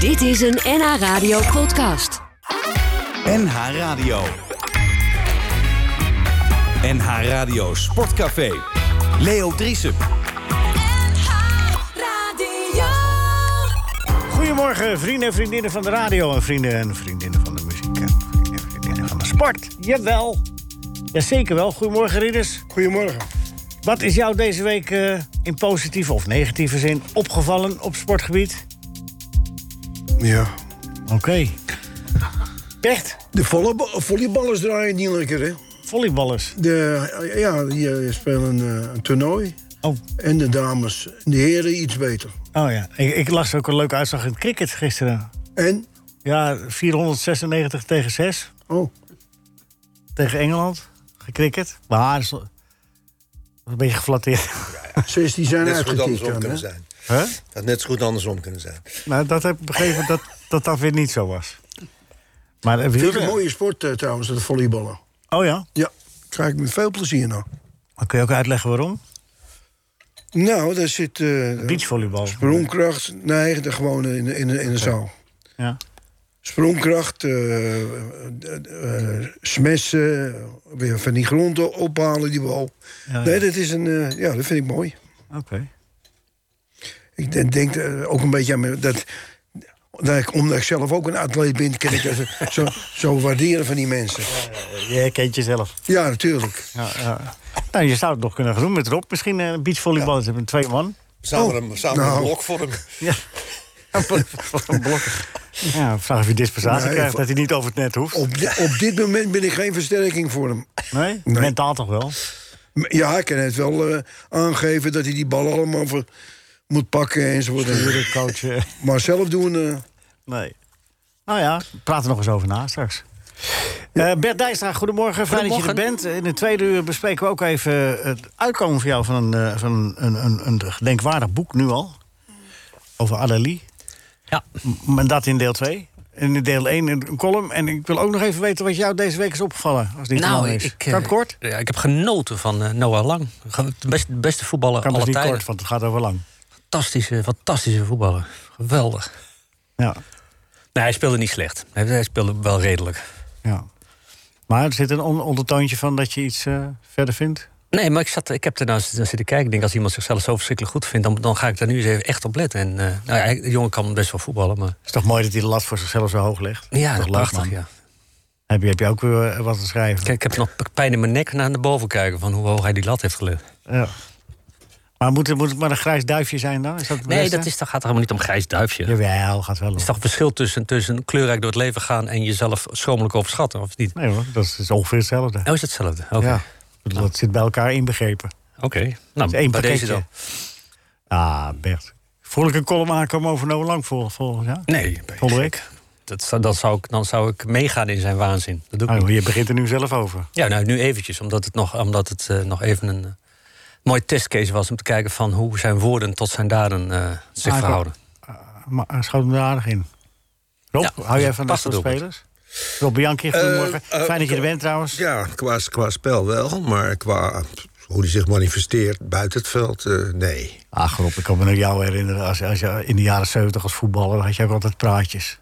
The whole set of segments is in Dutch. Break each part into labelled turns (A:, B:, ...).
A: Dit is een NH Radio podcast.
B: NH Radio. NH Radio Sportcafé. Leo Driessen.
C: Radio.
D: Goedemorgen, vrienden en vriendinnen van de radio. En vrienden en vriendinnen van de muziek. En vrienden en vriendinnen van de sport. Jawel. Jazeker wel. Goedemorgen, Rieders.
E: Goedemorgen.
D: Wat is jou deze week eh, in positieve of negatieve zin opgevallen op sportgebied?
E: Ja.
D: Oké. Echt?
E: De volle- volleyballers draaien niet lekker, hè?
D: Volleyballers.
E: De, ja, die eh, spelen eh, een toernooi.
D: Oh,
E: En de dames, de heren iets beter.
D: oh ja. Ik, ik las ook een leuke uitslag in het cricket gisteren.
E: En?
D: Ja, 496 tegen 6.
E: Oh,
D: Tegen Engeland. Gecricket. Maar is een beetje geflatteerd.
E: 16 zijn
F: net zo goed
E: uitgetikt
F: andersom
E: dan, hè?
F: kunnen zijn.
D: Huh?
F: Dat net zo goed andersom kunnen zijn.
D: Nou, dat heb ik begrepen dat, dat dat weer niet zo was. Maar eh,
E: Vind ik een
D: wielrennen-
E: mooie sport eh, trouwens, dat volleyballen.
D: Oh ja?
E: Ja, krijg ik met veel plezier naar.
D: Dan kun je ook uitleggen waarom.
E: Nou, daar zit eh
D: Beachvolleybal.
E: sprongkracht. Nee, de- gewoon in, de- in, de- in de zaal.
D: Ja.
E: Sprongkracht, eh, eh, eh, smessen, weer van die grond o- ophalen, die bal.
D: Ja, ja.
E: Nee, dat is een, eh, ja, dat vind ik mooi.
D: Oké.
E: Ik de- denk eh, ook een beetje aan me- dat, dat ik, omdat ik zelf ook een atleet ben, kan ik dat zo, zo waarderen van die mensen.
F: Eh,
D: Je herkent jezelf.
E: Ja, natuurlijk.
D: Ja, ja. Nou, je zou het nog kunnen gaan doen met Rob. Misschien eh, een beachvolleybal is een twee man.
F: Samen, een, samen
E: Oh, nou.
F: een blok vormen.
D: Ja. ja, vraag of je dispensatie
E: Nee,
D: krijgt
E: voor-
D: dat hij niet over het net hoeft.
E: Op, di- op dit moment ben ik geen versterking voor hem.
D: Nee?
E: Nee.
D: Mentaal toch wel?
E: M- Ja, ik kan het wel eh, aangeven dat hij die bal allemaal voor, moet pakken enzovoort.
D: Natuurlijk, coach. eh,
E: Maar zelf doen. eh,
D: Nee. Nou ja, praat er nog eens over na straks. Eh, Bert Dijstra, goedemorgen. Fijn dat je er bent. In de tweede uur bespreken we ook even het uitkomen voor jou van een, eh, van een, een, een gedenkwaardig boek nu al. Over Adelie.
G: Ja.
D: M- En dat in deel 2. En in deel 1 een column. En ik wil ook nog even weten wat jou deze week is opgevallen. Als dit
G: Nou,
D: is.
G: ik, eh,
D: kan het kort?
G: Ja, ik heb genoten van eh, Noah Lang. Gewoon De beste, beste voetballer
D: Kan
G: aller
D: het niet
G: tijden.
D: kort, want het gaat over lang.
G: Fantastische, fantastische voetballer. Geweldig.
D: Ja,
G: Nee, hij speelde niet slecht. Hij- Hij speelde wel redelijk.
D: ja. Maar er zit een on- ondertoontje van dat je iets eh, verder vindt.
G: Nee, maar ik, zat, ik heb ernaar zitten zitten kijken. Ik denk, als iemand zichzelf zo verschrikkelijk goed vindt... dan, dan ga ik daar nu eens even echt op letten. En, eh, nou ja, hij- de jongen kan best wel voetballen, maar...
D: Het is toch mooi dat hij de lat voor zichzelf zo hoog legt?
G: Ja,
D: Toch leuk,
G: prachtig,
D: man.
G: ja.
D: Heb je, heb je ook weer eh, wat te schrijven?
G: Kijk, ik heb nog pijn in mijn nek naar de boven kijken... van hoe hoog hij die lat heeft gelegd.
D: Ja. Maar moet het, moet het maar een grijs duifje zijn dan? Is dat het
G: Nee,
D: beste?
G: dat is, dat gaat er helemaal niet om grijs duifje.
D: Jawel, gaat wel.
G: Er is
D: hoor.
G: toch een verschil tussen, tussen kleurrijk door het leven gaan... en jezelf schromelijk overschatten, of niet?
D: Nee hoor, dat is, is ongeveer hetzelfde.
G: Oh, is het hetzelfde? Oké.
D: Ja. Ik bedoel, Dat zit bij elkaar inbegrepen.
G: Oké. Nou,
D: is één
G: bij
D: pakketje.
G: deze dan.
D: Ah, Bert. Voel ik een column aankomen over Noah Lang vol, vol, ja?
G: Nee,
D: volgende week?
G: dat, zou- dat zou ik, dan zou ik meegaan in zijn waanzin. Dat doe ik
D: Ah,
G: niet.
D: joh, je begint er nu zelf over.
G: Ja, nou, nu eventjes, omdat het nog, omdat het, eh, nog even een mooi mooie testcase was... om te kijken van hoe zijn woorden tot zijn daden eh, zich
D: Ah,
G: verhouden.
D: Maar hij schoot hem er aardig in. Rob,
G: Ja,
D: hou jij van dat
G: past
D: soort
G: het ook.
D: spelers? Rob Bianchi, goedemorgen.
F: Eh, eh,
D: Fijn dat je er bent trouwens.
F: Ja, qua, qua spel wel, maar qua hoe hij zich manifesteert buiten het veld, eh, nee.
D: Ach Ah, Rob, ik kan me nog jou herinneren. Als, als je in de jaren 70 als voetballer had je ook altijd praatjes.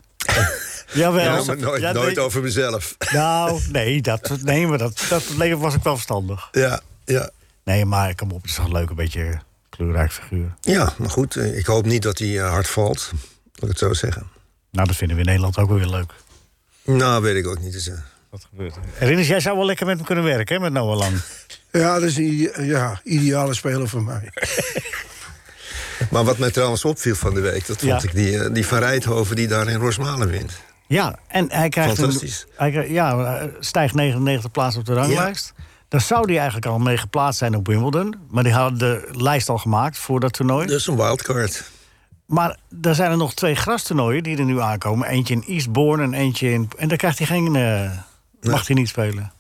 D: Jawel.
F: Ja, maar nooit,
D: Ja,
F: nooit
D: nee.
F: over mezelf.
D: Nou, nee, dat, nee maar dat, dat leek- was ik wel verstandig.
F: Ja, ja.
D: Nee, maar kom op, het is toch leuk, een beetje kleurrijk figuur.
F: ja, maar goed, eh, ik hoop niet dat hij eh, hard valt, laat ik het zo zeggen.
D: Nou, dat vinden we in Nederland ook wel weer leuk.
F: Nou, weet ik ook niet. Dus, eh,
D: Wat gebeurt er? Rinus, jij zou wel lekker met hem kunnen werken, hè, met Noah Lang.
E: eh, ja, dat is een ide- ja, ideale speler voor mij.
F: Maar wat mij trouwens opviel van de week, dat
D: Ja.
F: vond ik die, eh, die Van Rijthoven die daar in Rosmalen wint.
D: Ja, en hij krijgt
F: Fantastisch.
D: een... Hij krijgt- ja, eh, stijgt 99 plaatsen op de ranglijst. Daar zou hij eigenlijk al mee geplaatst zijn op Wimbledon. Maar die hadden de lijst al gemaakt voor dat toernooi.
F: Dus een wildcard.
D: Maar er zijn er nog twee grastoernooien die er nu aankomen. Eentje in Eastbourne en eentje in... En daar krijgt hij geen... eh, Mag hij niet spelen.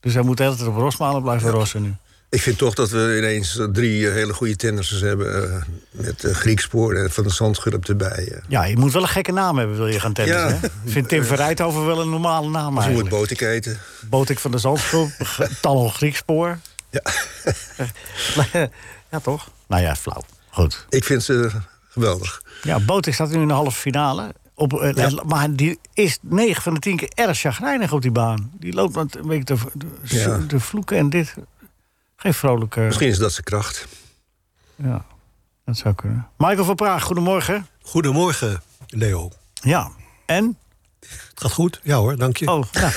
D: Dus hij moet de hele tijd op Rosmalen blijven rossen nu.
F: Ik vind toch dat we ineens drie eh, hele goede tennissers hebben. eh, met eh, Griekspoor en Van de Zandschulp erbij. eh.
D: Ja, je moet wel een gekke naam hebben, wil je gaan tennissen.
F: Ja.
D: hè? Vindt Tim Verrijthoven wel een normale naam
F: Ze moet
D: eigenlijk?
F: boter eten.
D: Botik van de Zandschulp, Talon Griekspoor.
F: Ja.
D: ja, toch? Nou ja, flauw. Goed.
F: Ik vind ze geweldig.
D: Ja, Botik staat nu in de halve finale. Op, eh, en- Maar die is 9 van de 10 keer erg chagrijnig op die baan. Die loopt met een beetje te, te,
F: Ja.
D: te vloeken en dit. Geen vrolijke...
F: Misschien is dat zijn kracht.
D: Ja, dat zou kunnen. Michael van Praag, goedemorgen.
C: Goedemorgen, Leo.
D: Ja. En?
C: Het gaat goed? Ja hoor, dank je.
D: Oh, nou,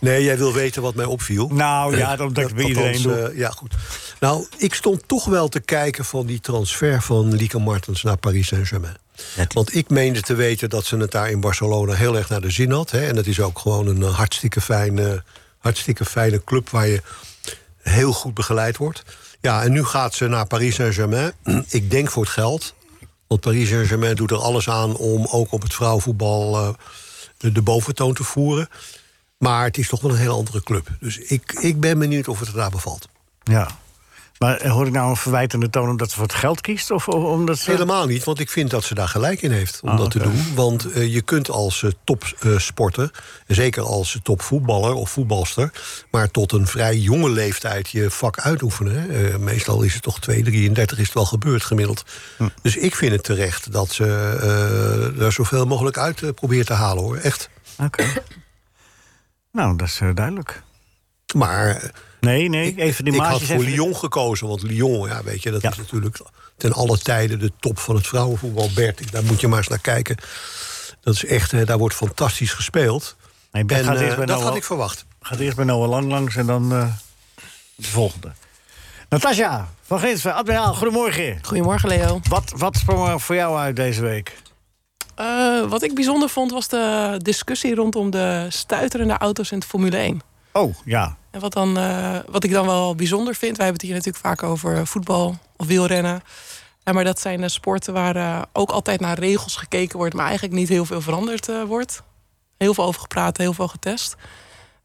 C: Nee, jij wil weten wat mij opviel. Eh,
D: nou ja, dat dat bij iedereen
C: althans,
D: doet.
C: eh, ja, goed. Nou, ik stond toch wel te kijken van die transfer van Lieke Martens naar Paris Saint-Germain. Want ik meende te weten dat ze het daar in Barcelona heel erg naar de zin had. Hè. En dat is ook gewoon een eh, hartstikke fijne, hartstikke fijne club waar je heel goed begeleid wordt. Ja, en nu gaat ze naar Paris Saint-Germain. ik denk voor het geld. Want Paris Saint-Germain doet er alles aan om ook op het vrouwenvoetbal eh, de- de boventoon te voeren. Maar het is toch wel een heel andere club. Dus ik, ik ben benieuwd of het er daar bevalt.
D: Ja. Maar eh, hoor ik nou een verwijtende toon omdat ze voor het geld kiest? Of of omdat ze...
C: Helemaal niet, want ik vind dat ze daar gelijk in heeft om dat
D: Ah,
C: te doen. Want eh, je kunt als topsporter, zeker als eh, topvoetballer of voetbalster... maar tot een vrij jonge leeftijd je vak uitoefenen. hè. Eh, meestal is het toch 2, 33 is het wel gebeurd gemiddeld.
D: Hm.
C: Dus ik vind het terecht dat ze eh, er zoveel mogelijk uit eh, probeert te halen, hoor. Echt.
D: Oké. nou, dat is eh, duidelijk.
C: Maar
D: Nee, nee, even die
C: ik had
D: maatjes...
C: voor
D: even-
C: Lyon gekozen, want Lyon, ja, weet je, dat
D: Ja.
C: is natuurlijk ten alle tijden de top van het vrouwenvoetbal. Bert, ik- daar moet je maar eens naar kijken. Dat is echt, hè, daar wordt fantastisch gespeeld.
D: Nee, Bert
C: En
D: gaat eerst
C: eh,
D: bij
C: dat
D: Noah-
C: had ik verwacht.
D: Gaat eerst bij Noah Lang langs en dan eh, de volgende. Natasja van Ginsven, admiraal, goedemorgen.
H: Goedemorgen Leo.
D: Wat, wat sprong er voor jou uit deze week?
H: Eh, wat ik bijzonder vond was de discussie rondom de stuiterende auto's in het Formule 1.
D: Oh, ja.
H: En wat, dan, eh, wat ik dan wel bijzonder vind, wij hebben het hier natuurlijk vaak over voetbal of wielrennen. Eh, maar dat zijn eh, sporten waar eh, ook altijd naar regels gekeken wordt, maar eigenlijk niet heel veel veranderd eh, wordt. Heel veel over gepraat, heel veel getest.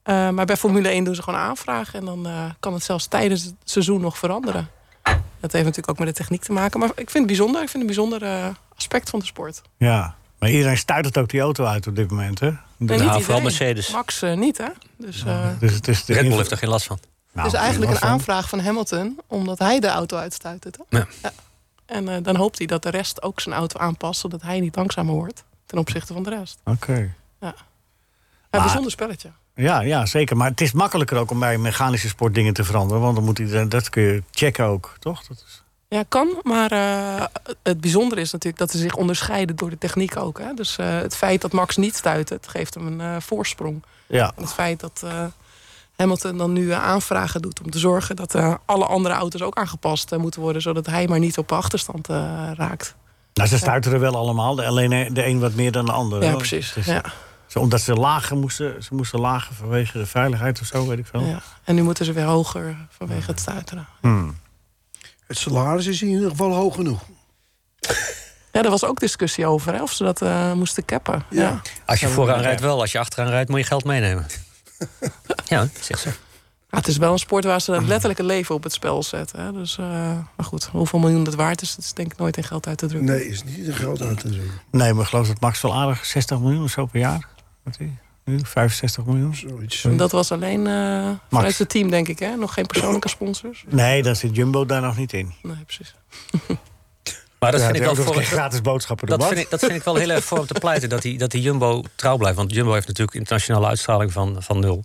H: Eh, maar bij Formule 1 doen ze gewoon aanvragen en dan eh, kan het zelfs tijdens het seizoen nog veranderen. Dat heeft natuurlijk ook met de techniek te maken, maar ik vind het bijzonder. Ik vind het een bijzonder eh, aspect van de sport.
D: Ja. Maar iedereen stuit het ook die auto uit op dit moment, hè?
H: Nee,
G: Nou,
H: niet
G: vooral
H: iedereen.
G: Mercedes.
H: Max eh, niet, hè? Dus, eh,
D: Dus het is de
G: Red Bull
D: invloed-
G: heeft er geen last van.
D: Nou,
H: dus eigenlijk een
D: waarvan?
H: aanvraag van Hamilton, omdat hij de auto uitstuit. het, Hè?
G: Ja.
H: En eh, dan hoopt hij dat de rest ook zijn auto aanpast, zodat hij niet langzamer wordt ten opzichte van de rest.
D: Oké.
H: Een
D: Maar-
H: bijzonder spelletje.
D: Ja, ja, zeker. Maar het is makkelijker ook om bij mechanische sport dingen te veranderen. Want dan moet iedereen, dat kun je checken ook, toch? Dat is,
H: Ja, kan, maar eh, het bijzondere is natuurlijk dat ze zich onderscheiden door de techniek ook. Hè? Dus eh, het feit dat Max niet stuit, het geeft hem een eh, voorsprong.
D: ja.
H: Het feit dat eh, Hamilton dan nu eh, aanvragen doet om te zorgen dat eh, alle andere auto's ook aangepast eh, moeten worden, zodat hij maar niet op achterstand eh, raakt.
D: Nou, ze stuiteren wel allemaal. de- Alleen de een wat meer dan de ander.
H: Ja,
D: hoor.
H: precies.
D: Het is-
H: Ja,
D: Zo, Omdat ze lager moesten, ze moesten lager vanwege de veiligheid of zo, weet ik veel.
H: ja. En nu moeten ze weer hoger vanwege het stuiteren.
E: Het salaris is in ieder geval hoog genoeg.
H: Ja, daar was ook discussie over, hè, of ze dat eh, moesten cappen. Ja.
G: Als je vooraan rijdt wel, als je achteraan rijdt moet je geld meenemen. ja, zegt ze.
H: Ja, Ah, het is wel een sport waar ze dat letterlijk een leven op het spel zetten. Hè. Dus, eh, maar goed, hoeveel miljoen dat waard is, dat is denk ik nooit in geld uit te drukken.
E: Nee, is niet een geld aan te doen.
D: Nee, maar ik geloof dat Max wel aardig 60 miljoen of zo per jaar. Wat is die? nu? 65 miljoen?
E: Zoiets.
H: En dat was alleen eh vanuit het team, denk ik. Hè? Nog geen persoonlijke sponsors.
D: Nee, dan zit Jumbo daar nog niet in.
H: Nee, precies.
G: Maar dat vind ik wel
D: ook nog
G: voor,
D: geen gratis boodschappen
G: Dat
D: doen,
G: vind, ik, dat vind ik wel heel erg voor om te pleiten. Dat die, dat die Jumbo trouw blijft. Want Jumbo heeft natuurlijk internationale uitstraling van, van nul.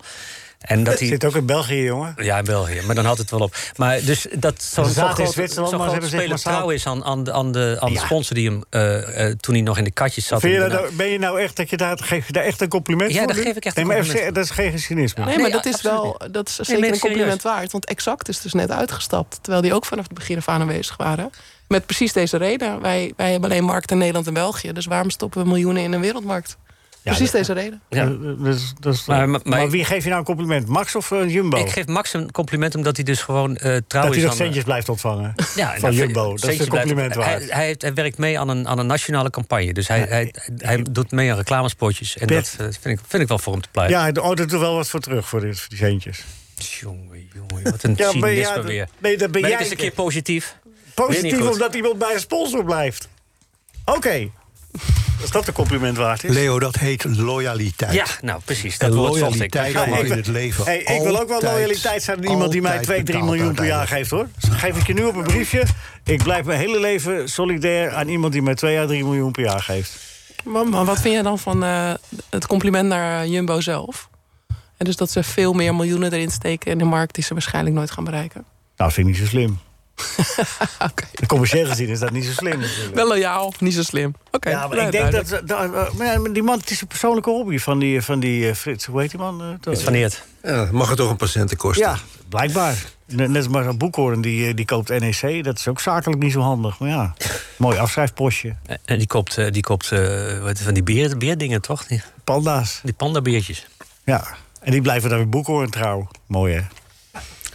G: En dat die,
D: Zit ook in België, jongen.
G: ja, in België, maar dan houdt het wel op. Maar dus dat zo'n
D: Ze zaten
G: zo'n
D: in
G: grote-
D: Zwitserland,
G: zo'n
D: maar ze
G: grote
D: hebben
G: speler
D: zich massaal-
G: trouw is aan, aan, de- aan de, aan de
D: Ja.
G: sponsor die hem eh, eh, toen hij nog in de katjes zat.
D: Vind je
G: en
D: dat
G: daarna-
D: nou- ben je nou echt dat je daar, geef je daar echt een compliment
G: Ja,
D: voor?
G: daar
D: nu?
G: geef ik echt
D: nee,
G: een
D: maar
G: compliment
D: FC dat is geen geschiedenisme.
H: Nee,
G: Nee,
H: maar dat
G: ja,
H: is
G: absoluut
H: wel dat is zeker
G: meen
H: een
G: het
H: compliment
G: serieus.
H: waard. Want Exact is dus net uitgestapt. Terwijl die ook vanaf het begin af aan aanwezig waren. Met precies deze reden. Wij, wij hebben alleen markten in Nederland en België. Dus waarom stoppen we miljoenen in een wereldmarkt? precies deze reden.
G: Ja.
D: Eh, dus- dus- maar,
G: Maar- maar- maar-
D: wie geef je nou een compliment? Max of eh, Jumbo?
G: Ik geef Max een compliment omdat hij dus gewoon eh,
D: dat
G: trouw
D: hij
G: is
D: nog
G: aan...
D: centjes blijft ontvangen
G: ja,
D: van
G: nou,
D: Jumbo. Dat is
G: centje
D: een compliment
G: blijft-
D: waard.
G: Hij, hij, heeft- hij werkt mee aan een, aan een nationale campagne. Dus hij, hij, hij doet mee aan reclamespotjes. En
D: Pet.
G: dat eh, vind, ik, vind ik wel voor hem te pleiten.
D: ja, hij- oh, dat doet wel wat voor terug voor, dit, voor die centjes.
G: Jongen, jongen, wat een
D: Ja, maar
G: cynisme
D: ja, dat-
G: weer.
D: nee, dat ben
G: Maar
D: jij.
G: het is een keer positief. Weet
D: Positief
G: niet goed.
D: omdat iemand bij de sponsor blijft. Oké. Als dat een compliment waard is.
C: Leo, dat heet loyaliteit.
G: Ja, nou precies. Dat
C: En
G: woord zocht ik.
C: loyaliteit
D: Oh Ja, ik
C: wordt in
D: ben-
C: het leven
D: Hey, ik wil ook wel
C: altijd-
D: loyaliteit zijn aan iemand die mij
C: altijd
D: 2, 3
C: betaald
D: miljoen per jaar
C: uiteindelijk.
D: geeft hoor. Dus geef ik je nu op een briefje. Ik blijf mijn hele leven solidair aan iemand die mij 2 à 3 miljoen per jaar geeft.
H: Maar, maar wat vind je dan van eh, het compliment naar eh, Jumbo zelf? En dus dat ze veel meer miljoenen erin steken in de markt die ze waarschijnlijk nooit gaan bereiken.
D: Nou, vind ik niet zo slim.
H: Oké.
D: Commercieel gezien is dat niet zo slim. natuurlijk.
H: Wel loyaal, niet zo slim. Oké.
D: Ja, maar
H: nou,
D: ik denk dat...
H: duidelijk.
D: dat- eh, maar ja, maar die man, het is een persoonlijke hobby van die, van die eh, Frits. Hoe heet die man? eh, toch?
G: Iets van Eert.
F: Ja, mag het toch een patiënten kosten?
D: Ja, blijkbaar. Net net als maar een boekhoorn die, eh, die koopt NEC. Dat is ook zakelijk niet zo handig. Maar ja, mooi afschrijfpostje.
G: En die koopt, eh, die koopt eh, wat, van die beer, beerdingen, toch? Die,
D: Panda's.
G: die pandabeertjes.
D: Ja. En die blijven dan weer boekhoorn trouw. Mooi hè?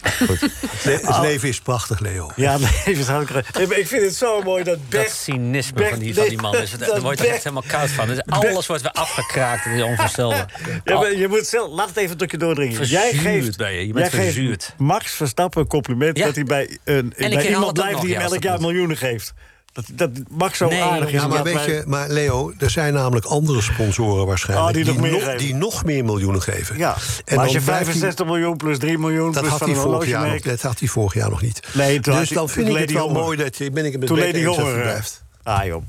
C: Het, le-
G: Oh.
C: het leven is prachtig, Leo.
D: Oh. Ja, nee, dat had ik ge- Nee, maar Ik vind het zo mooi dat
G: Dat
D: Bert...
G: cynisme
D: Bert-
G: van, die, van die man. Is,
D: nee,
G: daar word je
D: dat
G: toch echt helemaal koud van. Dus alles wordt weer afgekraakt. Dat is onvoorstelbaar. Oh.
D: Ja, maar je moet zelf, laat het even tot je doordringen. Jij
G: Verzuurd
D: geeft,
G: ben je, je bent
D: jij geeft
G: verzuurd.
D: Max Verstappen een compliment
G: Ja.
D: dat hij bij, een,
G: ik
D: bij
G: herhaal het
D: iemand
G: ook
D: blijft
G: nog,
D: die
G: ja,
D: hem
G: als
D: elk
G: dat
D: jaar
G: moet.
D: miljoenen geeft. Dat, dat Max zo
G: Nee,
D: aardig is.
C: Ja, maar
D: dat
C: weet
D: wij-
C: je, maar Leo, er zijn namelijk andere sponsoren waarschijnlijk...
D: Oh, die nog meer
C: nog,
D: geven.
C: die nog meer miljoenen geven.
D: Ja,
C: En
D: maar als
C: dan
D: je
C: blijft die-
D: 65 miljoen plus 3 miljoen
C: Dat
D: plus
C: had,
D: van
C: hij
D: een
C: vorig jaar nog,
D: horlogemerk-
C: dat had hij vorig jaar nog niet.
D: Nee, toen had
C: dus
D: hij-
C: dan vind
D: toen
C: ik het
D: Lady
C: wel
D: Honger.
C: mooi dat je... ben ik het met
D: Toen
C: Bert
D: Lady
C: eens dat
D: Honger, eh,
C: verblijft.
D: Ah joh,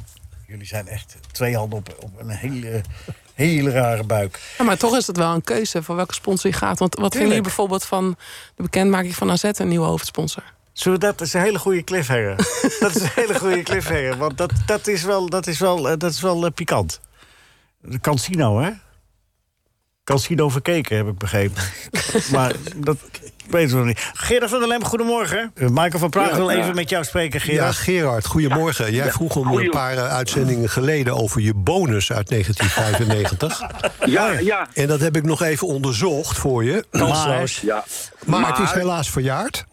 D: jullie zijn echt twee handen op, op een hele, hele rare buik.
H: Ja, maar toch is het wel een keuze voor welke sponsor je gaat. Want wat vinden jullie bijvoorbeeld van de bekendmaking van AZ een nieuwe hoofdsponsor?
D: Zullen we dat, dat is een hele goede cliffhanger. dat is een hele goede cliffhanger, want dat, dat is wel, dat is wel, eh, dat is wel eh, pikant. De Cansino, hè? Cansino verkeken, heb ik begrepen. maar dat weten we nog niet. Gerard van der Lem, goedemorgen. Eh, Michael van Praag wil even met jou spreken,
C: Ja,
D: Gerard.
C: Gerard, goedemorgen. Jij vroeg om een paar eh, uitzendingen geleden over je bonus uit 1995.
I: Ja, ja.
C: en dat heb ik nog even onderzocht voor je.
G: Kansloos.
I: ja.
C: Maar, het is helaas verjaard.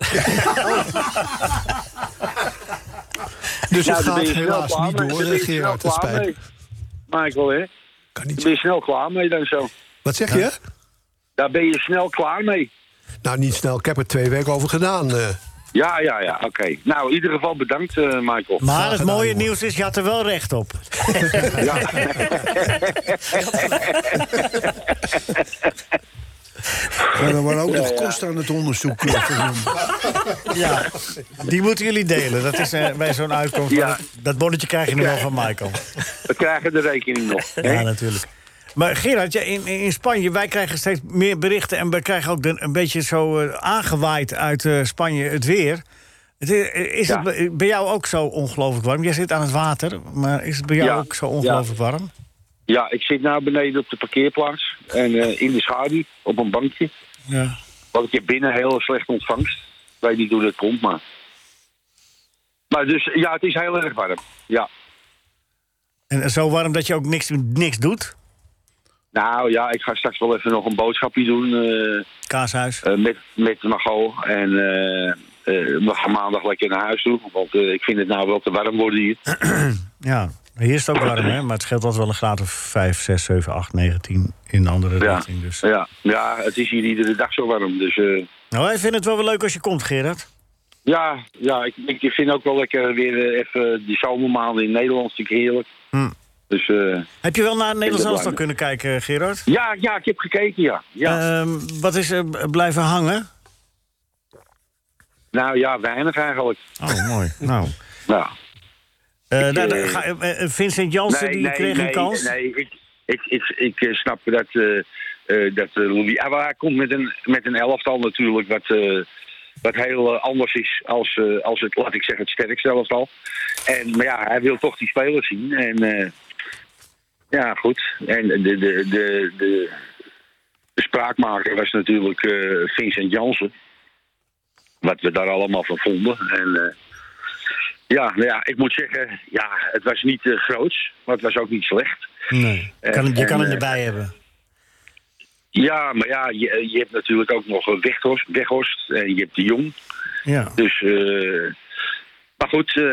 C: dus
I: Ja, daar
C: het gaat
I: Nou, ben je snel
C: helaas
I: klaar
C: niet
I: mee.
C: door,
I: Daar ben
C: eh,
I: je snel
C: Gerard. Het
I: klaar
C: spijt me.
I: mee, Michael, hè?
C: Kan
I: Daar
C: niet.
I: ben je snel klaar mee dan zo.
C: Wat zeg je?
I: Daar ben je snel klaar mee.
C: Nou, niet snel. Ik heb er twee weken over gedaan. eh.
I: Ja, ja, ja, oké. Nou, in ieder geval bedankt, eh, Michael.
D: Maar het mooie nieuws is, je had er wel recht op.
E: Maar dan waren ook nog kosten aan het onderzoek. eh, vernoemd.
D: Ja, die moeten jullie delen. Dat is eh, bij zo'n uitkomst.
I: Ja.
D: Maar Dat, dat bonnetje krijg je nog wel van Michael.
I: We krijgen de rekening nog. hè?
D: Ja, natuurlijk. Maar Gerard, ja, in, in Spanje, wij krijgen steeds meer berichten... en we krijgen ook de- een beetje zo eh, aangewaaid uit eh, Spanje het weer. Het is, is
I: Ja.
D: het bij- bij jou ook zo ongelooflijk warm? Jij zit aan het water, maar is het bij jou
I: Ja.
D: ook zo ongelooflijk warm?
I: Ja, ik zit nou beneden op de parkeerplaats. En eh, in de schaduw, op een bankje.
D: Ja.
I: Want ik heb binnen heel slecht ontvangst. Ik weet niet hoe dat komt, maar... Maar dus, ja, het is heel erg warm. Ja.
D: En zo warm dat je ook niks, niks doet?
I: Nou ja, ik ga straks wel even nog een boodschapje doen eh,
D: Kaashuis.
I: eh, met, met Mago. En eh, eh, we gaan maandag lekker naar huis toe. Want eh, ik vind het nou wel te warm worden hier.
D: Ja, hier is het ook warm, hè? Maar het scheelt altijd wel een graad of 5, 6, 7, 8, 9, 10 in de andere
I: Ja,
D: richting. Dus.
I: ja, ja het is hier iedere dag zo warm. Dus eh,
D: Nou, wij vinden het wel weer leuk als je komt, Gerard.
I: ja, ja ik, ik vind ook wel lekker weer eh, even die zomermaanden in Nederland. Vind ik heerlijk. Dus eh,
D: Hm. Heb je wel naar het Nederlands
I: ben
D: elftal
I: blij.
D: kunnen kijken, Gerard?
I: ja, ja, ik heb gekeken, ja. ja.
D: Ehm, wat is er b- blijven hangen?
I: nou ja, weinig eigenlijk.
D: Oh, mooi. nou.
I: Nou,
D: Eh,
I: Ik,
D: nou,
I: eh,
D: dan ga- eh, eh, Vincent Jansen, die kreeg
I: nee,
D: een kans.
I: Nee, ik, ik, ik, ik eh, snap dat, eh eh dat eh, Louis Abba komt met een, met een elftal natuurlijk... wat, eh, wat heel eh, anders is als, eh, als het, laat ik zeggen, het sterkste elftal. En, maar ja, hij wil toch die spelers zien. En eh, ja, goed. En de, de, de, de, de spraakmaker was natuurlijk eh, Vincent Jansen. Wat we daar allemaal van vonden. En... eh, ja, nou ja, ik moet zeggen, ja, het was niet eh, groots, maar het was ook niet slecht.
D: Nee. Je kan, hem- je
I: en,
D: kan hem
I: eh,
D: erbij hebben.
I: Ja, maar ja, je, je hebt natuurlijk ook nog eh, Weghorst, Weghorst en je hebt de Jong.
D: Ja.
I: Dus, eh, maar goed, eh,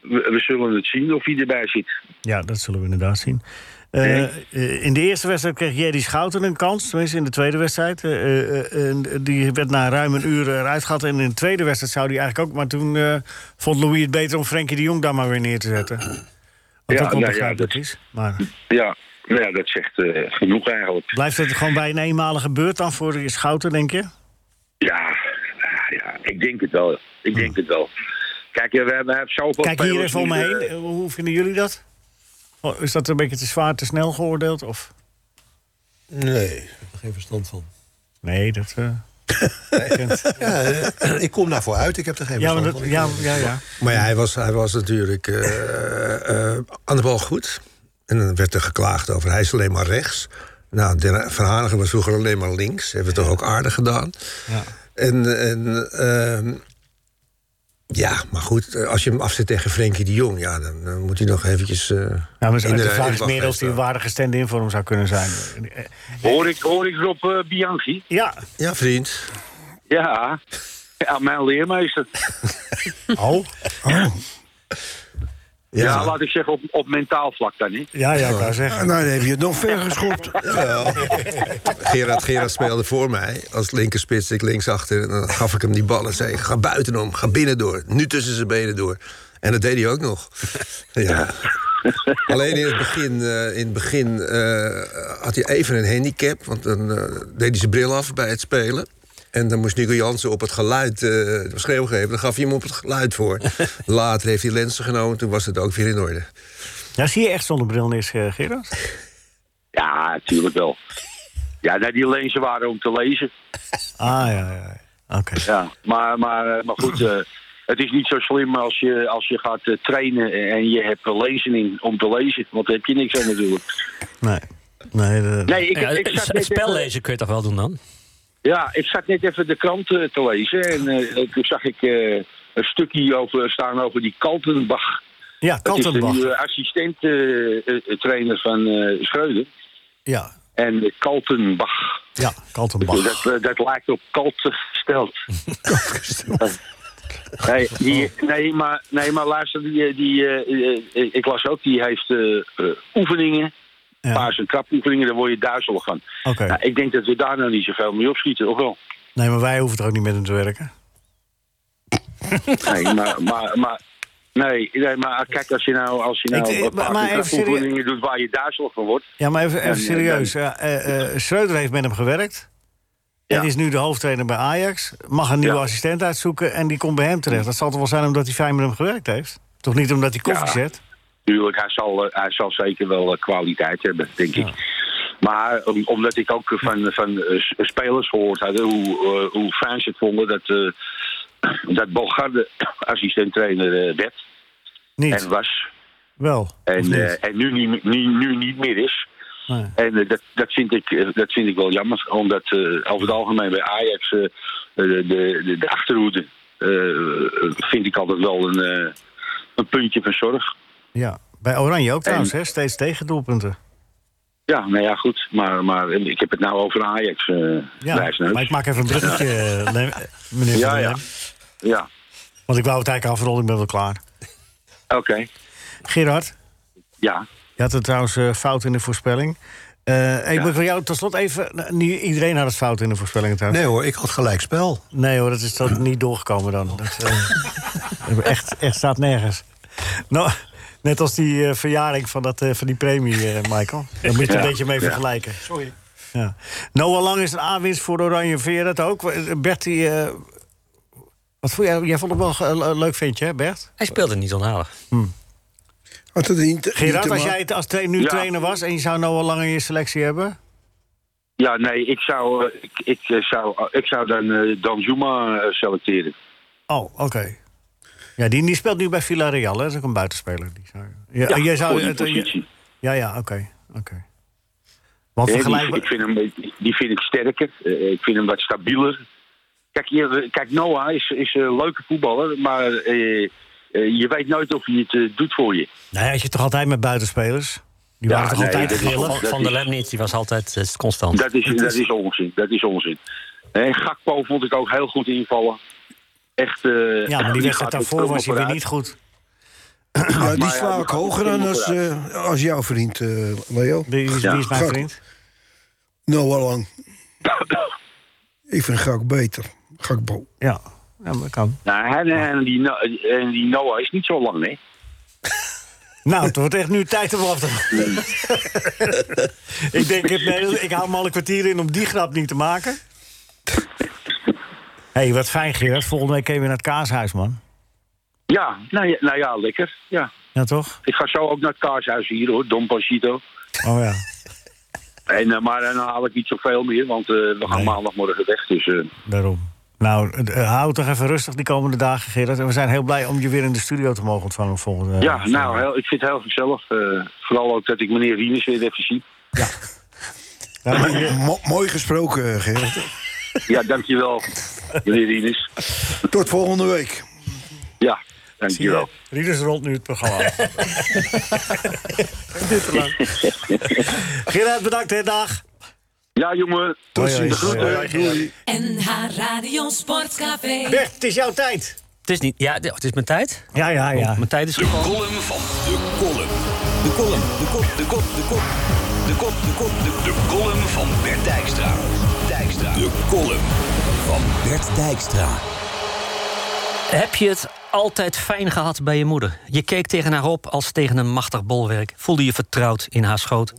I: we, we zullen het zien of hij erbij zit.
D: ja, dat zullen we inderdaad zien. Eh, eh, in de eerste wedstrijd kreeg Jerry Schouten een kans. Tenminste, in de tweede wedstrijd. Eh, eh, eh, eh, die werd na ruim een uur eh, eruit gehad. En in de tweede wedstrijd zou die eigenlijk ook... Maar toen eh, vond Louis het beter om Frenkie de Jong daar maar weer neer te zetten. Want Wat
I: Ja,
D: ook wel
I: nou ja,
D: begrijpelijk
I: dat-
D: is. Maar
I: Ja, nou ja, dat zegt eh, genoeg eigenlijk.
D: blijft het gewoon bij een eenmalige beurt dan voor je schouder, denk je?
I: Ja, ja, ik denk het wel. Ik denk het wel. Kijk, eh, we hebben we hebben zoveel
D: Kijk hier
I: spelers
D: even om me
I: die,
D: heen.
I: eh,
D: Eh, Hoe vinden jullie dat? Oh, Is dat een beetje te zwaar, te snel geoordeeld? Of?
C: Nee, ik heb er geen verstand van.
D: Nee, dat... eh,
C: Ja, eh, ik kom daarvoor uit, ik heb er geen
D: ja, maar
C: verstand
D: dat,
C: van.
D: ja, ja, ja.
F: Maar ja, hij was, hij was natuurlijk eh, eh, aan de bal goed. En dan werd er geklaagd over hij is alleen maar rechts. Nou, Den- Van Hanegem was vroeger alleen maar links. Hebben we toch ook aardig gedaan.
D: Ja.
F: En, en ehm, ja, maar goed, eh, als je hem afzet tegen Frenkie de Jong... Ja, dan, eh, moet hij nog eventjes... eh,
D: Ja, maar de,
F: in
D: de
F: in
D: vraag is meer
F: wachtrij
D: of die een
F: staan.
D: waardige stand-in voor hem zou kunnen zijn. Eh,
I: Hoor ik, hoor ik Rob eh, Bianchi?
D: Ja,
F: Ja, vriend.
I: Ja. ja, mijn leermeester.
D: oh.
I: Ja, laat ik zeggen op, op mentaal vlak dan, hè.
D: Ja, ja, ik wou zeggen.
E: Nou, dan heb je het nog ver geschopt.
F: Gerard, Gerard speelde voor mij als linkerspits, ik linksachter. En dan gaf ik hem die ballen en zei, ga buitenom, ga binnen door. Nu tussen zijn benen door. En dat deed hij ook nog. Ja. Alleen in het begin, eh, in het begin eh, had hij even een handicap. Want dan eh, deed hij zijn bril af bij het spelen. En dan moest Nico Jansen op het geluid eh schreeuw geven. Dan gaf hij hem op het geluid voor. Later heeft hij lenzen genomen, toen was het ook weer in orde.
D: Ja, zie je echt zonder bril niks, eh, Gerard?
I: Ja, natuurlijk wel. Ja, nou, die lezen waren om te lezen.
D: Ah, ja, ja. ja. Oké.
I: Ja. Maar, maar, eh, maar goed, eh, het is niet zo slim als je, als je gaat eh, trainen en je hebt een lezening om te lezen. Want daar heb je niks aan natuurlijk.
D: Nee. Nee, de-
I: Nee, ik,
G: Ja,
I: ik zat
G: het
I: net
G: spel
I: even-
G: lezen kun je toch wel doen dan?
I: Ja, ik zat net even de krant eh, te lezen en eh, toen zag ik eh, een stukje over, staan over die Kaltenbach.
D: ja,
I: Dat is de
D: Kaltenbach.
I: nieuwe assistent eh, eh, trainer van eh Schreuder.
D: Ja,
I: En Kaltenbach.
D: ja, Kaltenbach.
I: Dat, eh, dat lijkt op Kalten gesteld. Nee, die- nee, maar, nee, maar luister, die, eh, die, eh, eh, ik las ook, die heeft eh, eh, oefeningen,
D: Ja.
I: paars- en trapoefeningen, daar word je duizelig van.
D: Oké.
I: Nou, ik denk dat we daar nou niet zoveel mee opschieten, of wel?
D: Nee, maar wij hoeven er ook niet met hem te werken.
I: Nee, maar, maar, maar, nee, nee, maar kijk, als je nou, als je
D: Ik-
I: nou
D: eh,
I: een
D: maar-
I: paar
D: maar even
I: oefeningen doet waar je duizelig van wordt.
D: Ja, maar even, even
I: En, eh,
D: serieus. Ja, eh, eh, Schreuder heeft met hem gewerkt.
I: Ja.
D: En is nu de hoofdtrainer bij Ajax. Mag een nieuwe
I: Ja.
D: assistent uitzoeken en die komt bij hem terecht. Dat zal toch wel zijn omdat hij fijn met hem gewerkt heeft? Toch niet omdat hij koffie
I: Ja.
D: zet?
I: Tuurlijk, hij zal, eh, hij zal zeker wel eh, kwaliteit hebben, denk ik. Maar om- omdat ik ook eh, van, van eh, s- spelers gehoord had, eh, hoe, eh, hoe fijn ze het vonden dat, eh dat Bogarde assistent-trainer eh, werd
D: Niet.
I: en was.
D: Wel.
I: En,
D: Of niet?
I: eh, en nu, niet, nu, nu niet meer is.
D: Nee.
I: En eh, dat, dat, vind ik, eh, dat vind ik wel jammer, omdat eh, over het algemeen bij Ajax eh, eh, de, de, de achterhoede eh, vind ik altijd wel een, eh, een puntje van zorg.
D: Ja, bij Oranje ook trouwens,
I: En-
D: hè? steeds tegendoelpunten.
I: Ja, nou ja, goed. Maar, maar ik heb het nou over Ajax, eh
D: Ja,
I: Wijsneus.
D: maar ik maak even een bruggetje, eh, Lem- eh, meneer
I: Ja,
D: Van der
I: ja.
D: Lem.
I: Ja,
D: Want ik wou het eigenlijk afrollen, ik ben wel klaar.
I: oké.
D: Gerard,
I: Ja.
D: je had het trouwens eh, fout in de voorspelling. Eh Ik
I: Ja.
D: wil voor jou tot slot even... nou, niet iedereen had het fout in de voorspellingen trouwens.
C: Nee hoor, ik had gelijkspel.
D: Nee, hoor, dat is dan niet doorgekomen dan. Dat eh, echt, echt staat nergens. Nou, net als die eh, verjaring van, dat, eh, van die premie, eh, Michael. Daar moet je een
I: Ja.
D: beetje mee vergelijken. Sorry. Ja. Noah Lang is een aanwinst voor Oranje Veer, dat ook. Bert, die... eh, wat vond jij, jij vond hem wel ge- een leuk ventje, hè, Bert?
G: Hij speelde niet onaardig.
E: Had het niet, niet
D: Gerard,
E: te
D: als
E: ma-
D: jij het als tra- nu
I: Ja.
D: trainer was en je zou Noah Lang in je selectie hebben...
I: Ja, nee, ik zou, eh, ik, ik, eh, zou, ik zou dan eh, Danjuma eh, selecteren.
D: Oh, oké. Ja, die, die speelt nu bij Villarreal, hè? Dat is ook een buitenspeler. Die zou... ja,
I: Ja,
D: jij
I: voor
D: zou,
I: die
D: het- eh,
I: positie.
D: ja, ja, oké. oké. Want
I: Hè, die,
D: vergelijkbaar...
I: ik vind hem, die vind ik sterker. Eh, ik vind hem wat stabieler. Kijk, hier, eh, kijk Noah is, is een leuke voetballer, maar eh, eh, je weet nooit of hij het eh, doet voor je.
D: Nee, had je toch altijd met buitenspelers? Die
I: Ja,
D: waren toch
I: nee,
D: altijd
I: dat is-
D: grillen?
G: Van, van der Lem niet, die was altijd eh, constant.
I: Dat is, dat is onzin. Dat is onzin. En Gakpo vond ik ook heel goed invallen. Echt, eh,
D: Ja, maar die
I: gaat
D: wedstrijd
I: er
D: daarvoor
I: helemaal
D: was hij weer
I: vooruit.
D: niet goed.
E: Ja, die
I: Maar ja,
E: sla
I: we
E: ik
I: gaan
E: hoger dan
I: het
E: als,
I: zien
E: eh, als jouw vriend, eh, Leo.
D: Die is,
I: Ja.
D: die is mijn
E: Goed.
D: vriend.
E: Noah Lang. Ik vind Gak beter. Gakbo.
D: Ja. ja, maar dat kan.
I: Nou, en, en, die, No- en die Noah is niet zo lang, hè?
D: Nou, het wordt echt nu tijd om af te ik denk, het- nee, ik haal me al een kwartier in om die grap niet te maken. Hé, hey, wat fijn, Gerard. Volgende week kun je weer naar het kaashuis, man.
I: Ja, nou ja, nou ja lekker. Ja.
D: Ja, toch?
I: Ik ga zo ook naar het kaashuis hier hoor, Don Pachito.
D: Oh ja.
I: En, eh, maar dan haal ik niet zoveel meer, want eh, we gaan maandagmorgen weg. Dus eh,
D: Daarom. Nou, eh, eh, hou toch even rustig die komende dagen, Gerard. En we zijn heel blij om je weer in de studio te mogen ontvangen volgende
I: ja, nou, heel, ik vind het heel gezellig. eh, vooral ook dat ik meneer Rienes weer even zie.
D: Ja, maar je-
E: Mo- mooi gesproken, eh, Gerard.
I: Ja, dankjewel, meneer Rienes.
E: Tot volgende week.
I: Ja,
D: zie je,
I: dankjewel.
D: Rieders rond nu het programma. Dit te lang. Gerard, bedankt, hè. Dag.
I: Ja, jongen.
E: Tot
D: Hoi, hoi,
E: ziens.
D: hoi, hoi,
E: Groeten. Doei.
A: NH Radio Sportcafé.
D: Bert, het is jouw tijd.
G: Het is niet. Ja, het is mijn tijd. Oh,
D: Ja, ja, ja.
G: Mijn tijd is
B: De
G: gekomen.
B: column van de kolom. De kolom, de kop, de kop, de kop. De kop, de kop, de De column van Bert Dijkstra. Dijkstra. De column van Bert Dijkstra.
G: Heb je het altijd fijn gehad bij je moeder? Je keek tegen haar op als tegen een machtig bolwerk. Voelde je vertrouwd in haar schoot.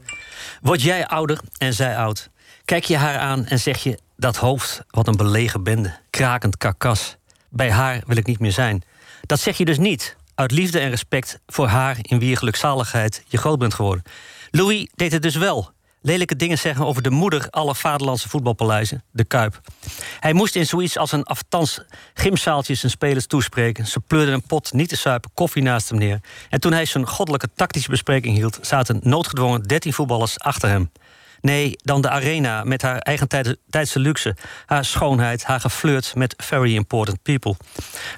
G: Word jij ouder en zij oud? Kijk je haar aan en zeg je dat hoofd, wat een belegen bende, krakend karkas. Bij haar wil ik niet meer zijn. Dat zeg je dus niet, uit liefde en respect voor haar in wie je gelukzaligheid je groot bent geworden. Louis deed het dus wel. Lelijke dingen zeggen over de moeder aller vaderlandse voetbalpaleizen, de Kuip. Hij moest in zoiets als een aftans gymzaaltje zijn spelers toespreken. Ze pleurden een pot niet te suipen koffie naast hem neer. En toen hij zijn goddelijke tactische bespreking hield, zaten noodgedwongen 13 voetballers achter hem. Nee, dan de arena met haar eigen tijd- tijdse luxe, haar schoonheid, haar geflirt met very important people.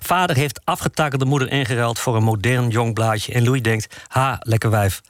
G: Vader heeft afgetakelde moeder ingeruild voor een modern jong blaadje en Louis denkt: ha, lekker wijf.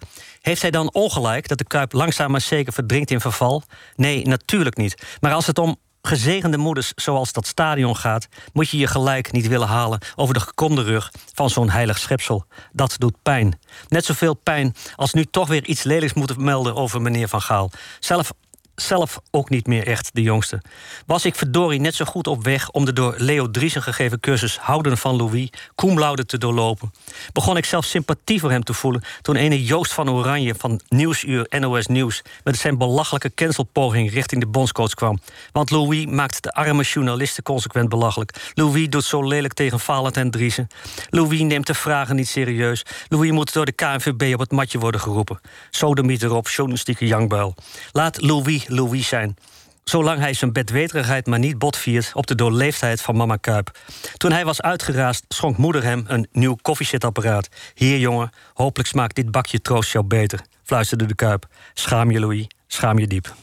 G: Heeft hij dan ongelijk dat de kuip langzaam maar zeker verdrinkt in verval? Nee, natuurlijk niet. Maar als het om gezegende moeders zoals dat stadion gaat, moet je je gelijk niet willen halen over de gekomde rug van zo'n heilig schepsel. Dat doet pijn. Net zoveel pijn als nu toch weer iets lelijks moeten melden over meneer Van Gaal. Zelf, zelf ook niet meer echt de jongste. Was ik verdorie net zo goed op weg om de door Leo Driesen gegeven cursus Houden van Louis cum laude te doorlopen? Begon ik zelf sympathie voor hem te voelen toen ene Joost van Oranje van Nieuwsuur NOS Nieuws met zijn belachelijke cancelpoging richting de bondscoach kwam. Want Louis maakt de arme journalisten consequent belachelijk. Louis doet zo lelijk tegen Valent en Driessen. Louis neemt de vragen niet serieus. Louis moet door de KNVB op het matje worden geroepen. Sodemiet erop, journalistieke jankbuil. Laat Louis Louis zijn. Zolang hij zijn bedweterigheid maar niet botviert op de doorleefdheid van mama Kuip. Toen hij was uitgeraasd, schonk moeder hem een nieuw koffiezetapparaat. Hier, jongen, hopelijk smaakt dit bakje troost jou beter, fluisterde de Kuip. Schaam je, Louis, schaam je diep.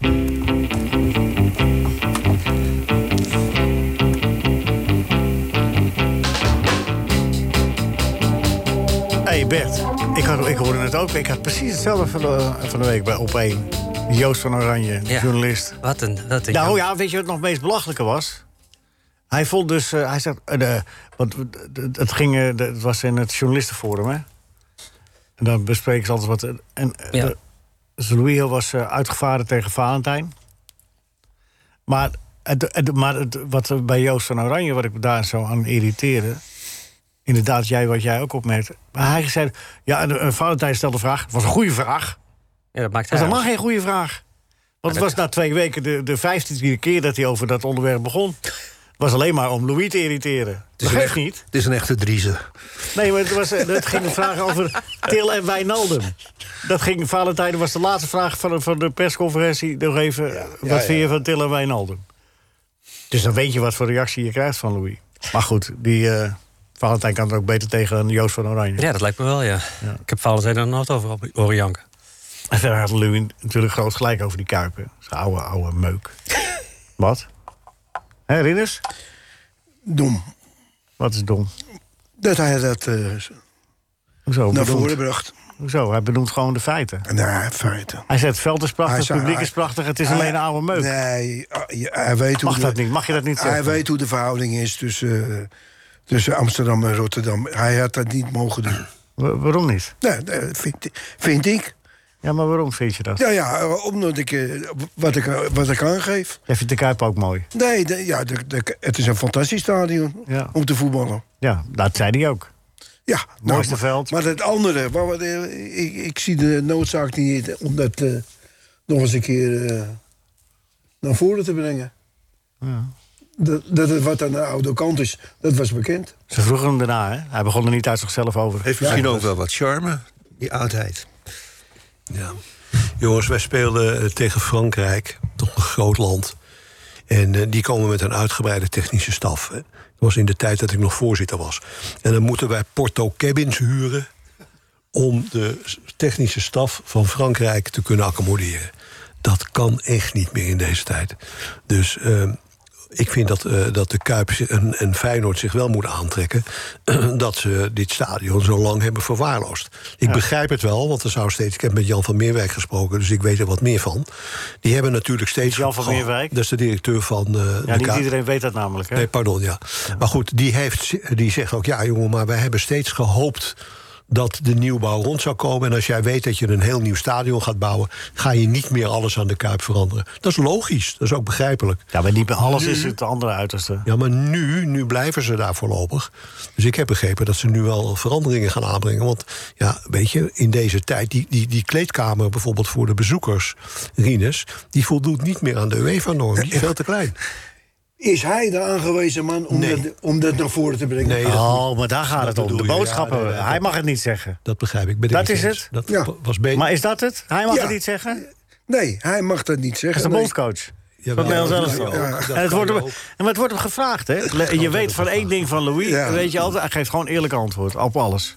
D: hey Bert, ik, had, ik hoorde het ook. Ik had precies hetzelfde van de, van de week bij Op1. Joost van Oranje, de
G: Ja.
D: journalist.
G: Wat een. Wat een
D: Nou ja, weet je wat nog het meest belachelijke was? Hij vond dus, eh, hij zegt, eh, de- want het- het ging, eh, de- het was in het journalistenforum, hè? En dan bespreken ze altijd wat. eh, En eh,
G: Ja.
D: de- dus Louis Hill was eh, uitgevaren tegen Valentijn. Maar, het, het- maar het, wat er bij Joost van Oranje, wat ik me daar zo aan irriteerde. Inderdaad, jij wat jij ook opmerkt. Maar hij zei, ja, en, eh, Valentijn stelde een vraag. Het was een goede vraag.
G: Ja, dat maakt
D: Dat
G: hij
D: is helemaal
G: uit.
D: geen goede vraag. Want het was na twee weken de, de vijftiende keer dat hij over dat onderwerp begon. Het was alleen maar om Louis te irriteren.
F: is
D: Dat geeft
F: echt-
D: niet.
F: Het is een echte driezen.
D: Nee, maar het, was, eh, het ging een vraag over Til en Wijnaldum. Dat ging, Valentijn was de laatste vraag van, de- van de persconferentie. Nog even, eh, wat vind je van Til en Wijnaldum? Dus dan weet je wat voor reactie je krijgt van Louis. Maar goed, die, eh, Valentijn kan het ook beter tegen dan Joost van Oranje.
G: Ja, dat lijkt me wel, ja. Ik heb Valentijn er nooit over op- horen janken.
D: En verder had Louis natuurlijk groot gelijk over die kuipen. Zijn oude, oude meuk. Wat? Hé, Rinus?
E: Dom.
D: Wat is dom?
E: Dat hij dat eh,
D: Hoezo?
E: naar
D: Bedoelt-
E: voren bracht.
D: Hoezo? Hij benoemt gewoon de feiten.
E: Nou, feiten.
D: Hij zegt, het veld is prachtig,
E: Hij
D: het
E: zei-
D: publiek is prachtig... het is
E: hij-
D: alleen een oude meuk.
E: Nee, ah, je- hij weet hoe...
D: Mag
E: de-
D: dat niet? Mag je dat niet
E: Hij
D: zeggen?
E: weet hoe de verhouding is tussen, eh, tussen Amsterdam en Rotterdam. Hij had dat niet mogen doen.
D: Wa- waarom niet?
E: Nee, dat vind, vind ik.
D: Ja, maar waarom vind je dat?
E: Ja, ja, eh, omdat ik eh, wat ik, eh, wat ik aangeef.
D: Jij vindt de Kuip ook mooi.
E: Nee, de- ja, de- de- het is een fantastisch stadion
D: Ja.
E: om te voetballen.
D: Ja, dat zei hij ook.
E: Ja, nou,
D: Mooiste veld.
E: Maar het andere, waar we, eh, ik, ik zie de noodzaak niet om dat eh, nog eens een keer eh, naar voren te brengen.
D: Ja.
E: Dat, dat het wat aan de oude kant is, dat was bekend.
D: Ze vroegen hem daarna, hè? Hij begon er niet uit zichzelf over.
F: Heeft misschien ook wel wat charme, die oudheid.
C: Ja. Jongens, wij speelden eh, tegen Frankrijk, toch een groot land. En eh, die komen met een uitgebreide technische staf. Hè. Dat was in de tijd dat ik nog voorzitter was. En dan moeten wij Porto Cabins huren om de s- technische staf van Frankrijk te kunnen accommoderen. Dat kan echt niet meer in deze tijd. Dus eh, ik vind dat, eh, dat de Kuip zi- en, en Feyenoord zich wel moeten aantrekken... dat ze dit stadion zo lang hebben verwaarloosd. Ik begrijp het wel, want er zou steeds... Ik heb met Jan van Meerwijk gesproken, dus ik weet er wat meer van. Die hebben natuurlijk steeds... Oh,
D: Jan van Meerwijk?
C: Dat is de directeur van eh,
D: Ja,
C: de
D: niet
C: Kuip.
D: iedereen weet dat namelijk, hè?
C: Nee, pardon, ja. Maar goed, die, heeft, die zegt ook... ja, jongen, maar wij hebben steeds gehoopt dat de nieuwbouw rond zou komen. En als jij weet dat je een heel nieuw stadion gaat bouwen... ga je niet meer alles aan de Kuip veranderen. Dat is logisch, dat is ook begrijpelijk.
D: Ja, maar niet bij alles
C: Nu-
D: is het de andere uiterste.
C: Ja, maar nu, nu blijven ze daar voorlopig. Dus ik heb begrepen dat ze nu wel veranderingen gaan aanbrengen. Want ja, weet je, in deze tijd... die, die, die kleedkamer bijvoorbeeld voor de bezoekers, Rinus... die voldoet niet meer aan de UEFA-norm. Die is veel te klein.
E: Is hij de aangewezen man om,
C: Nee.
E: dat, om dat naar voren te brengen?
C: Nee, dat
D: Oh, maar daar gaat het om. De
C: bedoel je.
D: boodschappen.
C: Ja, nee, nee,
D: hij
C: dat-
D: mag het niet zeggen.
C: Dat begrijp ik. Ben ik
D: Dat
C: mee
D: is
C: eens.
D: het?
C: Dat
E: Ja.
C: p- was beter.
D: Maar is dat het? Hij mag
E: Ja.
D: het niet zeggen? Dat
E: Nee, hij mag dat niet
D: is de
E: zeggen. nee.
D: bondscoach. Van
C: Ja, wel,
D: Nederland
C: dat
D: zelf
C: kan
E: wel.
C: je ook.
E: Ja.
C: Dat
D: en het
C: kan
D: wordt
C: je
D: hem,
C: ook.
D: en maar het wordt hem gevraagd, hè? je
C: kan wel
D: weet van
C: gevraagd
D: één ding van Louis,
E: Ja.
D: weet je altijd, hij geeft gewoon eerlijk antwoord op alles.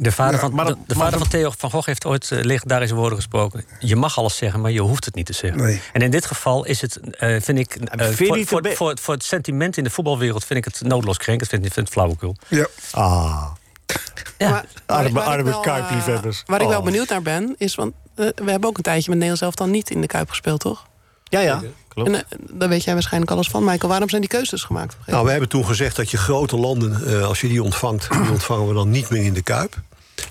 G: De vader, van,
D: maar
G: de,
D: dat-
G: de
D: maar
G: vader
D: dat-
G: van Theo van Gogh heeft ooit eh, legendarische woorden gesproken. Je mag alles zeggen, maar je hoeft het niet te zeggen.
E: Nee.
G: En in dit geval is het, eh, vind ik, eh,
D: vind je
G: voor,
D: niet
G: voor,
D: te be-
G: voor, voor het sentiment in de voetbalwereld vind ik het noodloos krenkend. Vind, ik- vind het flauwekul.
E: Ja.
D: Ah.
G: Ja.
D: Arme-
H: waar ik
D: arme
H: wel,
D: Kuip-liefhebbers.
H: eh, Waar ik wel
D: Oh.
H: benieuwd naar ben, is... want eh, we hebben ook een tijdje met Nederland zelf dan niet in de Kuip gespeeld, toch?
D: Ja, ja. Klopt.
H: En eh, daar weet jij waarschijnlijk alles van, Michael. Waarom zijn die keuzes gemaakt? op een gegeven
C: Nou, we hebben toen gezegd dat je grote landen, eh, als je die ontvangt, die ontvangen we dan niet meer in de Kuip.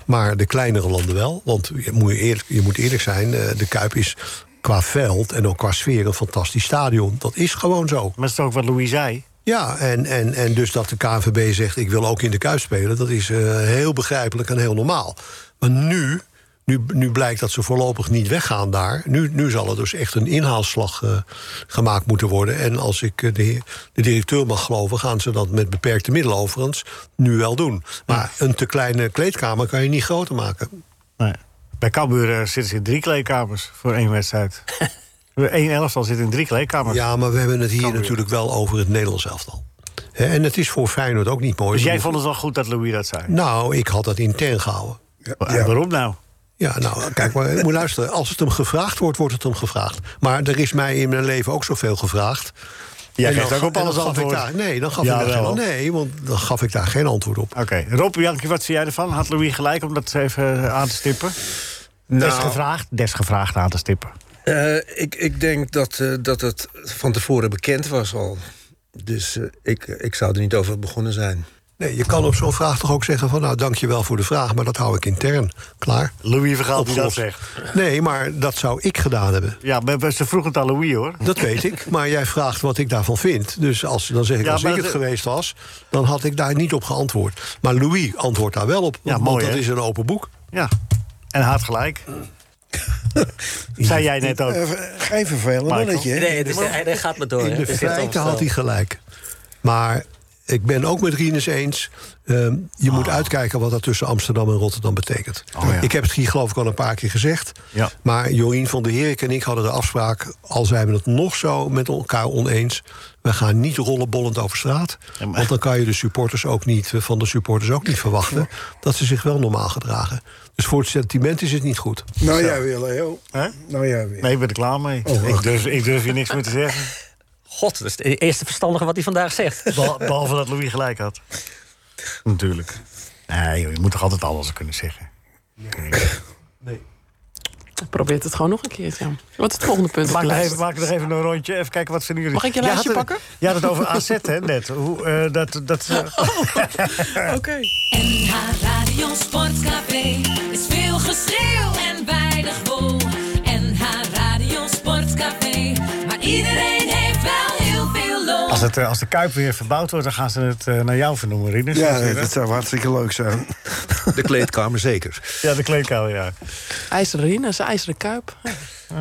C: Maar de kleinere landen wel. Want je moet eerlijk, je moet eerlijk zijn, eh, de Kuip is qua veld en ook qua sfeer een fantastisch stadion. Dat is gewoon zo.
D: Maar dat is toch ook wat Louis zei?
C: Ja, en, en, en dus dat de KNVB zegt... ik wil ook in de Kuip spelen, dat is eh, heel begrijpelijk en heel normaal. Maar nu, nu, nu blijkt dat ze voorlopig niet weggaan daar. Nu, nu zal er dus echt een inhaalslag eh, gemaakt moeten worden. En als ik eh, de, heer- de directeur mag geloven... gaan ze dat met beperkte middelen overigens nu wel doen. Maar een te kleine kleedkamer kan je niet groter maken.
D: Nee. Bij Cambuur eh, zitten ze in drie kleedkamers voor één wedstrijd. Eén elftal zit in drie kleedkamers.
C: Ja, maar we hebben het hier natuurlijk wel over het Nederlands elftal. Hè, En het is voor Feyenoord ook niet mooi.
D: Dus jij
C: Je
D: vond
C: moet-
D: het wel goed dat Louis dat zei?
C: Nou, ik had dat intern gehouden.
D: En waarom nou?
C: Ja, nou, kijk maar, moet je luisteren. Als het hem gevraagd wordt, wordt het hem gevraagd. Maar er is mij in mijn leven ook zoveel gevraagd.
D: Jij
C: En
D: geeft
C: dan-
D: ook op
C: en dan
D: alles
C: gaf ik
D: antwoord.
C: daar- nee, dan gaf
D: Ja,
C: ik daar
D: wel.
C: geen, nee, want dan gaf ik daar geen antwoord op.
D: Oké, Rob Jankie, wat zie jij ervan? Had Louis gelijk om dat even eh, aan te stippen? Des gevraagd, des gevraagd aan te stippen.
F: Eh, ik, ik denk dat, eh, dat het van tevoren bekend was al. Dus eh, ik, ik zou er niet over begonnen zijn.
C: Nee, je kan op zo'n vraag toch ook zeggen van... nou, dankjewel voor de vraag, maar dat hou ik intern. Klaar.
D: Louis vergaat die dat
C: Opgelost.
D: zegt.
C: Nee, maar dat zou ik gedaan hebben.
D: Ja, maar- maar ze vroeg het aan Louis, hoor.
C: Dat weet ik, maar jij vraagt wat ik daarvan vind. Dus als, dan zeg ik,
D: Ja,
C: als
D: maar
C: ik het
D: dat-
C: geweest was... dan had ik daar niet op geantwoord. Maar Louis antwoordt daar wel op,
D: Ja,
C: want
D: mooi,
C: dat
D: hè?
C: is een open boek.
D: Ja, en hij had gelijk. Zei jij net ook.
E: Eh, geen vervelend
D: Michael.
E: mannetje. hè?
G: Nee, dus hij, hij gaat maar door. hè.
C: In de
G: Het is echt
C: feiten
G: onvoorstelbaar.
C: had hij gelijk. Maar ik ben ook met Rinus eens. ehm, je moet uitkijken wat dat tussen Amsterdam en Rotterdam betekent.
D: Ah. Oh, ja.
C: Ik heb het hier geloof ik al een paar keer gezegd.
D: Ja.
C: Maar Jorien van der Herik en ik hadden de afspraak... al zijn we het nog zo met elkaar oneens... we gaan niet rollenbollend over straat.
D: Ja, maar-
C: Want dan kan je de supporters ook niet, eh, van de supporters ook niet verwachten... dat ze zich wel normaal gedragen. Dus voor het sentiment is het niet goed.
E: Nou jij weer, Leo.
D: Hè?
E: Nou jij weer.
D: Nee, ik ben er klaar mee.
E: Oh,
D: ik,
E: wacht.
D: durf, ik durf hier niks meer te zeggen.
G: God, dat is het eerste verstandige wat hij vandaag zegt.
D: Behal- Behalve dat Louis gelijk had. Natuurlijk. Nee, joh, je moet toch altijd alles kunnen zeggen.
H: moment? Probeert het gewoon nog een keer, ja. Wat is het volgende punt? op
D: Maak
H: de
D: nog,
H: lijst?
D: even, maak nog even een rondje, even kijken wat ze nu...
H: Mag ik je
D: Jij
H: lijstje
D: had het-
H: pakken?
D: Je had het over AZ, hè, net. Hoe, eh, dat, dat,
H: Oh. Oké.
A: NH Radio Sportcafé is veel geschreeuw en weinig wol. NH Radio Sportcafé, maar iedereen heeft wel heel veel lol.
D: het, eh, als de Kuip weer verbouwd wordt, dan gaan ze het eh, naar jou vernoemen, Rinus.
E: Ja,
D: Zie je
E: dat zou hartstikke leuk zijn.
F: De kleedkamer zeker.
D: Ja, de kleedkamer, ja.
H: IJzeren Rinus, IJzeren Kuip. Ja.
D: Oh.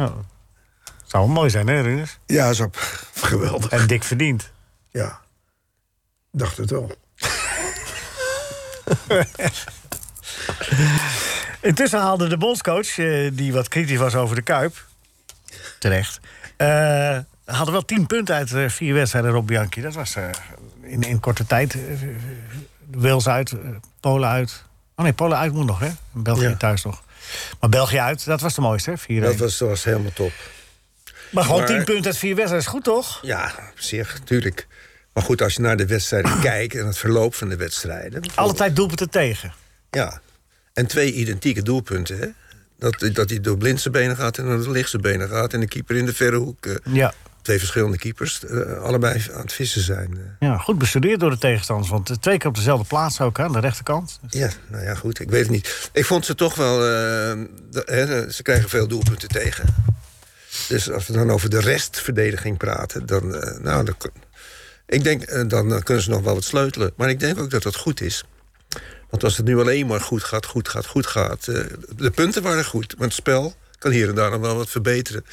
D: Zou wel mooi zijn, hè, Rinus?
E: Ja, zo, geweldig.
D: En dik verdiend.
E: Ja, dacht het wel.
D: Intussen haalde de bondscoach, eh, die wat kritisch was over de Kuip... Terecht. eh hadden wel tien punten uit eh, vier wedstrijden, Rob Bianchi. Dat was eh, in, in korte tijd. eh, Wales uit, eh, Polen uit. Oh nee, Polen uit moet nog, hè? En België
F: Ja.
D: thuis nog. Maar België uit, dat was de mooiste, hè? 4-1.
F: Dat was, dat was helemaal top.
D: Maar gewoon
F: Maar-
D: 10 punten uit vier wedstrijden is goed, toch?
F: Ja, op zich, tuurlijk. Maar goed, als je naar de wedstrijden kijkt en het verloop van de wedstrijden.
D: Alle tijd doelpunten tegen.
F: Ja. En twee identieke doelpunten, hè? Dat, dat hij door blind zijn benen gaat en door de lichtse benen gaat. En de keeper in de verre hoek. eh,
D: Ja.
F: twee verschillende keepers, eh, allebei aan het vissen zijn. eh.
D: ja, goed bestudeerd door de tegenstanders. Want eh, twee keer op dezelfde plaats ook, hè, aan de rechterkant.
F: Ja, nou ja, goed, ik weet het niet. Ik vond ze toch wel... eh, de- hè, ze krijgen veel doelpunten tegen. Dus als we dan over de restverdediging praten... dan, eh, nou, dan, kun- ik denk, eh, dan eh, kunnen ze nog wel wat sleutelen. Maar ik denk ook dat dat goed is. Want als het nu alleen maar goed gaat, goed gaat, goed gaat... eh, de punten waren goed, maar het spel kan hier en daar nog wel wat verbeteren.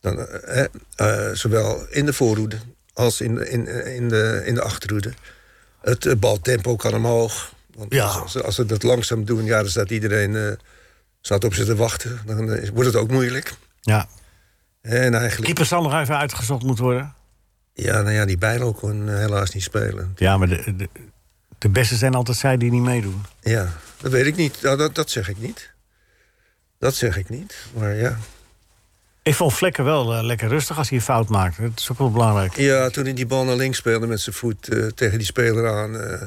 F: Dan, eh, eh, zowel in de voorhoede als in, in, in, de, in de achterhoede. Het eh, baltempo kan omhoog. Want
D: Ja.
F: als, als ze dat langzaam doen, ja, dan staat iedereen eh, staat op ze te wachten. Dan eh, wordt het ook moeilijk.
D: Ja.
F: En eigenlijk,
D: Keeper zal nog even uitgezocht moeten worden.
F: ja, nou ja, die Bijlo kon eh, helaas niet spelen.
D: Ja, maar de, de, de beste zijn altijd zij die niet meedoen.
F: Ja, dat weet ik niet. Nou, dat, dat zeg ik niet. Dat zeg ik niet. Maar ja.
D: Ik vond Vlekken wel eh, lekker rustig als hij een fout maakte. Dat is ook wel belangrijk.
F: Ja, toen hij die bal naar links speelde met zijn voet eh, tegen die speler aan. eh,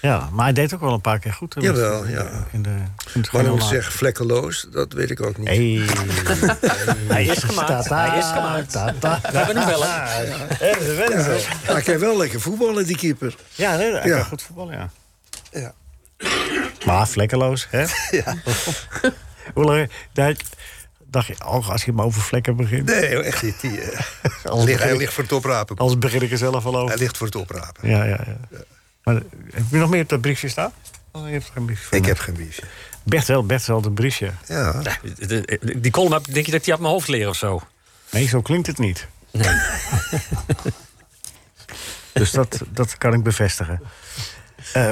D: Ja, maar hij deed ook wel een paar keer goed. hè, met-
F: Jawel, ja.
D: In de, in het
F: maar dan moet ik
D: geel-laag.
F: zeggen, vlekkeloos, dat weet ik ook niet.
D: Hey. Hij
G: is gemaakt. Hij is gemaakt.
D: We
G: hebben hem wel, hè?
E: Hij kan wel lekker voetballen, die keeper.
D: Ja, nee, hij
E: Ja.
D: kan goed voetballen, ja.
F: Ja.
D: Maar vlekkeloos, hè? Ja. Hoe lang... daar- Dacht je, oh, als je maar over vlekken begint...
F: Nee, hoor, echt niet. Die, eh,
D: Als
F: ligt, hij
D: begin-
F: ligt voor het oprapen.
D: Anders begin ik er zelf al
F: Hij
D: over.
F: ligt voor het oprapen.
D: Ja, ja, ja. Maar eh, heb je nog meer op dat briefje staan? Oh, je hebt geen briefje van
F: Ik
D: me.
F: heb geen briefje.
D: Bert wel, Bert wel een briefje.
F: Ja.
G: De- de- de- Die column, heb- denk je dat ik die uit mijn hoofd leer of zo?
D: Nee, zo klinkt het niet. dus dat, dat kan ik bevestigen. Eh,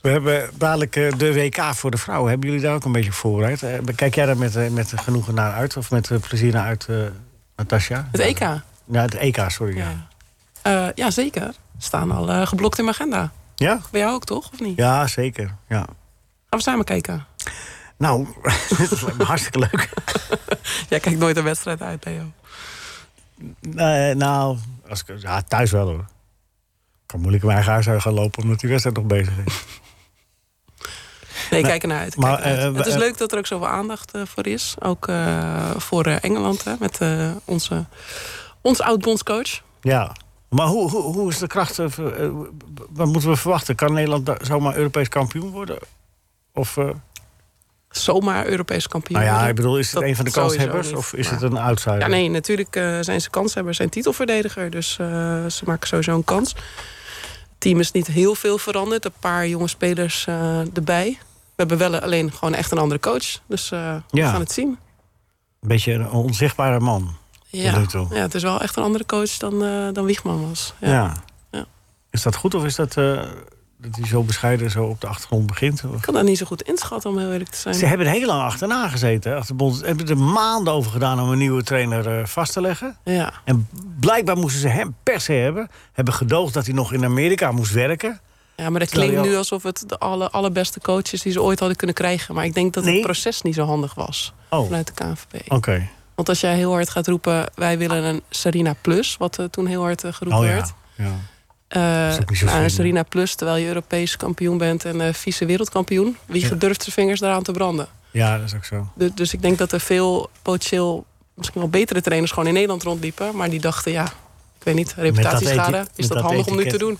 D: we hebben dadelijk eh, de WK voor de vrouwen. Hebben jullie daar ook een beetje op voorbereid? Eh, kijk jij daar met, eh, met genoegen naar uit? Of met eh, plezier naar uit, eh Natasja?
H: Het E- EK. Ja.
D: Ja, het EK, sorry. Ja?
H: Eh, ja, zeker. Staan al eh, geblokt in mijn agenda.
D: Ja,
H: Bij jou ook, toch? Of niet?
D: ja zeker. Ja.
H: Gaan we samen kijken?
D: Nou, het lijkt me hartstikke leuk.
H: Jij kijkt nooit een wedstrijd uit, Theo.
D: Nee, nou, als ik, ja, thuis wel hoor. Ik kan moeilijk in mijn eigen huis uit gaan lopen omdat die wedstrijd nog bezig is.
H: Nee, kijk ernaar uit.
D: maar,
H: kijk ernaar uit.
D: eh,
H: het is
D: eh,
H: leuk dat er ook zoveel aandacht eh, voor is. Ook eh, voor eh, Engeland, hè, met eh, onze, ons oud-bondscoach.
D: Ja. Maar hoe, hoe, hoe is de kracht? eh, ver- eh, wat moeten we verwachten? Kan Nederland da- zomaar Europees kampioen worden? Of, eh,
H: Zomaar Europees kampioen.
D: nou ja, ik
H: worden.
D: bedoel, is het
H: Dat
D: een van de
H: sowieso
D: kanshebbers
H: niet,
D: of is
H: maar-
D: het een outsider?
H: Ja, nee, natuurlijk eh, zijn ze kanshebber, zijn titelverdediger. Dus eh, ze maken sowieso een kans. Het team is niet heel veel veranderd. Een paar jonge spelers eh, erbij. We hebben wel alleen gewoon echt een andere coach. Dus eh, we
D: Ja.
H: gaan het zien.
D: Een beetje een onzichtbare man.
H: Ja.
D: nu toe.
H: ja, het is wel echt een andere coach dan, eh, dan Wiegman was.
D: Ja.
H: Ja.
D: Is dat goed of is dat eh, dat hij zo bescheiden zo op de achtergrond begint? Of-
H: Ik kan dat niet zo goed inschatten, om heel eerlijk te zijn.
D: Ze hebben er heel lang achterna gezeten. hè, Achter de bond. Hebben er maanden over gedaan om een nieuwe trainer eh, vast te leggen.
H: Ja.
D: En blijkbaar moesten ze hem per se hebben. Hebben gedoogd dat hij nog in Amerika moest werken.
H: ja, maar
D: Terwijl
H: dat klinkt
D: je al-
H: nu alsof het de alle, allerbeste coach is die ze ooit hadden kunnen krijgen. Maar ik denk dat
D: Nee.
H: het proces niet zo handig was
D: Oh, oké.
H: vanuit de KNVB. Want als jij heel hard gaat roepen, wij willen een Serena Plus, wat eh, toen heel hard eh, geroepen
D: Oh ja.
H: werd.
D: ja.
H: Eh,
D: is ook niet zo
H: nou, een
D: slim.
H: Serena Plus, terwijl je Europees kampioen bent en eh vice wereldkampioen. Wie
D: Ja.
H: gedurft zijn vingers daaraan te branden?
D: Ja, dat is ook zo.
H: Du- dus ik denk dat er veel potentieel, misschien wel betere trainers gewoon in Nederland rondliepen. Maar die dachten, ja, ik weet niet,
D: eti-
H: reputatieschade.
D: met
H: Is dat
D: dat
H: handig om nu te
D: etiket.
H: doen?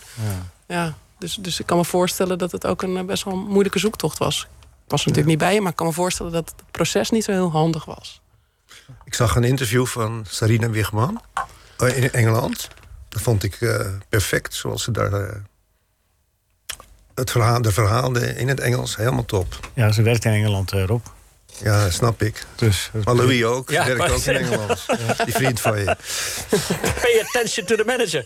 H: Ja, dus, dus ik kan me voorstellen dat het ook een eh, best wel moeilijke zoektocht was. Ik was er natuurlijk niet bij, maar ik kan me voorstellen dat het proces niet zo heel handig was.
F: Ik zag een interview van Sarina Wigman eh, in Engeland. De vond ik eh, perfect. Zoals ze daar eh, het verhaal, de verhaalde in het Engels. Helemaal top.
D: Ja, ze werkt in Engeland, eh, Rob.
F: Ja, snap ik.
D: Dus,
F: Maar Louis ook.
G: Ja,
F: werkt
G: maar-
F: ook in Engeland. Die vriend van je.
G: Pay attention to the manager.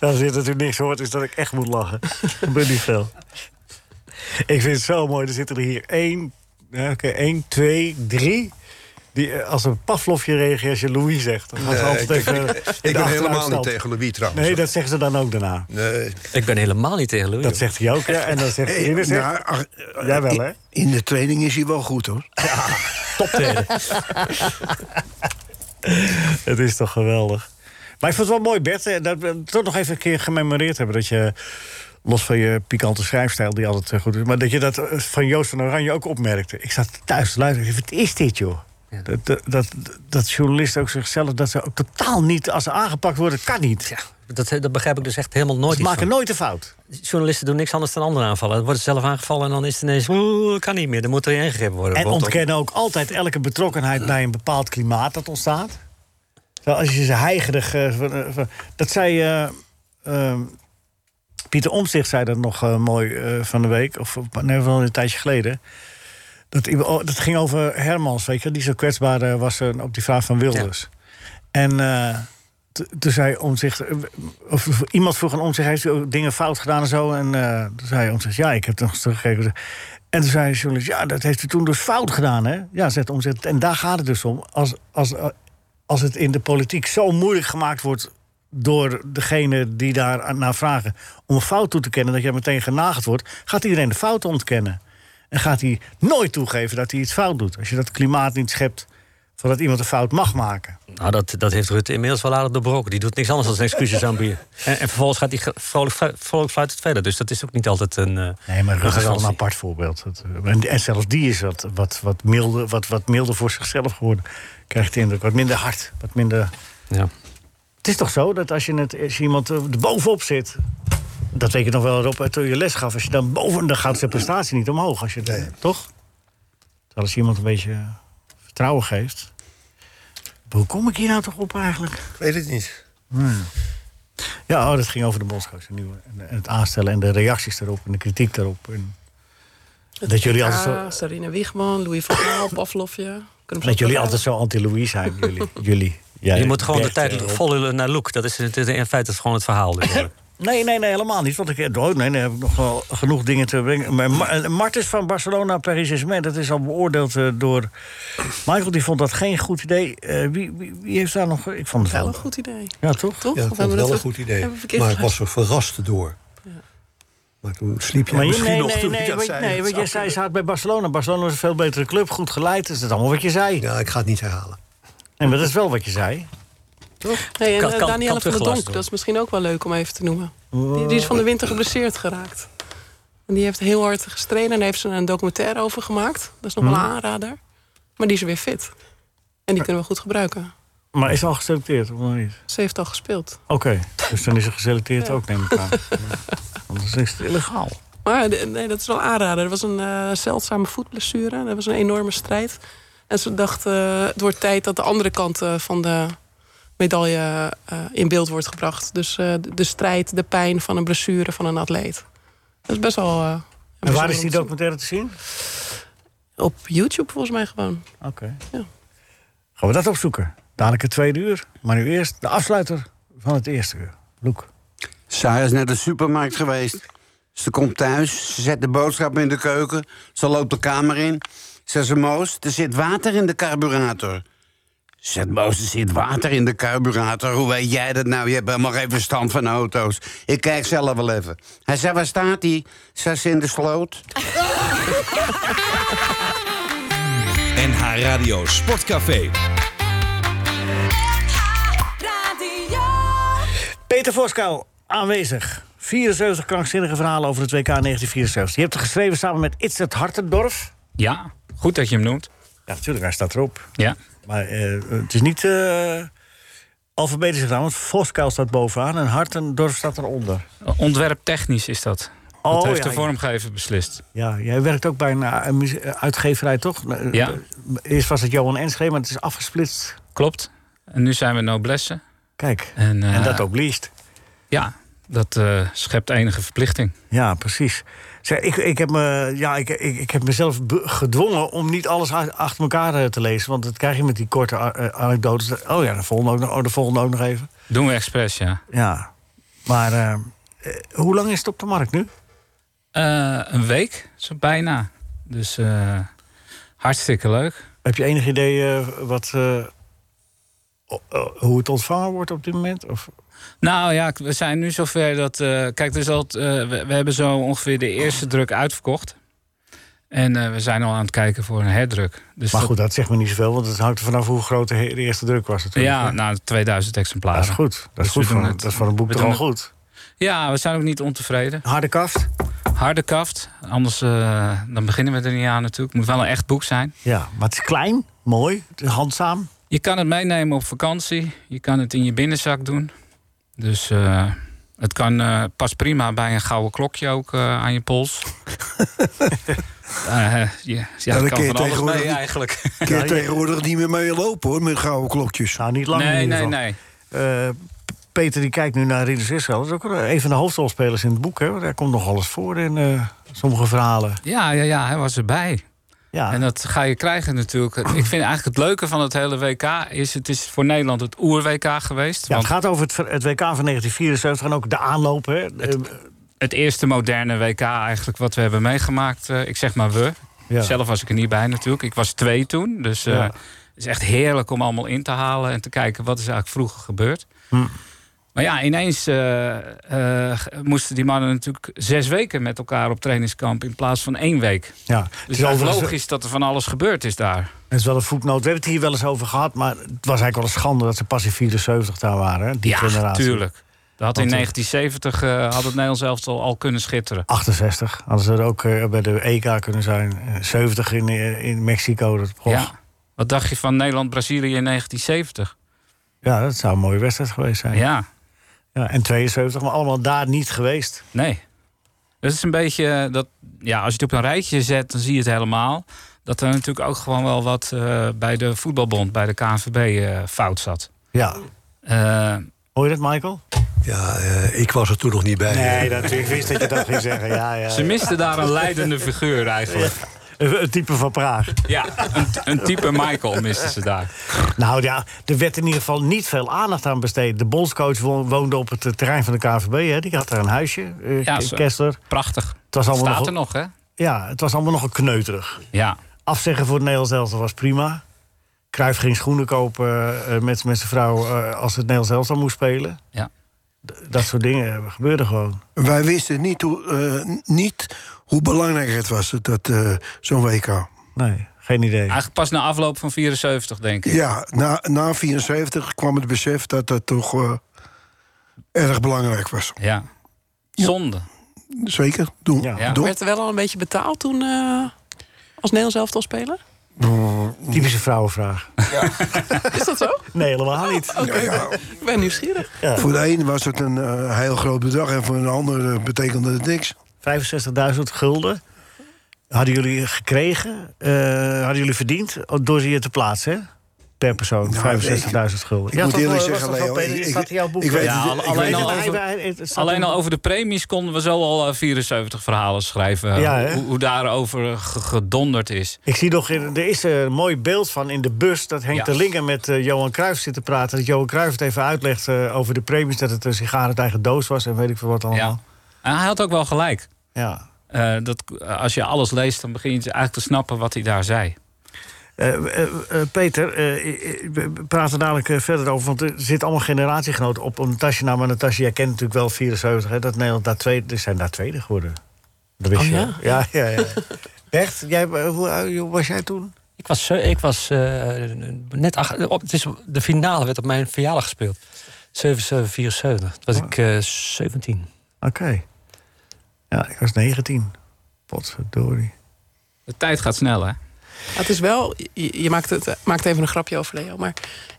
D: Als je dit natuurlijk niks hoort, is dat ik echt moet lachen. Dat gebeurt niet veel. Ik vind het zo mooi. Er zitten er hier één, ja, oké, één twee, drie... Die, eh, als een Pavlovje reageert als je Louis zegt. Dan gaat ze
F: Nee,
D: altijd
F: ik-
D: even in de
F: Ik ben helemaal niet
D: achteruitstand.
F: tegen Louis trouwens.
D: Nee, dat zeggen ze dan ook daarna.
F: Nee.
G: Ik ben helemaal niet tegen Louis.
D: Dat zegt hij ook, ja. En dan zegt
E: Eh,
D: Ines, zegt,
E: nou, ach, eh,
D: Jij wel, hè?
E: in- In de training is hij wel goed, hoor.
D: Het is toch geweldig. Maar ik vond het wel mooi, Bert, eh, dat we het toch nog even een keer gememoreerd hebben... dat je, los van je pikante schrijfstijl, die altijd eh, goed is... maar dat je dat eh, van Joost van Oranje ook opmerkte. Ik zat thuis te luisteren, ik dacht, wat is dit, joh? Dat, dat, dat, dat journalisten ook zichzelf, dat ze ook totaal niet... als ze aangepakt worden, kan niet.
G: Ja, dat, dat begrijp ik dus echt helemaal nooit.
D: ze
G: iets
D: maken
G: van.
D: nooit een fout.
G: Journalisten doen niks anders dan anderen aanvallen. Dan worden ze zelf aangevallen en dan is het ineens... Oeh, kan niet meer, dan moet er ingegrepen worden.
D: En
G: Rot op.
D: ontkennen ook altijd elke betrokkenheid bij een bepaald klimaat dat ontstaat. Zo, Als je ze heigerig... eh, van, eh, van- dat zei... eh, ehm, Pieter Omtzigt zei dat nog eh, mooi eh, van de week. Of of- nee, wel een tijdje geleden. Dat, iemand- oh, dat ging over Hermans, weet je wel, Die zo kwetsbaar eh, was eh, op die vraag van Wilders. En... eh, t- toen zei Omtzigt, eh, of of iemand vroeg aan Omtzigt, heeft u ook dingen fout gedaan en zo? En eh, toen zei Omtzigt, ja, ik heb het nog eens teruggekeken. En toen zei de journalist, ja, dat heeft u toen dus fout gedaan, hè? Ja, zegt Omtzigt. En daar gaat het dus om. Als, als, eh, als het in de politiek zo moeilijk gemaakt wordt door degene die daar aan- naar vragen om een fout toe te kennen, dat je meteen genageld wordt, gaat iedereen de fout ontkennen. En gaat hij nooit toegeven dat hij iets fout doet. Als je dat klimaat niet schept van dat iemand een fout mag maken.
G: Nou, dat, dat heeft Rutte inmiddels wel aardig doorbroken. Die doet niks anders dan zijn excuses aanbieden. En, en vervolgens gaat hij ge- vrolijk, flu- vrolijk fluitend verder. Dus dat is ook niet altijd een... eh,
D: Nee, maar Rutte is wel een
G: garantie.
D: apart voorbeeld. Dat, eh, en, en zelfs die is wat, wat, wat, milder, wat, wat milder voor zichzelf geworden. Krijgt de indruk. Wat minder hard. Wat minder
G: Ja.
D: Het is toch zo dat als, je het, als iemand eh, er bovenop zit... dat weet ik nog wel, Rob, eh, toen je les gaf... Als je dan boven, dan gaat zijn prestatie niet omhoog. Als je, het- Toch? Terwijl als je iemand een beetje vertrouwen geeft... Hoe kom ik hier nou toch op eigenlijk?
F: Ik weet het niet.
D: Ja, oh, dat ging over de bondscoach. En, en het aanstellen en de reacties daarop en de kritiek daarop. En dat jullie altijd zo,
H: Ja, Sarine Wiegman, Louis van Gaal, Pavlovje.
D: dat jullie altijd zo anti-Louis zijn, jullie. jullie jij,
G: je moet gewoon de
D: Bert,
G: tijd
D: eh, Rob.
G: vol lullen naar Loek. Dat is, het is in feite gewoon het verhaal. Dus.
D: Nee, nee, nee, helemaal niet. Want ik, oh, nee, nee, heb ik nog wel genoeg dingen te brengen. Maar Ma- eh, Martens van Barcelona, Paris Saint-Germain... dat is al beoordeeld eh, door... Michael, die vond dat geen goed idee. Eh, wie, wie, wie heeft daar nog... Ik vond het
H: Wel
D: wel...
H: een goed idee,
D: Ja, toch?
H: toch?
C: Ja, ik
H: Of
C: vond
H: hebben
C: het
H: we
C: wel
H: dat
C: een
H: ver-
C: goed idee.
H: hebben we verkeerd
C: Maar ik
H: gedaan?
C: was er verrast door. Maar toen sliep jij
D: Maar je-
C: misschien
D: nee,
C: nog
D: nee,
C: toen
D: nee,
C: ik dat
D: weet-
C: zei.
D: nee, want jij zei ze had bij Barcelona. Barcelona is een veel betere club, goed geleid. Is dat allemaal wat je zei?
C: Ja, ik ga het niet herhalen.
D: Nee, maar dat is wel wat je zei.
H: Nee, en
G: Kan-
H: eh, Danielle
G: kan-
H: van
G: kan
H: der
G: teruggeluisterd
H: Donk, dat is misschien ook wel leuk om even te noemen. Die, die is van de winter geblesseerd geraakt. En die heeft heel hard gestreden en daar heeft ze een documentaire over gemaakt. Dat is nog
G: Hm?
H: wel een aanrader. Maar die is weer fit. En die kunnen we goed gebruiken.
D: Maar is al geselecteerd, of nog niet?
H: Ze heeft al gespeeld.
D: Oké, dus dan is ze geselecteerd ook, neem ik aan. Anders is het illegaal.
H: Maar de- nee, dat is wel een aanrader. Er was een eh, zeldzame voetblessure. Er was een enorme strijd. En ze dacht, eh, het wordt tijd dat de andere kant eh, van de medaille eh, in beeld wordt gebracht. Dus eh, de- de strijd, de pijn van een blessure van een atleet. Dat is best wel... eh,
D: En waar
H: bijzonder
D: is die
H: om te zien.
D: documentaire te zien?
H: Op YouTube volgens mij gewoon.
D: Oké.
H: Ja.
D: Gaan we dat opzoeken? Dadelijk het tweede uur. Maar nu eerst de afsluiter van het eerste uur. Loek.
J: Sarah is naar de supermarkt geweest. Ze komt thuis, ze zet de boodschap in de keuken. Ze loopt de kamer in. Ze zegt, Moos, er zit water in de carburator. Ze Zegt Moos, er zit water in de carburator. Hoe weet jij dat nou? Je hebt helemaal geen verstand van auto's. Ik kijk zelf wel even. Hij zei, waar staat hij? Ze is in de sloot.
B: NH Radio Sportcafé.
A: Radio.
D: Peter Voskou, aanwezig. 74 krankzinnige verhalen over het WK 1974. Je hebt er geschreven samen met Itzert Hartendorf.
K: Ja, goed dat je hem noemt.
D: Ja, natuurlijk, hij staat erop.
K: Ja.
D: Maar eh, het is niet eh, alfabetisch gedaan, want Voskou staat bovenaan... en Hartendorf staat eronder.
K: Ontwerptechnisch is dat. dat
D: Oh,
K: heeft
D: ja,
K: de vormgever beslist.
D: Ja, jij werkt ook bij een eh, muzie- eh, uitgeverij, toch? Eh,
K: Ja.
D: Eerst was het Johan Enschede, maar het is afgesplitst.
K: Klopt. En nu zijn we Noblesse.
D: Kijk,
K: en,
D: en
K: eh,
D: dat ook liefst.
K: Ja, dat eh, schept enige verplichting.
D: Ja, precies. Zeg, ik, ik, heb me, ja, ik, ik, ik heb mezelf be- gedwongen om niet alles a- achter elkaar eh, te lezen. Want dat krijg je met die korte a- eh, anekdotes. Oh ja, de volgende ook nog, oh, de volgende ook nog even.
K: Doen we expres, ja.
D: Ja, maar eh, eh, hoe lang is het op de markt nu?
K: Eh, een week, zo bijna. Dus eh, hartstikke leuk.
D: Heb je enig idee eh, wat, eh, o- o- hoe het ontvangen wordt op dit moment? Of,
K: Nou ja, k- we zijn nu zover dat. eh, kijk, dus dat, we, we hebben zo ongeveer de eerste druk uitverkocht. En eh, we zijn al aan het kijken voor een herdruk. Dus
D: maar
K: dat-
D: goed, dat zegt me niet zoveel, want het hangt er vanaf hoe groot de, he- de eerste druk was natuurlijk.
K: ja, nou, 2000 exemplaren.
D: dat is goed.
K: Dus
D: Dat is,
K: we
D: goed
K: doen
D: voor,
K: het-
D: dat is voor een boek
K: we
D: toch
K: doen
D: wel
K: het-
D: goed.
K: Ja, we zijn ook niet ontevreden.
D: Harde kaft?
K: Harde kaft. Anders eh, dan beginnen we er niet aan natuurlijk. Het moet wel een echt boek zijn.
D: Ja, maar het is klein, mooi, het is handzaam.
K: Je kan het meenemen op vakantie. Je kan het in je binnenzak doen. Dus eh, het kan eh, pas prima bij een gouden klokje ook eh, aan je pols. Eh, ja, ja, het
E: dan kun
K: kan
E: je
K: van alles
E: tegenwoordig
K: mee
E: niet-
K: eigenlijk.
E: Kun je tegenwoordig niet meer mee lopen hoor, met gouden klokjes.
D: Nou, niet lang
K: nee,
D: in ieder
K: nee,
D: geval.
K: nee.
D: Eh, Peter die kijkt nu naar Rinus Israël. Dat is ook wel eh, een van de hoofdrolspelers in het boek. Hè? Want Daar komt nog alles voor in eh, sommige verhalen.
K: Ja, ja, ja, hij was erbij.
D: Ja.
K: En dat ga je krijgen natuurlijk. Ik vind eigenlijk het leuke van het hele WK is... het is voor Nederland het oer-WK geweest.
D: Ja, het
K: want
D: gaat over het, ver- het WK van 1974 en ook de aanloop. Hè? Eh,
K: het eerste moderne WK eigenlijk wat we hebben meegemaakt. eh, ik zeg maar we.
D: Ja.
K: Zelf was ik er niet bij natuurlijk. Ik was twee toen. Dus eh,
D: Ja.
K: het is echt heerlijk om allemaal in te halen en te kijken wat is eigenlijk vroeger gebeurd.
D: Hm.
K: Maar ja, ineens eh, eh, moesten die mannen natuurlijk zes weken met elkaar op trainingskamp in plaats van één week.
D: ja. Het
K: Dus
D: is
K: het is
D: overigens-
K: logisch dat er van alles gebeurd is daar.
D: Het is wel een voetnoot. We hebben het hier wel eens over gehad. Maar het was eigenlijk wel een schande dat ze pas in 74 daar waren. Hè? Die
K: ja,
D: generatie.
K: tuurlijk. Dat had in
D: Want, eh,
K: 1970 eh, had het Nederlands elftal al kunnen schitteren.
D: 68. Hadden ze er ook eh, bij de EK kunnen zijn. Eh, 70 in, eh, in Mexico. Dat, goh.
K: Ja. Wat dacht je van Nederland-Brazilië in 1970?
D: Ja, dat zou een mooie wedstrijd geweest zijn.
K: Ja.
D: Ja, en 72, maar allemaal daar niet geweest.
K: Nee. Dat is een beetje eh, dat, ja, als je het op een rijtje zet, dan zie je het helemaal. Dat er natuurlijk ook gewoon wel wat eh, bij de voetbalbond, bij de KNVB eh, fout zat.
D: Ja.
K: Eh,
D: Hoor je dat, Michael?
C: Ja, eh, ik was er toen nog niet bij.
D: Nee, dat, ik wist dat je dat ging zeggen. Ja, ja.
K: ze misten daar een leidende figuur eigenlijk.
D: Het type van Praag.
K: Ja, een, een type Michael misten ze daar.
D: Nou ja, er werd in ieder geval niet veel aandacht aan besteed. De bondscoach wo- woonde op het eh, terrein van de KVB. Hè. Die had daar een huisje, eh,
K: Ja,
D: K-
K: zo.
D: Kessler.
K: Prachtig.
D: Het was, allemaal
K: Staat
D: nog,
K: er nog, hè?
D: Ja, het was allemaal nogal kneuterig.
K: Ja.
D: Afzeggen voor het Nederlands elftal was prima. Cruijff ging schoenen kopen eh, met, met zijn vrouw eh, als het Nederlands elftal moest spelen.
K: Ja.
D: D- dat soort dingen eh, gebeurden gewoon.
E: Wij wisten niet hoe, eh, niet hoe belangrijk het was, dat, eh, zo'n WK.
D: Nee, geen idee.
K: Eigenlijk pas na afloop van 74, denk ik.
E: Ja, na, na 74 kwam het besef dat dat toch eh, erg belangrijk was.
K: Ja. Zonde.
E: Zeker. Doe,
D: Ja.
K: Ja.
E: doe.
H: Werd er wel al een beetje betaald toen eh, als Nederlands elftal speler?
D: Typische vrouwenvraag.
H: Is dat zo?
D: Nee, helemaal niet.
H: Ik ben nieuwsgierig.
E: Voor de een was het een eh, heel groot bedrag en voor een ander eh, betekende het niks.
D: 65.000 gulden hadden jullie gekregen, eh, hadden jullie verdiend door ze hier te plaatsen, hè? Per persoon,
E: Nou,
D: 65.000 gulden.
E: moet eerlijk zeggen, Leo, ik-
D: staat in jouw boek.
E: ik weet
K: Ja, het- ik alleen weet het- al over- Alleen al over de premies konden we zo al eh, 74 verhalen schrijven. eh,
D: Ja, hè?
K: hoe, hoe daarover ge- gedonderd is.
D: Ik zie nog, in- er is een mooi beeld van in de bus... dat Henk
K: Ja.
D: de Linger met eh, Johan Cruijff zit te praten. Dat Johan Cruijff het even uitlegt eh, over de premies... dat het een sigaar uit eigen doos was en weet ik veel wat
K: Ja.
D: allemaal.
K: En hij had ook wel gelijk.
D: Ja.
K: Eh, dat, eh, als je alles leest, dan begin je dus eigenlijk te snappen wat hij daar zei.
D: Eh, eh, eh, Peter, eh, eh, we praten dadelijk eh, verder over. Want er zit allemaal generatiegenoten op. Om Natasja, nou, maar Natasja, jij kent natuurlijk wel 74. Hè, dat Nederland daar tweede, er zijn daar tweede geworden. Dat wist
H: Oh,
D: je. hè?
H: ja?
D: Ja, ja, ja. Echt? Jij, eh, hoe oud was jij toen?
L: Ik was, eh, ik was eh, net ach- op, het is, de finale werd op mijn verjaardag gespeeld. 7774. Toen
D: Oh.
L: was ik eh, 17.
D: Oké. Ja, ik was 19. Potverdorie.
K: De tijd gaat snel, hè?
H: Maar Het is wel, je, je maakt, het, eh, maakt even een grapje over Leo. Maar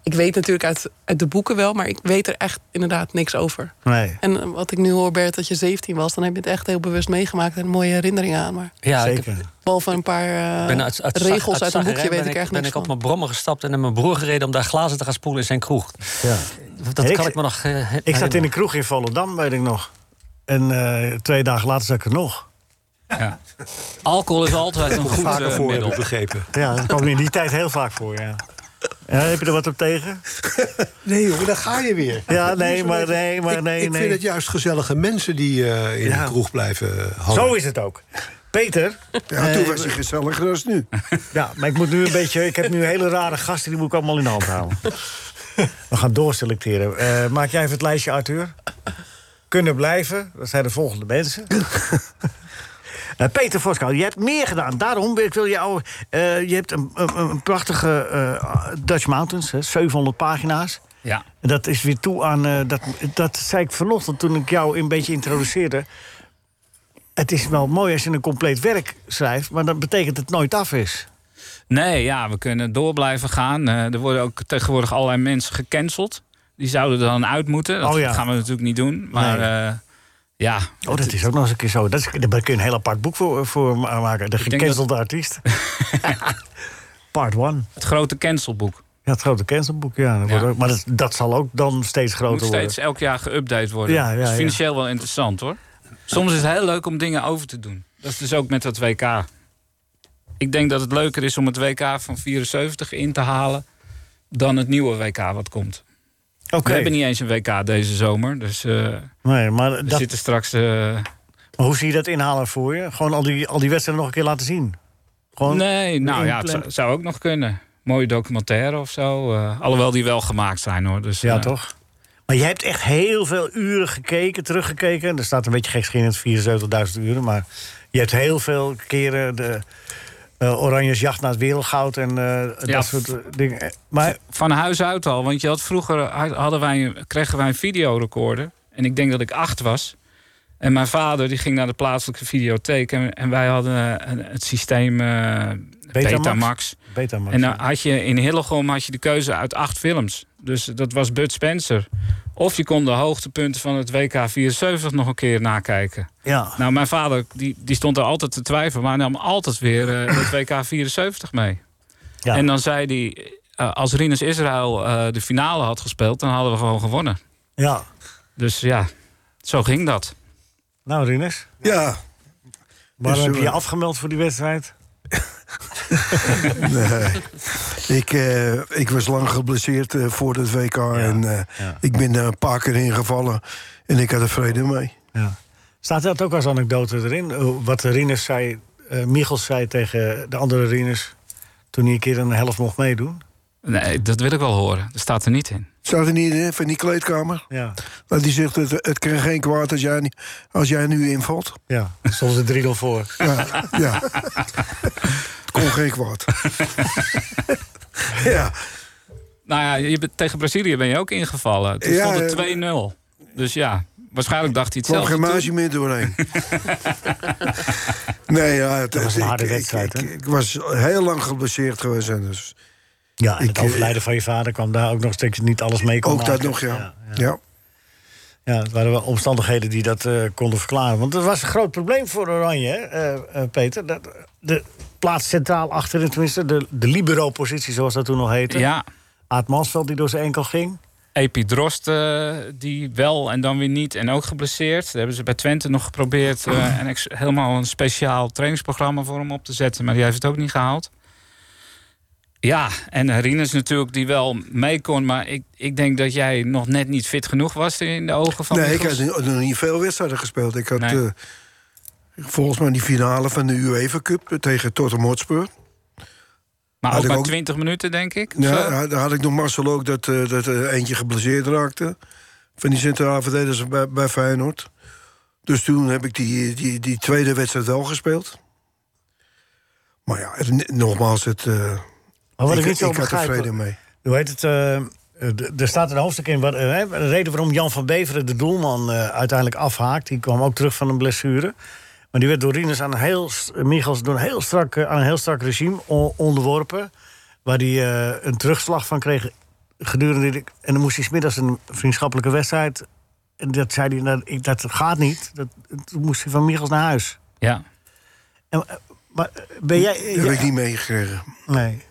H: ik weet natuurlijk uit, uit de boeken wel, maar ik weet er echt inderdaad niks over.
D: Nee.
H: En eh, wat ik nu hoor, Bert, dat je 17 was, dan heb je het echt heel bewust meegemaakt en een mooie herinneringen aan. Maar
L: Ja, ik Zeker. heb-
H: behalve een paar eh,
L: Ik ben uit, uit Zag-
H: regels uit een
L: Zagreb
H: boekje, weet
L: ben
H: ik echt
L: ben
H: niks
L: ik op
H: van.
L: mijn brommer gestapt en naar mijn broer gereden om daar glazen te gaan spoelen in zijn kroeg.
D: Ja.
L: Dat
D: Ja,
L: kan ik me nog. eh,
D: Ik zat in
L: herinneren.
D: een kroeg in Volendam, weet ik nog. En eh, twee dagen later zat ik er nog.
K: Ja. Alcohol is altijd een goed
D: Vaker
K: eh,
D: voor,
K: middel.
D: heb ik Ja, dat kwam in die tijd heel vaak voor, ja. Ja, heb je er wat op tegen?
C: Nee, jongen, daar ga je weer.
D: Ja,
C: Dat
D: nee,
C: is een
D: maar
C: beetje-
D: nee, maar
C: ik,
D: nee,
C: Ik
D: nee.
C: vind het juist gezellige mensen die eh, in
D: Ja.
C: de kroeg blijven hangen.
D: Zo is het ook. Peter.
C: Ja, toen was
D: eh,
C: hij gezelliger dan nu.
D: Ja, maar ik moet nu een beetje. Ik heb nu hele rare gasten, die moet ik allemaal in de hand houden. We gaan doorselecteren. Eh, maak jij even het lijstje, Arthur? Kunnen blijven, dat zijn de volgende mensen. Eh, Peter Voskal, je hebt meer gedaan. Daarom wil ik wil jou. eh, je hebt een, een, een prachtige eh, Dutch Mountains, hè, 700 pagina's.
K: Ja.
D: En Dat is weer toe aan. eh, dat, dat zei ik vanochtend toen ik jou een beetje introduceerde. Het is wel mooi als je een compleet werk schrijft, maar dat betekent dat het nooit af is. Oh,
K: Nee, ja, we kunnen door blijven gaan. Eh, er worden ook tegenwoordig allerlei mensen gecanceld. Die zouden er dan uit moeten. Dat
D: Oh ja.
K: gaan we natuurlijk niet doen. Maar eh, ja,
D: Oh, dat is ook nog eens een keer zo. Dat is, daar kun je een heel apart boek voor, eh, voor ma- maken. De
K: Ik denk
D: gecancelde artiest. Part one.
K: het grote cancelboek
D: Ja, het grote cancelboek, ja. Dat
K: Ja.
D: wordt ook- maar dat, dat zal ook dan steeds
K: moet
D: groter worden.
K: steeds elk jaar geüpdate worden.
D: Ja, ja,
K: dat is
D: ja.
K: financieel wel interessant hoor. Soms is het heel leuk om dingen over te doen. Dat is dus ook met dat WK. Ik denk dat het leuker is om het WK van 74 in te halen dan het nieuwe WK wat komt.
D: Oké.
K: We hebben niet eens een WK deze zomer, dus eh,
D: Nee, maar,
K: we
D: dat,
K: zitten straks. eh,
D: maar hoe zie je dat inhalen voor je? Gewoon al die, al die wedstrijden nog een keer laten zien? Gewoon
K: nee, nou ja, het
D: inplannen?
K: zou, zou ook nog kunnen. Mooie documentaire of zo. eh, alhoewel die wel gemaakt zijn hoor. Dus,
D: Ja,
K: eh,
D: toch? Maar je hebt echt heel veel uren gekeken, teruggekeken. Er staat een beetje gekscherend 74.000 uren. Maar je hebt heel veel keren de eh Oranjes jacht naar het wereldgoud en eh,
K: Ja,
D: dat soort eh, dingen. Maar
K: Van huis uit al, want je had vroeger had- hadden wij, kregen wij een videorecorder. En ik denk dat ik acht was. En mijn vader die ging naar de plaatselijke videotheek. En, en wij hadden eh, een- het systeem eh
D: Betamax?
K: Betamax.
D: Betamax,
K: En eh,
D: ja.
K: dan had je, in Hillegom had je de keuze uit acht films. Dus dat was Bud Spencer. Of je kon de hoogtepunten van het WK 74 nog een keer nakijken.
D: Ja.
K: Nou, mijn vader die, die stond daar altijd te twijfelen. Maar hij nam altijd weer eh, het WK 74 mee.
D: Ja.
K: En dan zei hij... eh, als Rinus Israël eh, de finale had gespeeld... dan hadden we gewoon gewonnen.
D: ja,
K: Dus ja, zo ging dat.
D: nou Rinus.
E: Ja.
D: Waarom
E: Dus,
D: heb je je
E: eh,
D: afgemeld voor die wedstrijd?
E: Nee. Ik, eh, ik was lang geblesseerd eh, voor het WK. en eh, ik ben daar een paar keer ingevallen. En ik had er vrede mee.
D: Ja. Staat dat ook als anekdote erin? Eh, Wat Rinus zei, eh Michels zei tegen de andere Rinus... toen hij een keer een helft mocht meedoen.
K: Nee, dat wil ik wel horen. Dat staat er niet in.
E: Staat er niet in, van die kleedkamer?
D: Ja.
E: Want die zegt, het, het kan geen kwaad als jij, niet- als jij nu invalt.
D: Ja, soms er 3-0 voor.
E: Ja, ja. het kon geen kwaad. ja,
K: Nou ja, je bent, tegen Brazilië ben je ook ingevallen. Toen
E: Ja,
K: stond
E: eh,
K: het 2-0. Dus ja, waarschijnlijk dacht hij
E: er kwam
K: hetzelfde.
E: geen
K: toen.
E: magie meer doorheen. nee, ja, het,
D: Dat was een
E: ik-
D: harde
E: ik-
D: wedstrijd,
E: Ik,
D: hè?
E: ik was heel lang geblesseerd geweest. En dus
D: Ja, en
E: Ik,
D: het
E: eh,
D: overlijden van je vader kwam daar ook nog steeds niet alles mee kon
E: ook dat
D: maken.
E: nog, ja. ja,
D: Ja, het waren wel omstandigheden die dat eh, konden verklaren. Want dat was een groot probleem voor Oranje, hè, eh, eh, Peter. Dat, de plaats centraal achterin, tenminste de, de libero-positie, zoals dat toen nog heette.
K: Ja,
D: Aad Mansveld die door zijn enkel ging.
K: Epi Drost, eh, die wel en dan weer niet en ook geblesseerd. Daar hebben ze bij Twente nog geprobeerd eh, en ex- helemaal een speciaal trainingsprogramma voor hem op te zetten. Maar die heeft het ook niet gehaald. Ja, en Rinus natuurlijk, die wel mee kon. Maar ik, ik denk dat jij nog net niet fit genoeg was in de ogen van
E: nee, ik
K: Michels.
E: had nog nog niet veel wedstrijden gespeeld. Ik had
K: Nee.
E: eh, volgens mij die finale van de UEFA Cup tegen Tottenham Hotspur.
K: Maar
E: had
K: ook
E: ik
K: maar
E: ook-
K: 20 minuten, denk ik. of zo. Nou,
E: Ja, daar had ik nog Marcel ook dat, eh, dat er eentje geblesseerd raakte. Van die centrale verdedigers bij, bij Feyenoord. Dus toen heb ik die, die, die tweede wedstrijd wel gespeeld. Maar ja, het- nogmaals, het, eh,
D: Maar wat ik,
E: ik,
D: niet zo
E: ik had er
D: begrijp,
E: vrede mee.
D: Hoe heet het? eh, d- er staat een hoofdstuk in. Waar, eh, hè, de reden waarom Jan van Beveren, de doelman, eh, uiteindelijk afhaakt. Die kwam ook terug van een blessure. Maar die werd door Rinus aan een heel, Michels door een heel strak, eh, aan een heel strak regime o- onderworpen. Waar hij eh, een terugslag van kreeg gedurende... de- en dan moest hij smiddags een vriendschappelijke wedstrijd... En dat zei hij, nou, ik, dat gaat niet. Dat, toen moest hij van Michels naar huis.
K: Ja.
D: En, eh, maar eh, ben jij...
K: Dat heb ik niet
E: meegekregen.
D: Nee.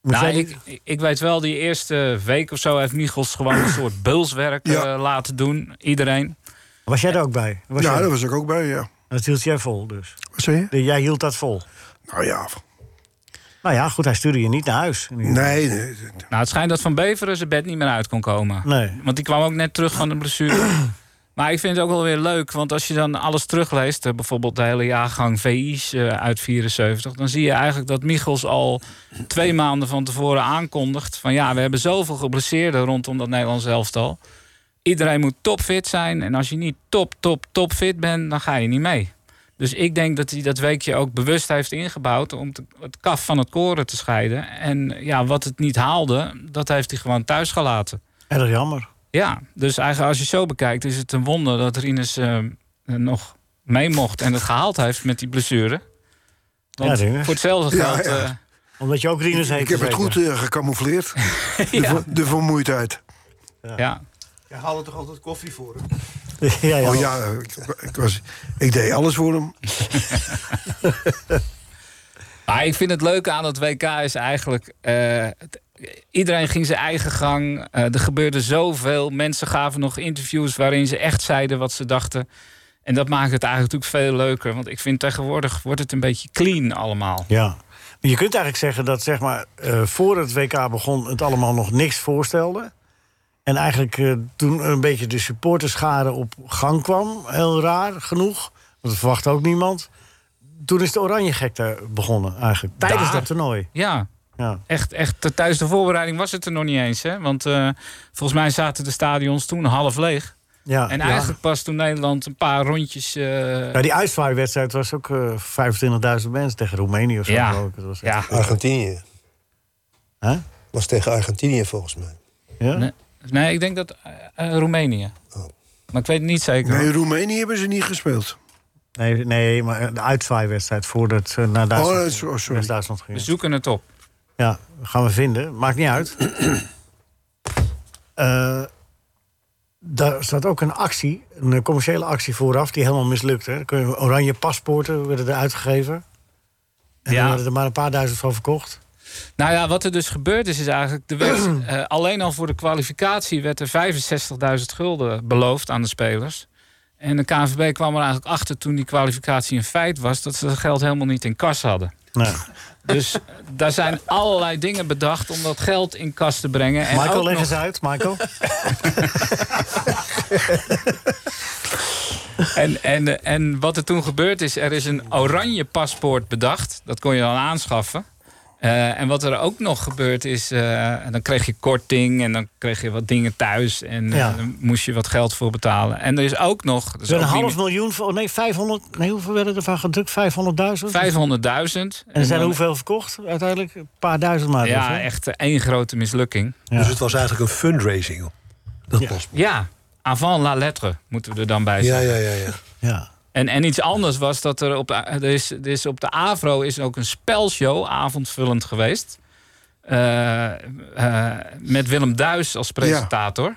D: Moest
K: Nou,
D: jij die-
K: ik, ik weet wel, die eerste week of zo heeft Michels gewoon een soort beulswerk eh, laten doen. Iedereen.
D: Was jij er ook bij? Was
E: ja,
D: jij-
E: daar was ik ook bij, ja.
D: Dat hield jij vol dus?
E: Wat zei je?
D: Jij hield dat vol?
E: Nou ja.
D: Nou ja, goed, hij stuurde je niet naar huis.
E: Nee,
K: Nou, het schijnt dat Van Beveren zijn bed niet meer uit kon komen.
D: Nee.
K: Want die kwam ook net terug van de blessure. maar ik vind het ook wel weer leuk, want als je dan alles terugleest... eh, bijvoorbeeld de hele jaargang VI's eh, uit 74... dan zie je eigenlijk dat Michels al twee maanden van tevoren aankondigt... van ja, we hebben zoveel geblesseerden rondom dat Nederlands elftal. Iedereen moet topfit zijn. En als je niet top, top, topfit bent, dan ga je niet mee. Dus ik denk dat hij dat weekje ook bewust heeft ingebouwd... om te- het kaf van het koren te scheiden. En ja, wat het niet haalde, dat heeft hij gewoon thuis gelaten.
D: Erg jammer.
K: Ja, dus eigenlijk als je zo bekijkt... is het een wonder dat Rinus eh, nog mee mocht en het gehaald heeft met die blessure. Want
D: Ja, Rinus.
K: voor hetzelfde
E: Ja,
K: geld...
E: ja.
K: eh,
D: Omdat je ook Rinus heet. dus
E: Ik heb het goed eh, gecamoufleerd. de, ver- de vermoeidheid.
K: ja.
F: Je haalde toch altijd koffie voor hem?
D: Ja, ja.
E: Oh ja, ik, ik was, ik deed alles voor hem.
K: Maar ik vind het leuke aan het WK is eigenlijk... eh, het- iedereen ging zijn eigen gang. Eh, er gebeurde zoveel. Mensen gaven nog interviews waarin ze echt zeiden wat ze dachten. En dat maakt het eigenlijk natuurlijk veel leuker. Want ik vind tegenwoordig wordt het een beetje clean allemaal.
D: Ja. Maar Je kunt eigenlijk zeggen dat zeg maar, eh, voor het WK begon het allemaal nog niks voorstelde. En eigenlijk eh, toen een beetje de supporterschade op gang kwam. Heel raar genoeg. Want dat verwacht ook niemand. Toen is de oranje gekte begonnen eigenlijk. Tijdens
K: Daar.
D: dat toernooi.
K: Ja,
D: Ja.
K: echt, echt eh, tijdens de voorbereiding was het er nog niet eens. Hè? Want eh, volgens mij zaten de stadions toen half leeg.
D: Ja,
K: en
D: ja.
K: eigenlijk pas toen Nederland een paar rondjes... eh,
D: Ja, die uitvaartwedstrijd was ook eh 25.000 mensen tegen Roemenië of zo.
K: Ja.
D: geloof ik. Dat was echt-
K: ja.
M: Argentinië.
D: Hè?
M: Was tegen Argentinië volgens mij.
D: Ja?
K: Nee, nee, ik denk dat eh, eh, Roemenië. Maar ik weet het niet zeker.
E: Oh. Nee, Roemenië hebben ze niet gespeeld.
D: Nee, nee, maar de uitvaartwedstrijd voordat ze naar
E: Oh,
D: Duitsland,
E: nee, so- sorry.
D: West-Duitsland
K: We
D: gingen.
K: zoeken het op.
D: Ja, gaan we vinden. Maakt niet uit. Eh, daar staat ook een actie, een commerciële actie vooraf... die helemaal mislukte. Dan kun je- Oranje paspoorten werden er uitgegeven. En
K: Ja.
D: er werden er maar een paar duizend van verkocht.
K: Nou ja, wat er dus gebeurd is, is eigenlijk... Er werd, eh, alleen al voor de kwalificatie werd er 65.000 gulden beloofd aan de spelers. En de KNVB kwam er eigenlijk achter toen die kwalificatie een feit was... dat ze dat geld helemaal niet in kas hadden. Dus daar zijn allerlei dingen bedacht om dat geld in kas te brengen. En
D: Michael,
K: ook
D: leg
K: nog-
D: eens uit, Michael.
K: En, en, eh, en wat er toen gebeurd is, er is een oranje paspoort bedacht. Dat kon je dan aanschaffen. Eh, en wat er ook nog gebeurd is, eh, en dan kreeg je korting en dan kreeg je wat dingen thuis. En eh,
D: Ja.
K: dan moest je wat geld voor betalen. En er is ook nog... dat is
D: Zo'n
K: ook niet
D: half miljoen, voor- oh, nee, 500, nee, hoeveel werden ervan gedrukt? 500.000?
K: meer- 500.000.
D: En er zijn er
K: dan-
D: hoeveel verkocht uiteindelijk? Een paar duizend maar. dus,
K: Ja,
D: hè?
K: echt eh, één grote mislukking.
C: Dus het was eigenlijk een fundraising. Dat ja.
K: Ja, avant la lettre moeten we er dan bij
C: Ja,
K: zeggen.
C: ja, ja, ja.
D: Ja.
K: En, en iets anders was dat er op, er is, er is op de Avro is ook een spelshow avondvullend geweest. Eh, eh, met Willem Duis als presentator.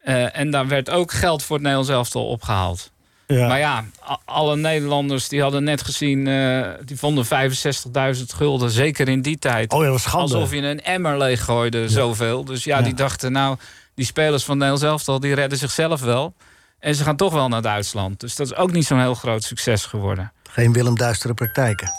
K: Eh, en daar werd ook geld voor het Nederlands elftal opgehaald.
D: Ja.
K: Maar ja, a- alle Nederlanders die hadden net gezien... eh, die vonden 65.000 gulden, zeker in die tijd.
D: Oh ja, dat was schande.
K: Alsof je een emmer leeggooide, zoveel. Dus ja,
D: Ja.
K: die dachten, nou, die spelers van Nederlands elftal... die redden zichzelf wel. En ze gaan toch wel naar Duitsland. Dus dat is ook niet zo'n heel groot succes geworden.
D: Geen Willem Duistere praktijken.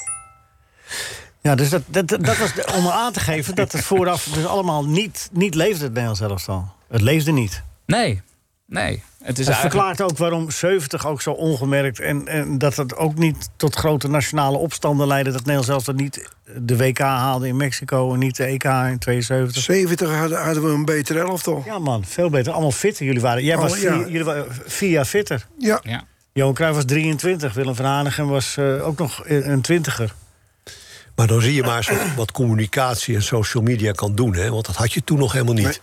D: Ja, dus dat, dat, dat was de- om aan te geven dat het vooraf dus allemaal niet, niet leefde, het Nederlands elftal. Het leefde niet.
K: Nee, nee. Het is
D: dat
K: eigenlijk...
D: verklaart ook waarom 70 ook zo ongemerkt... En, en dat het ook niet tot grote nationale opstanden leidde... dat Nederland zelfs dat niet de WK haalde in Mexico... en niet de EK in 72.
E: 70 hadden, hadden we een beter elftal.
D: Ja man, veel beter. Allemaal fitter jullie waren. Jij
E: Oh,
D: was
E: ja.
D: vier, jullie waren vier jaar fitter.
E: Ja.
K: Ja.
D: Johan Cruijff was 23. Willem van Hanegem was eh, ook nog een een twintiger.
C: Maar dan zie je maar eens wat, wat communicatie en social media kan doen. Hè? Want dat had je toen nog helemaal niet.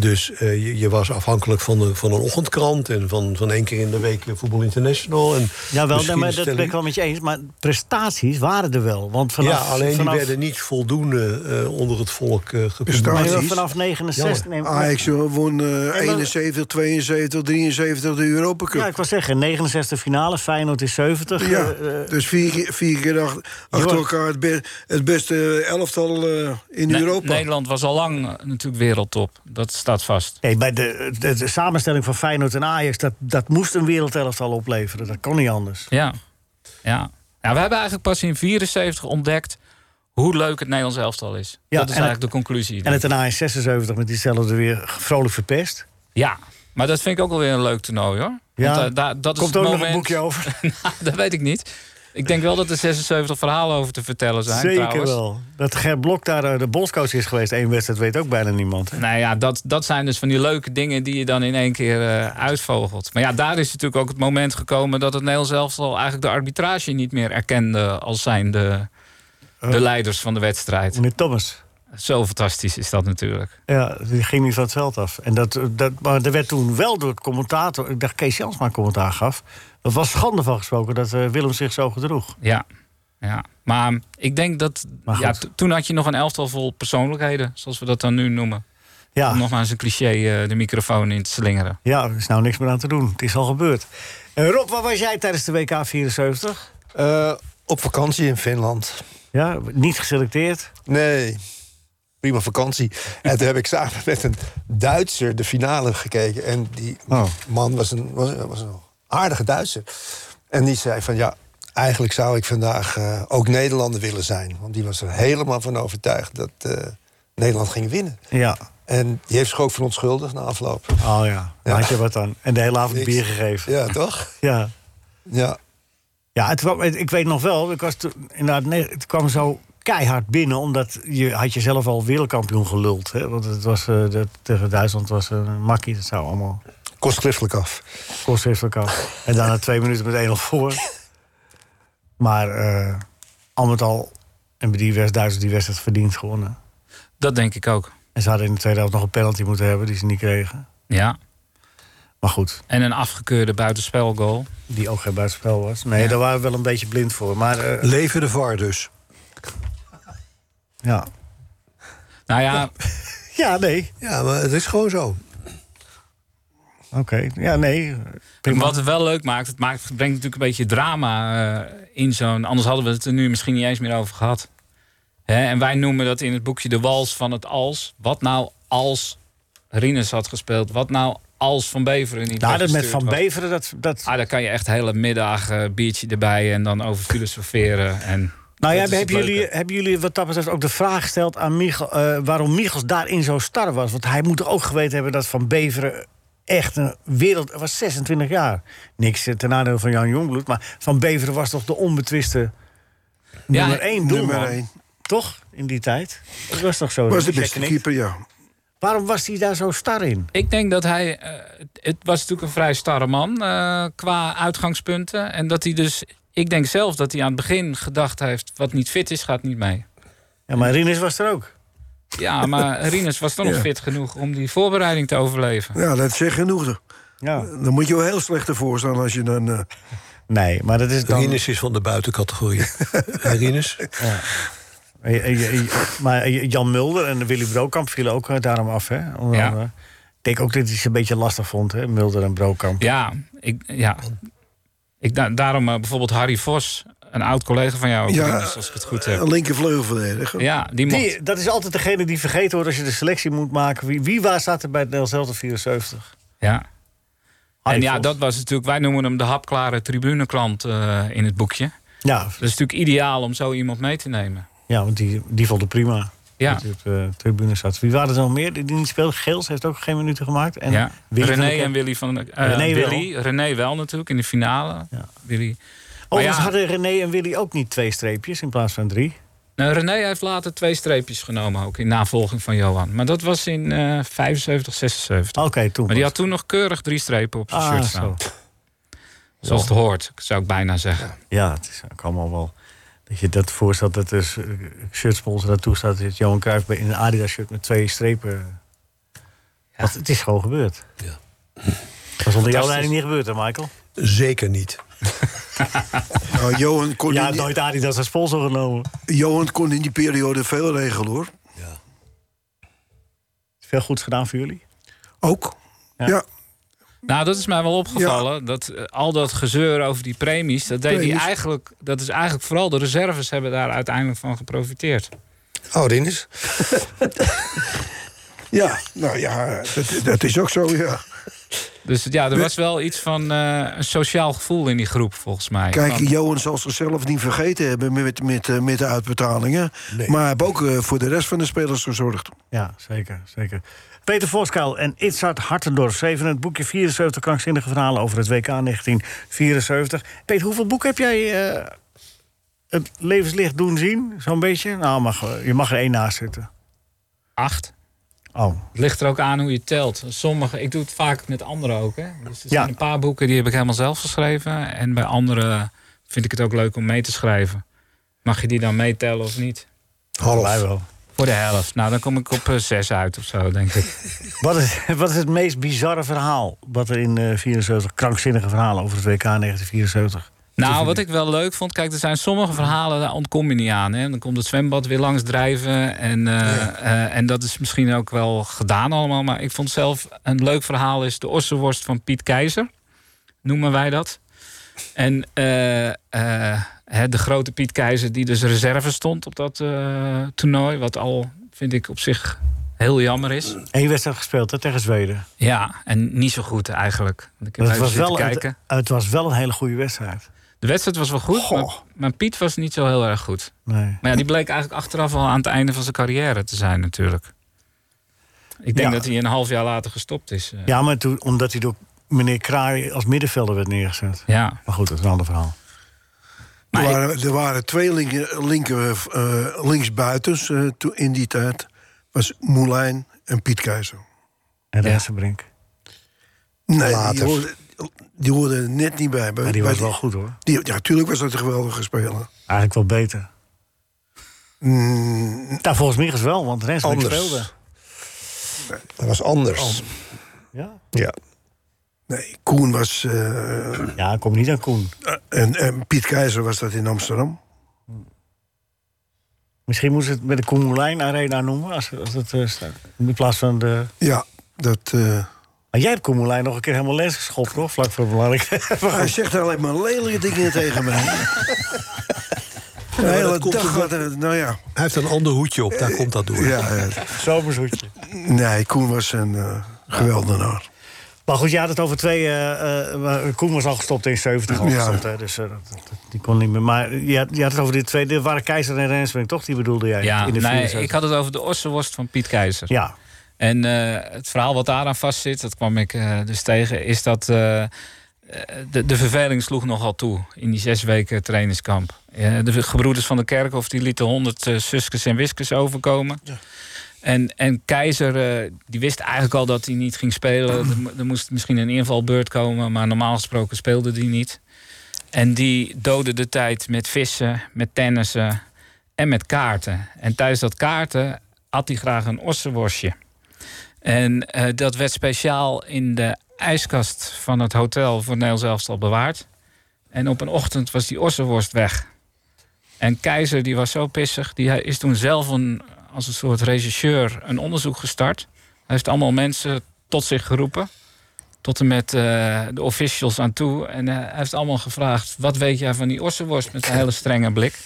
C: Dus eh, je, je was afhankelijk van, de, van een ochtendkrant en van, van één keer in de week eh, Voetbal International. En
D: Ja, wel, nee,
C: misschien
D: maar dat
C: stelling-
D: ben ik wel met je eens. Maar prestaties waren er wel. Want vanaf,
C: ja, alleen
D: vanaf,
C: die werden niet voldoende eh, onder het volk eh
D: Nee, wel,
C: gepubliceerd.
D: vanaf 69.
C: Jammer.
D: maar-
E: Ajax won eh,
D: maar-
E: 71, 72, 73 de Europa Cup.
D: Ja, ik wil zeggen, 69 finale, Feyenoord is 70.
E: Ja,
D: eh, eh,
E: dus vier, keer- vier keer ach- achter
D: Johan.
E: elkaar het, be- het beste elftal eh, in
K: Ne-
E: Europa.
K: Nederland was al lang eh, natuurlijk wereldtop. Dat staat vast.
D: Nee, bij de, de, de samenstelling van Feyenoord en Ajax, dat, dat moest een wereldelftal opleveren. Dat kon niet anders.
K: Ja. ja. ja we hebben eigenlijk pas in 74 ontdekt hoe leuk het Nederlands elftal is.
D: Ja,
K: dat is
D: en
K: eigenlijk
D: het-
K: de conclusie.
D: En het daarna in 76 met diezelfde weer vrolijk verpest.
K: Ja, maar dat vind ik ook wel weer een leuk toernooi hoor.
D: Ja,
K: Want, eh, daar- dat
D: komt
K: is het
D: ook nog een
K: moment...
D: boekje over.
K: Nou, dat weet ik niet. Ik denk wel dat er 76 verhalen over te vertellen zijn.
D: Zeker
K: trouwens.
D: wel. Dat Ger Blok daar eh, de bondscoach is geweest, één wedstrijd, weet ook bijna niemand.
K: Nou ja, dat, dat zijn dus van die leuke dingen die je dan in één keer eh, uitvogelt. Maar ja, daar is natuurlijk ook het moment gekomen dat het Nederlands elftal eigenlijk de arbitrage niet meer erkende als zijnde de, de leiders van de wedstrijd.
D: Eh, Meneer Thomas.
K: Zo fantastisch is dat natuurlijk.
D: Ja, die ging niet van het veld af. En dat, eh, dat, maar er werd toen wel door het commentator... Ik dacht Kees Jansma commentaar gaf. Er was schande van gesproken dat eh, Willem zich zo gedroeg.
K: Ja, ja. maar ik denk dat. ja, t- toen had je nog een elftal vol persoonlijkheden, zoals we dat dan nu noemen.
D: Ja.
K: Om nog maar eens een cliché eh, de microfoon in te slingeren.
D: Ja, er is nou niks meer aan te doen. Het is al gebeurd. Eh, Rob, waar was jij tijdens de WK 74?
M: Eh, op vakantie in Finland.
D: Ja, niet geselecteerd?
M: Nee. Prima vakantie. En toen heb ik samen met een Duitser de finale gekeken. En die man was een, was, was een aardige Duitser. En die zei van ja, eigenlijk zou ik vandaag eh, ook Nederlander willen zijn. Want die was er helemaal van overtuigd dat eh, Nederland ging winnen.
D: Ja.
M: En die heeft zich ook van onschuldig na afloop.
D: Oh ja, dan had je wat dan. En de hele avond
M: Niks.
D: bier gegeven.
M: Ja, toch?
D: Ja.
M: Ja.
D: Ja, het kwam, het- ik weet nog wel, ik was toen, inderdaad, nee, het kwam zo keihard binnen... omdat je had jezelf al wereldkampioen geluld. Hè? Want het was, eh, dat, tegen Duitsland was een makkie, dat zou allemaal...
M: Kost schriftelijk af.
D: Kost schriftelijk af. En daarna twee minuten met 1-0 voor. Maar eh, al met al hebben die West-Duitsers die wedstrijd verdiend gewonnen.
K: Dat denk ik ook.
D: En ze hadden in de tweede helft nog een penalty moeten hebben die ze niet kregen.
K: Ja.
D: Maar goed.
K: En een afgekeurde buitenspelgoal.
D: Die ook geen buitenspel was. Nee,
K: Ja.
D: daar waren we wel een beetje blind voor. Maar, eh,
C: Leven de VAR dus.
D: Ja.
K: Nou ja.
D: Ja, nee.
C: Ja, maar het is gewoon zo.
D: Oké, ja, nee.
K: En wat het wel leuk maakt, het maakt, brengt natuurlijk een beetje drama eh, in zo'n... Anders hadden we het er nu misschien niet eens meer over gehad. Hè, en wij noemen dat in het boekje de wals van het als. Wat nou als Rinus had gespeeld? Wat nou als Van Beveren niet
D: Nou, dat met
K: weggestuurd
D: Van
K: was?
D: Beveren, dat, dat...
K: Ah, daar kan je echt hele middag eh, biertje erbij en dan over filosoferen. En
D: Nou ja,
K: dat is
D: hebben
K: het
D: jullie,
K: leuke.
D: hebben jullie wat dat betreft ook de vraag gesteld aan Michel... eh, waarom Michels daarin zo star was? Want hij moet ook geweten hebben dat Van Beveren echt een wereld... Hij was 26 jaar. Niks eh, ten nadeel van Jan Jongbloed, maar Van Beveren was toch de onbetwiste nummer 1 doelman?
E: nummer één.
D: Toch, in die tijd? Dat was toch zo?
E: Was de
D: Jij
E: beste
D: knikt.
E: keeper, ja.
D: Waarom was hij daar zo star in?
K: Ik denk dat hij. eh, het was natuurlijk een vrij starre man eh, qua uitgangspunten. En dat hij dus. Ik denk zelf dat hij aan het begin gedacht heeft: wat niet fit is, gaat niet mee.
D: Ja, maar Rinus was er ook.
K: Ja, maar Rinus was toch nog
E: Ja.
K: fit genoeg om die voorbereiding te overleven.
E: Ja, dat zegt genoeg.
D: Ja.
E: Dan moet je wel heel slecht ervoor staan als je dan... eh,
D: Nee, maar dat is dan...
C: Rinus is van de buitencategorie. Hè, Rinus?
D: Eh, eh, eh, Maar eh, Jan Mulder en Willy Brokamp vielen ook eh, daarom af, hè? Onder
K: Ja.
D: andere. Ik denk ook dat hij ze een beetje lastig vond, hè? Mulder en Brokamp.
K: Ja, ik, ja. Ik, da- daarom eh, bijvoorbeeld Harry Vos, een oud collega van jou,
E: Ja,
K: Rinus, als ik het goed heb.
E: Een linkervleugelverdediger.
K: Ja, die mocht.
D: Die- dat is altijd degene die vergeten wordt als je de selectie moet maken. Wie, wie waar staat er bij het Nederlands Elftal 74?
K: Ja.
D: Harry
K: En ja,
D: Vos.
K: dat was natuurlijk, wij noemen hem de hapklare tribuneklant eh, in het boekje.
D: Ja,
K: Dat is natuurlijk ideaal om zo iemand mee te nemen.
D: ja want die, die vond het prima.
K: Ja.
D: Dat hij op de tribune zat. Wie waren er nog meer die die niet speelden? Geels heeft ook geen minuten gemaakt. En
K: ja.
D: Willy van der
K: René
D: Kerk-
K: en Willy van eh
D: René wel.
K: Willy, René wel natuurlijk in de finale. Willy. Maar
D: Overigens
K: ja,
D: Oh, dus hadden René en Willy ook niet twee streepjes in plaats van drie.
K: nou, René heeft later twee streepjes genomen ook in navolging van Johan. Maar dat was in eh 75, 76.
D: Oké, toen.
K: Maar die had toen nog keurig drie strepen op zijn
D: Ah,
K: shirt
D: zo.
K: staan. Zoals het hoort, zou ik bijna zeggen.
D: Ja, het is ook allemaal wel... Dat je dat voorstelt, dat er eh, shirtsponsor dat toestaat... dat Johan Cruijff bij- in een Adidas-shirt met twee strepen...
K: Ja,
D: Want het is gewoon gebeurd. Dat is onder jouw
C: Fantastisch.
D: leiding niet gebeurd, hè, Michael?
C: Zeker niet.
E: Nou, Johan kon
D: ja,
E: in die-
D: nooit Adidas als sponsor genomen.
E: Johan kon in die periode veel regelen, hoor.
D: Veel goeds gedaan voor jullie.
E: Ook.
D: Ja.
K: Nou, dat is mij wel opgevallen. Dat eh, al dat gezeur over die premies, dat deed hij
M: Premies.
K: eigenlijk. Dat is eigenlijk vooral de reserves hebben daar uiteindelijk van geprofiteerd.
M: Oh, Rinus.
E: ja, nou ja, dat, dat is ook zo, ja.
K: Dus ja, er was wel iets van eh, een sociaal gevoel in die groep, volgens mij.
E: Kijk,
K: Van-
E: Johan zal zichzelf niet vergeten hebben met, met, eh, met de uitbetalingen. Maar hij heeft ook eh, voor de rest van de spelers gezorgd.
D: Ja, zeker, zeker. Peter Voskuil en Itzhard Hartendorf schreven het boekje 74 krankzinnige verhalen over het WK 1974. Peter, hoeveel boeken heb jij eh, het levenslicht doen zien? Zo'n beetje? Nou, mag, eh, je mag er één naast zitten.
K: Acht.
D: Oh.
K: Het ligt er ook aan hoe je telt. Sommige, ik doe het vaak met anderen ook. Hè? Dus er
D: Ja.
K: zijn een paar boeken die heb ik helemaal zelf geschreven. En bij anderen vind ik het ook leuk om mee te schrijven. Mag je die dan meetellen of niet?
D: Half. Mij wel.
K: Voor de helft. Nou, dan kom ik op eh, zes uit of zo, denk ik.
D: Wat is, wat is het meest bizarre verhaal wat er in eh 74 krankzinnige verhalen over het WK 1974?
K: Nou, wat ik wel leuk vond, kijk, er zijn sommige verhalen, daar ontkom je niet aan. Hè? Dan komt het zwembad weer langs drijven. En, eh, eh, en dat is misschien ook wel gedaan allemaal. Maar ik vond zelf een leuk verhaal is de ossenworst van Piet Keizer. Noemen wij dat. En eh, eh, hè, de grote Piet Keizer die dus reserve stond op dat eh, toernooi. Wat al, vind ik, op zich heel jammer is.
D: Eén wedstrijd gespeeld hè, tegen Zweden.
K: Ja, en niet zo goed eigenlijk. Ik heb
D: Het
K: even
D: was,
K: zitten
D: wel, het,
K: kijken.
D: het was wel een hele goede wedstrijd.
K: De wedstrijd was wel goed, maar, maar Piet was niet zo heel erg goed.
D: Nee.
K: Maar ja, die bleek eigenlijk achteraf al aan het einde van zijn carrière te zijn natuurlijk. Ik denk
D: Ja.
K: dat hij een half jaar later gestopt is. eh.
D: Ja, maar toen, omdat hij door meneer Kraai als middenvelder werd neergezet.
K: Ja.
D: Maar goed, dat is een ander
E: Eh,
D: verhaal.
E: Er waren, er waren twee linker, linker, eh, linksbuitens eh, toen- in die tijd. was Moulijn en Piet Keizer.
D: En Rensenbrink.
E: Nee, die
D: Later.
E: hoorden, die hoorden er net niet bij.
D: Maar die was wel goed, hoor.
E: Die, ja, natuurlijk was dat een geweldige speler.
D: Eigenlijk wel beter.
E: Mm,
D: Nou, volgens mij is wel, want Rensenbrink
E: Anders.
D: speelde. Oh.
M: Dat was anders.
D: Ja?
M: Ja.
E: Nee, Koen was... eh,
D: ja, ik kom niet aan Koen.
E: en, en Piet Keizer was dat in Amsterdam.
D: Misschien moest het met de Koen Moulijn Arena noemen. Als, als het, eh, staat. in plaats van de...
E: Ja, dat... eh,
D: Maar jij hebt Koen Moulijn nog een keer helemaal les geschopt, hoor. Vlak voor belangrijk.
E: Hij zegt alleen maar lelijke dingen tegen mij. De
C: maar
E: hele
C: dat komt
E: dag
C: omdat-
E: gaat er- Nou ja.
C: Hij heeft een ander hoedje op, daar komt dat door.
E: ja, ja.
D: Zomershoedje.
E: Nee, Koen was een eh, geweldenaar.
D: Maar goed, je had het over twee... eh, eh, maar Koen was al gestopt in 70 al
E: Ja.
D: gestopt, hè, dus eh, dat, dat- die kon niet meer. Maar je had, je had het over die twee. Dit waren Keizer en Rensenbrink, toch? Die bedoelde jij
K: Ja,
D: in de
K: nee,
D: 74.
K: ik had het over de ossenworst van Piet Keizer.
D: Ja.
K: En eh, het verhaal wat daaraan vastzit, dat kwam ik eh, dus tegen, is dat eh, eh, de, de verveling sloeg nogal toe in die zes weken trainingskamp. Eh, de gebroeders van de Kerkhof die lieten honderd zuskes en wiskes overkomen. En, en Keizer eh, die wist eigenlijk al dat hij niet ging spelen. Er, mo- er moest misschien een invalbeurt komen, maar normaal gesproken speelde die niet. En die doodde de tijd met vissen, met tennissen en met kaarten. En tijdens dat kaarten had hij graag een ossenworstje. En eh, dat werd speciaal in de ijskast van het hotel voor Nederlands Elftal bewaard. En op een ochtend was die ossenworst weg. En Keizer die was zo pissig, die is toen zelf een, als een soort regisseur een onderzoek gestart. Hij heeft allemaal mensen tot zich geroepen. Tot en met eh, de officials aan toe. En eh, hij heeft allemaal gevraagd: wat weet jij van die ossenworst met een hele strenge blik?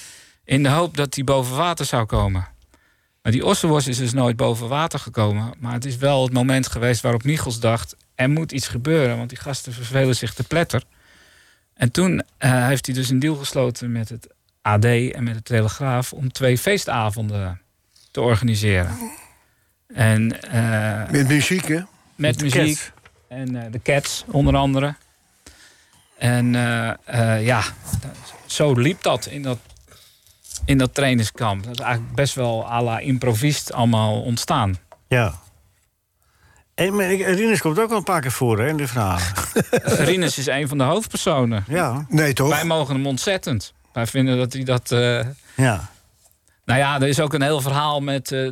K: In de hoop dat die boven water zou komen. Maar die ossenworst is dus nooit boven water gekomen. Maar het is wel het moment geweest waarop Michels dacht... er moet iets gebeuren, want die gasten vervelen zich te pletter. En toen eh, heeft hij dus een deal gesloten met het AD en met de Telegraaf... om twee feestavonden te organiseren. En, eh,
E: Met muziek, hè?
K: Met
E: de
K: muziek.
E: Cats.
K: En eh, de Cats, onder andere. En eh, eh, ja, zo liep dat in dat in dat trainingskamp. Dat is eigenlijk best wel à la improvist allemaal ontstaan.
D: Ja. En, maar ik- Rinus komt ook wel een paar keer voor hè, in de verhalen.
K: Rinus is een van de hoofdpersonen.
D: Ja.
E: Nee, toch?
K: Wij mogen hem ontzettend. Wij vinden dat hij dat... eh,
D: Ja.
K: Nou ja, er is ook een heel verhaal met eh,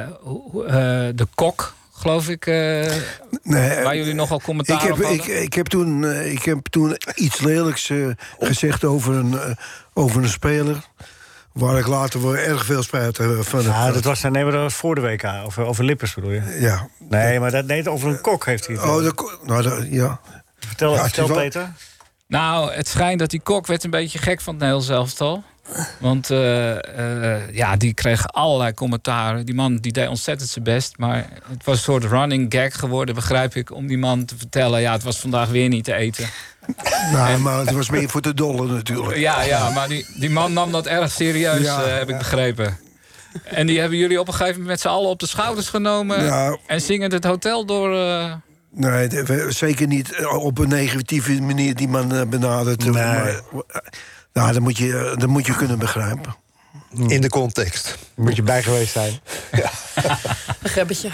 K: eh, hoe- eh, de kok geloof ik. eh, waar jullie nogal commentaar
E: eh, Ik heb,
K: op hadden.
E: ik, ik, heb toen, eh, ik heb toen iets lelijks eh, gezegd over een, eh, over een speler. Waar ik later wel erg veel spijt eh, van heb.
D: Ja, Ah, dat was, nee, maar dat was voor de WK. Over, over Lippers bedoel je?
E: Ja.
D: Nee, maar dat, nee, over een kok heeft hij het.
E: Oh,
D: over.
E: de ko- nou, dat- ja.
D: Vertel,
K: Ja, het
D: vertel
K: is wel-
D: Peter.
K: Nou, het schijnt dat die kok werd een beetje gek van het Nederlands elftal. Want eh, eh, ja, die kreeg allerlei commentaren. Die man die deed ontzettend zijn best. Maar het was een soort running gag geworden, begrijp ik. Om die man te vertellen, ja, het was vandaag weer niet te eten.
E: Nou, maar het was meer voor de dolle natuurlijk.
K: Ja, ja maar die, die man nam dat erg serieus,
E: Ja,
K: eh, heb ik begrepen. En die hebben jullie op een gegeven moment met z'n allen op de schouders genomen.
E: Ja.
K: En zingend het hotel door... eh,
E: Nee, de- we- zeker niet eh, op een negatieve manier die man eh, benadert. Maar, eh, nou, dat moet, je, eh, dat moet je kunnen begrijpen.
M: In de context. Moet je bij geweest zijn.
H: Een gebbetje.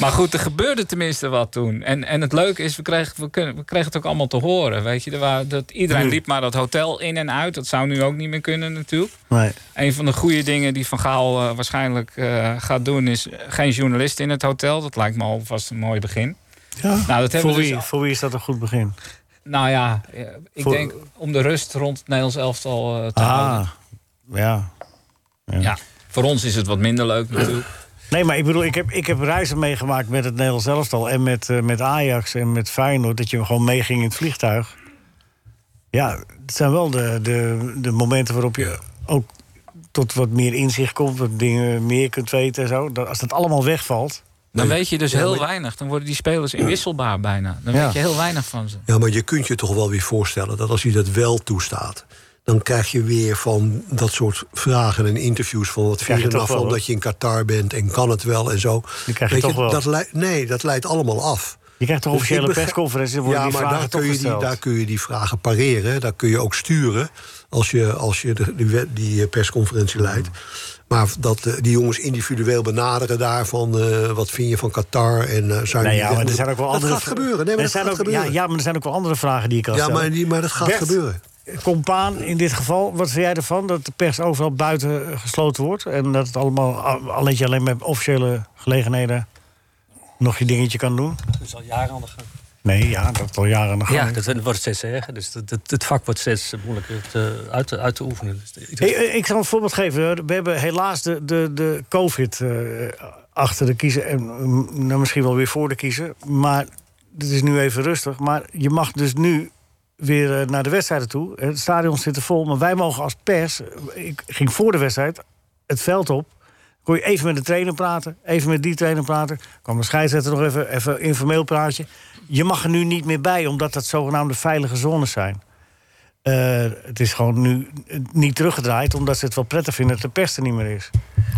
K: Maar goed, er gebeurde tenminste wat toen. En, en het leuke is, we kregen, we, kunnen- we kregen het ook allemaal te horen. Weet je, er waren, dat, iedereen
D: Hmm.
K: liep maar dat hotel in en uit. Dat zou nu ook niet meer kunnen natuurlijk.
D: Nee.
K: Een van de goede dingen die Van Gaal eh, waarschijnlijk eh, gaat doen... is eh, geen journalist in het hotel. Dat lijkt me alvast een mooi begin. Nou, dat hebben
D: voor,
K: we
D: wie,
K: dus al-
D: voor wie is dat een goed begin?
K: Nou ja, eh, ik
D: Voor-
K: denk om de rust rond het Nederlands elftal eh, te houden.
D: ja.
K: Ja. voor ons is het wat minder leuk natuurlijk.
D: Nee, maar ik bedoel, ik heb, ik heb reizen meegemaakt met het Nederlands elftal... en met, eh, met Ajax en met Feyenoord, dat je gewoon meeging in het vliegtuig. Ja, het zijn wel de, de, de momenten waarop je ook tot wat meer inzicht komt... wat dingen meer kunt weten en zo. Dat, als dat allemaal wegvalt...
K: Dan weet je dus
D: Ja,
K: heel
D: maar-
K: weinig. Dan worden die spelers inwisselbaar bijna. Dan
D: Ja.
K: weet je heel weinig van ze.
C: Ja, maar je kunt je toch wel weer voorstellen dat als je dat wel toestaat. dan krijg je weer van dat soort vragen en interviews. van wat
D: Krijg
C: vind
D: je
C: je
D: toch
C: nou
D: wel,
C: van
D: hoor.
C: dat je in Qatar bent en kan het wel en zo.
D: Die krijg je toch wel.
C: Dat leidt- nee, dat leidt allemaal af.
D: Je krijgt toch
C: Dus ik
D: officiële
C: begrijp-
D: persconferenties, dan worden
C: ja,
D: die
C: maar
D: vragen
C: daar
D: toch
C: kun, je die,
D: gesteld.
C: daar kun je die vragen pareren. Daar kun je ook sturen als je, als je de, die, we- die eh, persconferentie leidt. Maar dat eh, die jongens individueel benaderen daarvan... eh, wat vind je van Qatar en eh zou je
D: Nou
C: niet
D: ja,
C: weg
D: maar er
C: moeten-
D: zijn ook wel
C: Dat
D: andere...
C: gaat gebeuren. Nee, maar
D: Er
C: dat
D: zijn
C: gaat
D: ook-
C: gebeuren.
D: Ja, ja, maar er zijn ook wel andere vragen die je kan
C: Ja,
D: stellen.
C: maar die- maar dat gaat gebeuren.
D: Compaan, in dit geval, wat vind jij ervan? Dat de pers overal buiten eh, gesloten wordt... en dat het allemaal, a- alleen dat je alleen met officiële gelegenheden... nog je dingetje kan doen?
L: Dat is al jaren aan de gang.
D: Nee, ja, dat is al jaren aan de gang.
L: Ja, dat wordt steeds erger. Dus dat, dat- het vak wordt
G: eh,
L: steeds moeilijker te, uit, te, uit te oefenen. Dus de-
D: Hey, eh, ik zal een voorbeeld geven. We hebben helaas de, de, de COVID eh, achter de kiezen. En mm, nou, misschien wel weer voor de kiezen. Maar het is nu even rustig. Maar je mag dus nu weer eh, naar de wedstrijden toe. Het stadion zit er vol. Maar wij mogen als pers. eh, Ik ging voor de wedstrijd het veld op. Kon je even met de trainer praten, even met die trainer praten. Kwam de scheidsrechter nog even, even informeel praatje. Je mag er nu niet meer bij, omdat dat zogenaamde veilige zones zijn. Eh, het is gewoon nu eh, niet teruggedraaid, omdat ze het wel prettig vinden dat de pers er niet meer is.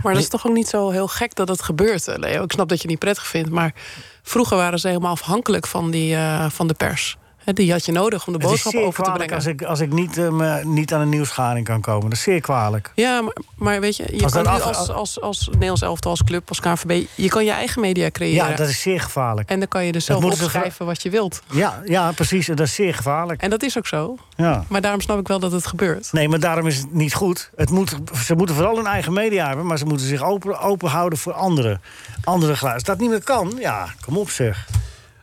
H: Maar dat is toch ook niet zo heel gek dat dat gebeurt, eh, Leo. Ik snap dat je het niet prettig vindt, maar vroeger waren ze helemaal afhankelijk van, die, eh, van de pers. Hè, die had je nodig om de
D: Het is
H: boodschap
D: zeer
H: over te
D: kwalijk
H: brengen.
D: als ik, als ik niet, eh, me- niet aan een nieuwsgaring kan komen. Dat is zeer kwalijk.
H: Ja, maar, maar weet je, je
D: Als
H: kan
D: dat
H: nu
D: af-
H: als, als, als Nederlands elftal, als club, als KNVB... je kan je eigen media creëren.
D: Ja, dat is zeer gevaarlijk.
H: eh, En dan kan je
D: Dat
H: dus zelf
D: moeten ze
H: opschrijven wat je wilt.
D: Ja, ja precies. Dat is zeer gevaarlijk.
H: En dat is ook zo.
D: Ja.
H: Maar daarom snap ik wel dat het gebeurt.
D: Nee, maar daarom is het niet goed. Het moet, ze moeten vooral hun eigen media hebben, maar ze moeten zich open, open houden voor anderen. Andere geluid. Als dat niet meer kan, ja, kom op zeg.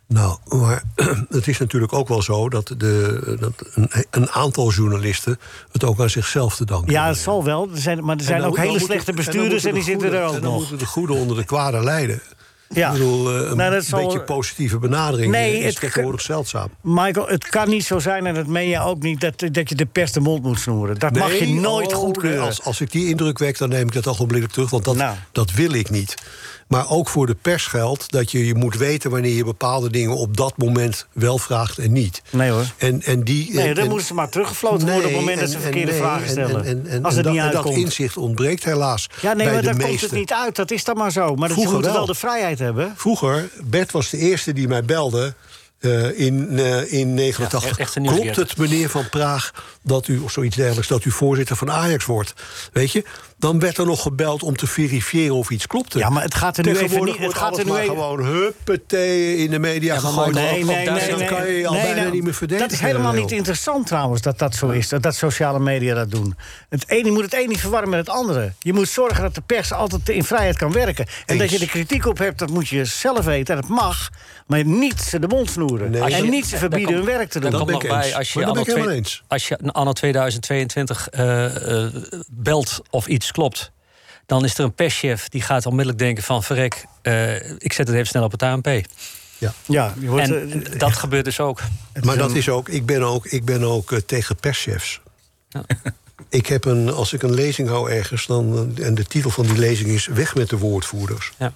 C: Nou, maar het is natuurlijk ook wel zo dat, de, dat een, een aantal journalisten het ook aan zichzelf te danken.
D: Ja, het zal wel. Er zijn, maar er
C: En
D: zijn
C: dan-
D: ook
C: dan
D: hele
C: moeten-
D: slechte
C: en dan
D: bestuurders en,
C: moeten
D: die
C: de
D: zitten
C: goede-
D: er ook
C: en dan
D: nog.
C: moeten de goede onder de kwade lijden.
D: Ja.
C: Ik bedoel, eh, een
D: Nou, dat zal-
C: beetje positieve benadering
D: Nee,
C: is
D: het-
C: tegenwoordig zeldzaam.
D: Michael, het kan niet zo zijn, en dat meen je ook niet, dat, dat je de pers de mond moet snoeren. Dat mag je
C: Nee,
D: nooit
C: oh,
D: goedkeuren. Nou.
C: nee, Als, als ik die indruk wek, dan neem ik dat ogenblikkelijk terug. Want dat, dat wil ik niet. Maar ook voor de pers geldt dat je, je moet weten wanneer je bepaalde dingen op dat moment wel vraagt en niet.
D: Nee hoor.
C: En, en die,
D: Nee,
C: en-
D: dan
C: en-
D: moeten ze maar teruggefloten worden op het moment dat
C: en-
D: ze
C: en-
D: verkeerde
C: nee,
D: vragen
C: en-
D: stellen.
C: En, en, en,
D: Als het
C: en
D: niet
C: dat, en dat
D: uitkomt.
C: inzicht ontbreekt helaas.
D: Ja, nee, maar
C: bij de
D: daar komt het
C: meesten.
D: niet uit. Dat is dan maar zo. Maar dat je
C: Vroeger
D: moet wel.
C: wel.
D: de vrijheid hebben.
C: Vroeger, Bert was de eerste die mij belde eh, in, eh, in
L: Ja, e-,
C: 89.
L: echt een
C: Klopt
L: nieuwsgierig.
C: het, meneer Van Praag, dat u, of zoiets dergelijks, dat u voorzitter van Ajax wordt? Weet je? Dan werd er nog gebeld om te verifiëren of iets klopte.
D: Ja, maar het gaat er nu even
C: Tegenwoordig
D: niet- het
C: wordt
D: gaat
C: alles
D: er nu even-
C: maar gewoon huppatee in de media gegooid. Dan kan je je al
D: Nee,
C: bijna
D: nou,
C: niet meer verdedigen.
D: Dat is helemaal niet interessant trouwens, dat dat zo is. Dat, dat sociale media dat doen. Het ene, je moet het een niet verwarren met het andere. Je moet zorgen dat de pers altijd in vrijheid kan werken. En dat je er kritiek op hebt, dat moet je zelf weten. En dat mag, maar niet ze de mond snoeren.
G: Als
D: En
G: je-
D: niet ze
G: daar
D: verbieden
G: komt-
D: hun werk te doen.
G: daar komt nog bij, als je, anno, twee- als je anno 2022 eh, eh, belt of iets klopt... dan is er een perschef die gaat onmiddellijk denken van... verrek, eh, ik zet het even snel op het ANP.
C: Ja,
D: ja
C: je wordt,
G: en
C: eh,
G: dat gebeurt dus ook.
C: Maar dat is ook, ik ben ook, ik ben ook eh, tegen perschefs. Ik heb een, als ik een lezing hou ergens, dan, eh, en de titel van die lezing is Weg met de woordvoerders.
G: Ja.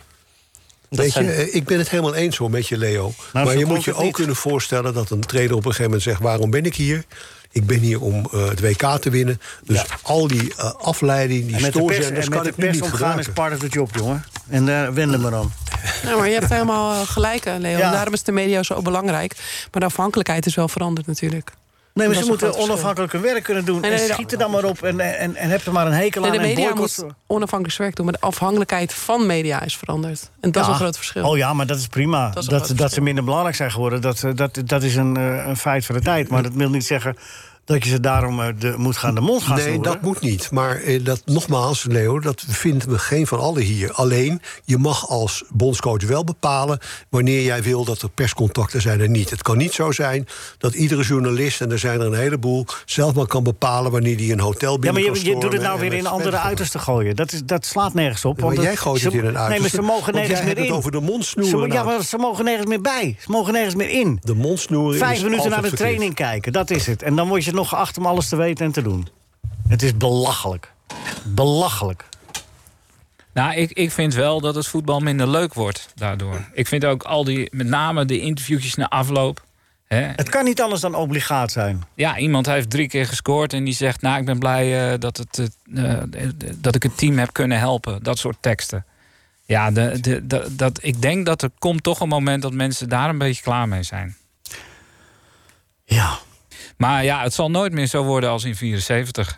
G: Dat
C: Weet
G: zijn-
C: je, eh, ik ben het helemaal eens hoor met je,
D: Nou,
C: Leo. maar
G: zo
C: je moet
G: komt
C: je
G: het
C: ook
G: niet.
C: kunnen voorstellen dat een trainer op een gegeven moment zegt: waarom ben ik hier? Ik ben hier om eh, het WK te winnen. Dus al die eh, afleiding, die
D: En met de pers,
C: stoorzenders
D: en met
C: kan
D: de
C: ik nu
D: pers
C: niet
D: omgaan is
C: gebruiken.
D: part of the job, jongen. En eh, daar wenden we dan.
H: Ja, maar je hebt helemaal eh, gelijk, eh, Leon. Daarom is de media zo belangrijk. Maar de afhankelijkheid is wel veranderd natuurlijk.
D: Nee,
H: Dat
D: maar
H: is
D: ze
H: een
D: moeten
H: groot verschil.
D: onafhankelijk hun werk kunnen doen.
H: Nee, nee,
D: en
H: nee,
D: schiet er dan maar op en, en, en heb er maar een hekel
H: Nee,
D: aan.
H: de
D: en
H: media
D: boycott-
H: moet onafhankelijk werk doen. Maar de afhankelijkheid van media is veranderd. En dat is
D: Ja.
H: een groot verschil.
D: Oh ja, maar dat is prima.
H: Dat
D: Dat,
H: is
D: dat,
H: een groot
D: ze minder belangrijk zijn geworden, dat, eh, dat, dat is een, eh, een feit van de tijd. Maar dat wil niet zeggen dat je ze daarom eh, de, moet gaan de mond gaan
C: Nee,
D: snoeren.
C: dat moet niet. Maar eh, dat, nogmaals, Leo, dat vinden we geen van allen hier. Alleen, je mag als bondscoach wel bepalen wanneer jij wil dat er perscontacten zijn en niet. Het kan niet zo zijn dat iedere journalist, en er zijn er een heleboel, zelf maar kan bepalen wanneer die een hotel
D: Ja,
C: binnen
D: maar
C: kan
D: je, je doet het
C: stormen
D: nou
C: en
D: weer
C: met
D: in andere
C: perscontacten.
D: uitersten gooien. Dat, is, dat slaat nergens op.
C: Ja, maar
D: want
C: jij
D: het-
C: gooit
D: ze-
C: het in een
D: Nee, maar
C: uiterste.
D: ze mogen
C: Want
D: nergens
C: jij
D: meer in.
C: hebt het over de mondsnoeren,
D: Ze mo- ja,
C: nou.
D: maar ze mogen nergens meer bij. Ze mogen nergens meer in.
C: De mondsnoeren
D: Vijf
C: is
D: minuten naar de
C: altijd
D: training kijken, dat is het. En dan word je nog geacht om alles te weten en te doen. Het is belachelijk. Belachelijk.
K: Nou, ik, ik vind wel dat het voetbal minder leuk wordt daardoor. Ik vind ook al die, met name de interviewtjes na afloop. Hè,
D: Het kan niet anders dan obligaat zijn.
K: ja, iemand heeft drie keer gescoord en die zegt... nou, ik ben blij eh, dat, het, eh, eh, dat ik het team heb kunnen helpen. Dat soort teksten. Ja, de, de, de- dat, ik denk dat er komt toch een moment dat mensen daar een beetje klaar mee zijn.
D: Ja.
K: Maar ja, het zal nooit meer zo worden als in 74.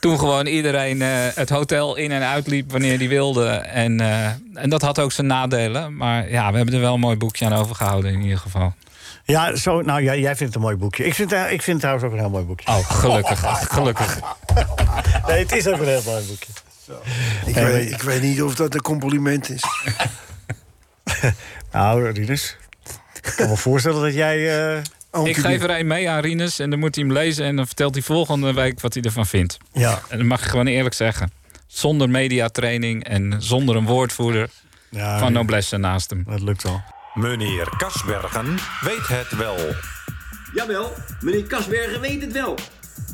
K: Toen gewoon iedereen eh, het hotel in en uitliep wanneer die wilde. En, eh, en dat had ook zijn nadelen. Maar ja, we hebben er wel een mooi boekje aan overgehouden in ieder geval.
D: Ja, zo, nou, jij, jij vindt het een mooi boekje. Ik vind, eh, ik vind het trouwens ook een heel mooi boekje.
K: Oh, gelukkig. gelukkig.
D: Nee, het is ook een heel mooi boekje.
E: Ik,
D: Eh,
E: weet, ik weet niet of dat een compliment is.
D: Nou, Rinus. Ik kan me voorstellen dat jij... eh,
K: Ik geef er een mee aan Rinus en dan moet hij hem lezen. En dan vertelt hij volgende week wat hij ervan vindt.
D: Ja.
K: En dat mag ik gewoon eerlijk zeggen. Zonder mediatraining en zonder een woordvoerder
D: Ja,
K: van
D: ja.
K: noblesse naast hem.
D: Dat lukt al.
N: Meneer Kasbergen weet het wel.
O: Jawel, meneer Kasbergen weet het wel.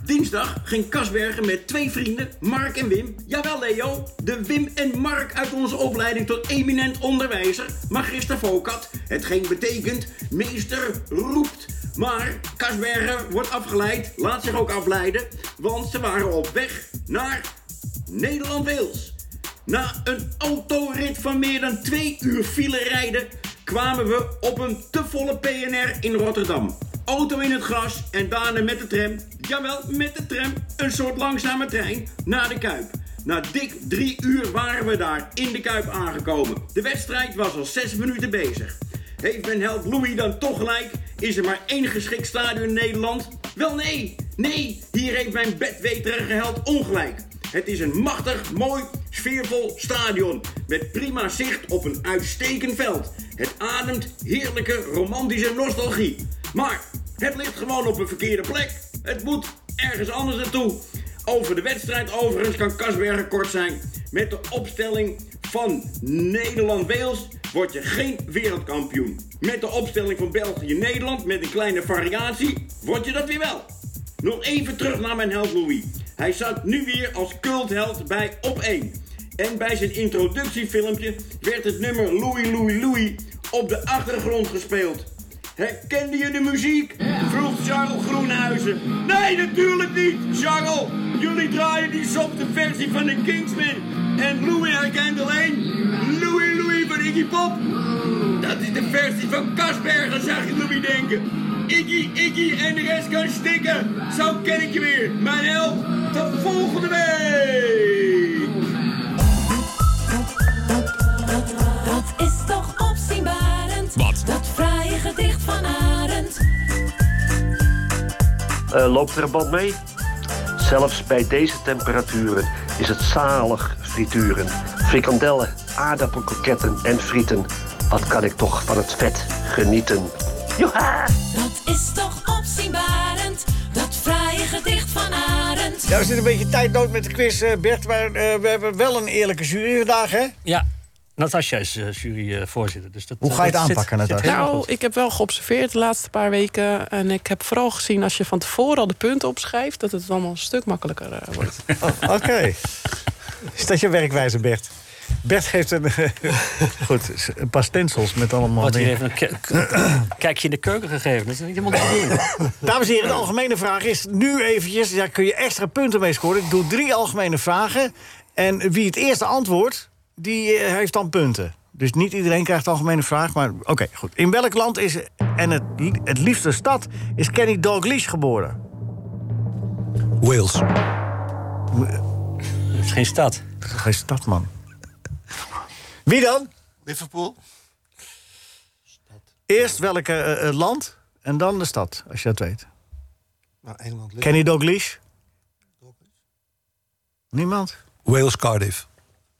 O: Dinsdag ging Kasbergen met twee vrienden, Mark en Wim. Jawel, Leo, de Wim en Mark uit onze opleiding tot eminent onderwijzer, Magister Vokat. Hetgeen betekent meester roept. Maar Kasbergen wordt afgeleid, laat zich ook afleiden, want ze waren op weg naar Nederland-Wales. Na een autorit van meer dan twee uur file rijden kwamen we op een te volle PNR in Rotterdam. Auto in het gras en daarna met de tram, jawel, met de tram, een soort langzame trein naar de Kuip. Na dik drie uur waren we daar in de Kuip aangekomen. De wedstrijd was al zes minuten bezig. Heeft mijn held Louis dan toch gelijk? Is er maar één geschikt stadion in Nederland? Wel nee, nee, hier heeft mijn bedweterige held ongelijk. Het is een machtig, mooi, sfeervol stadion. Met prima zicht op een uitstekend veld. Het ademt heerlijke, romantische nostalgie. Maar het ligt gewoon op een verkeerde plek. Het moet ergens anders naartoe. Over de wedstrijd overigens kan Kasbergen kort zijn. Met de opstelling van Nederland-Wales word je geen wereldkampioen. Met de opstelling van België-Nederland met een kleine variatie word je dat weer wel. Nog even terug naar mijn held Louis. Hij zat nu weer als cultheld bij Op 1. En bij zijn introductiefilmpje werd het nummer Louis Louis Louis op de achtergrond gespeeld. Herkende je de muziek? Vroeg Charles Groenhuizen. Nee, natuurlijk niet, Charles. Jullie draaien die softe versie van de Kingsman. En Louis herkent alleen Louis Louis van Iggy Pop. Dat is de versie van Kasbergen, zag ik Louis denken. Iggy, Iggy en de rest kan stikken. Zo ken ik je weer. Mijn held, tot volgende week.
P: Eh, loopt er een band mee? Zelfs bij deze temperaturen is het zalig frituren. Frikandellen, aardappelkroketten en frieten. Wat kan ik toch van het vet genieten? Joeha!
A: Dat is toch opzienbarend, dat fraaie gedicht van Arend.
D: Ja, we zitten een beetje tijdnood met de quiz, eh, Bert. Maar eh, we hebben wel een eerlijke jury vandaag, hè?
G: Ja, Natasja is eh, juryvoorzitter. Dus dat,
D: Hoe ga je
G: dat
D: het
G: zit-
D: aanpakken,
G: zit
D: Natasja?
G: helemaal
H: Nou,
G: goed.
H: ik heb wel geobserveerd de laatste paar weken. En ik heb vooral gezien als je van tevoren al de punten opschrijft... dat het allemaal een stuk makkelijker eh, wordt.
D: Oh, Oké. Is dat je werkwijze, Bert? Bert geeft een... eh, goed, s- een paar stencils met allemaal...
G: Wordt Nou, hier
D: dingen.
G: even een ke- k- kijkje in de keuken gegeven. Dat is niet helemaal te doen.
D: Dames en heren, de algemene vraag is nu eventjes... daar kun je extra punten mee scoren. Ik doe drie algemene vragen. En wie het eerste antwoordt, die eh, heeft dan punten. Dus niet iedereen krijgt de algemene vraag, maar oké, goed. In welk land is, en het, li- het liefste stad, is Kenny Dalglish geboren?
C: Wales.
G: Het is geen stad.
D: Dat is geen stad, man. Wie dan?
F: Liverpool.
D: Eerst welk eh, eh, land en dan de stad, als je dat weet.
F: Nou, Engeland.
D: Kenny Dalglish? Niemand?
C: Wales Cardiff.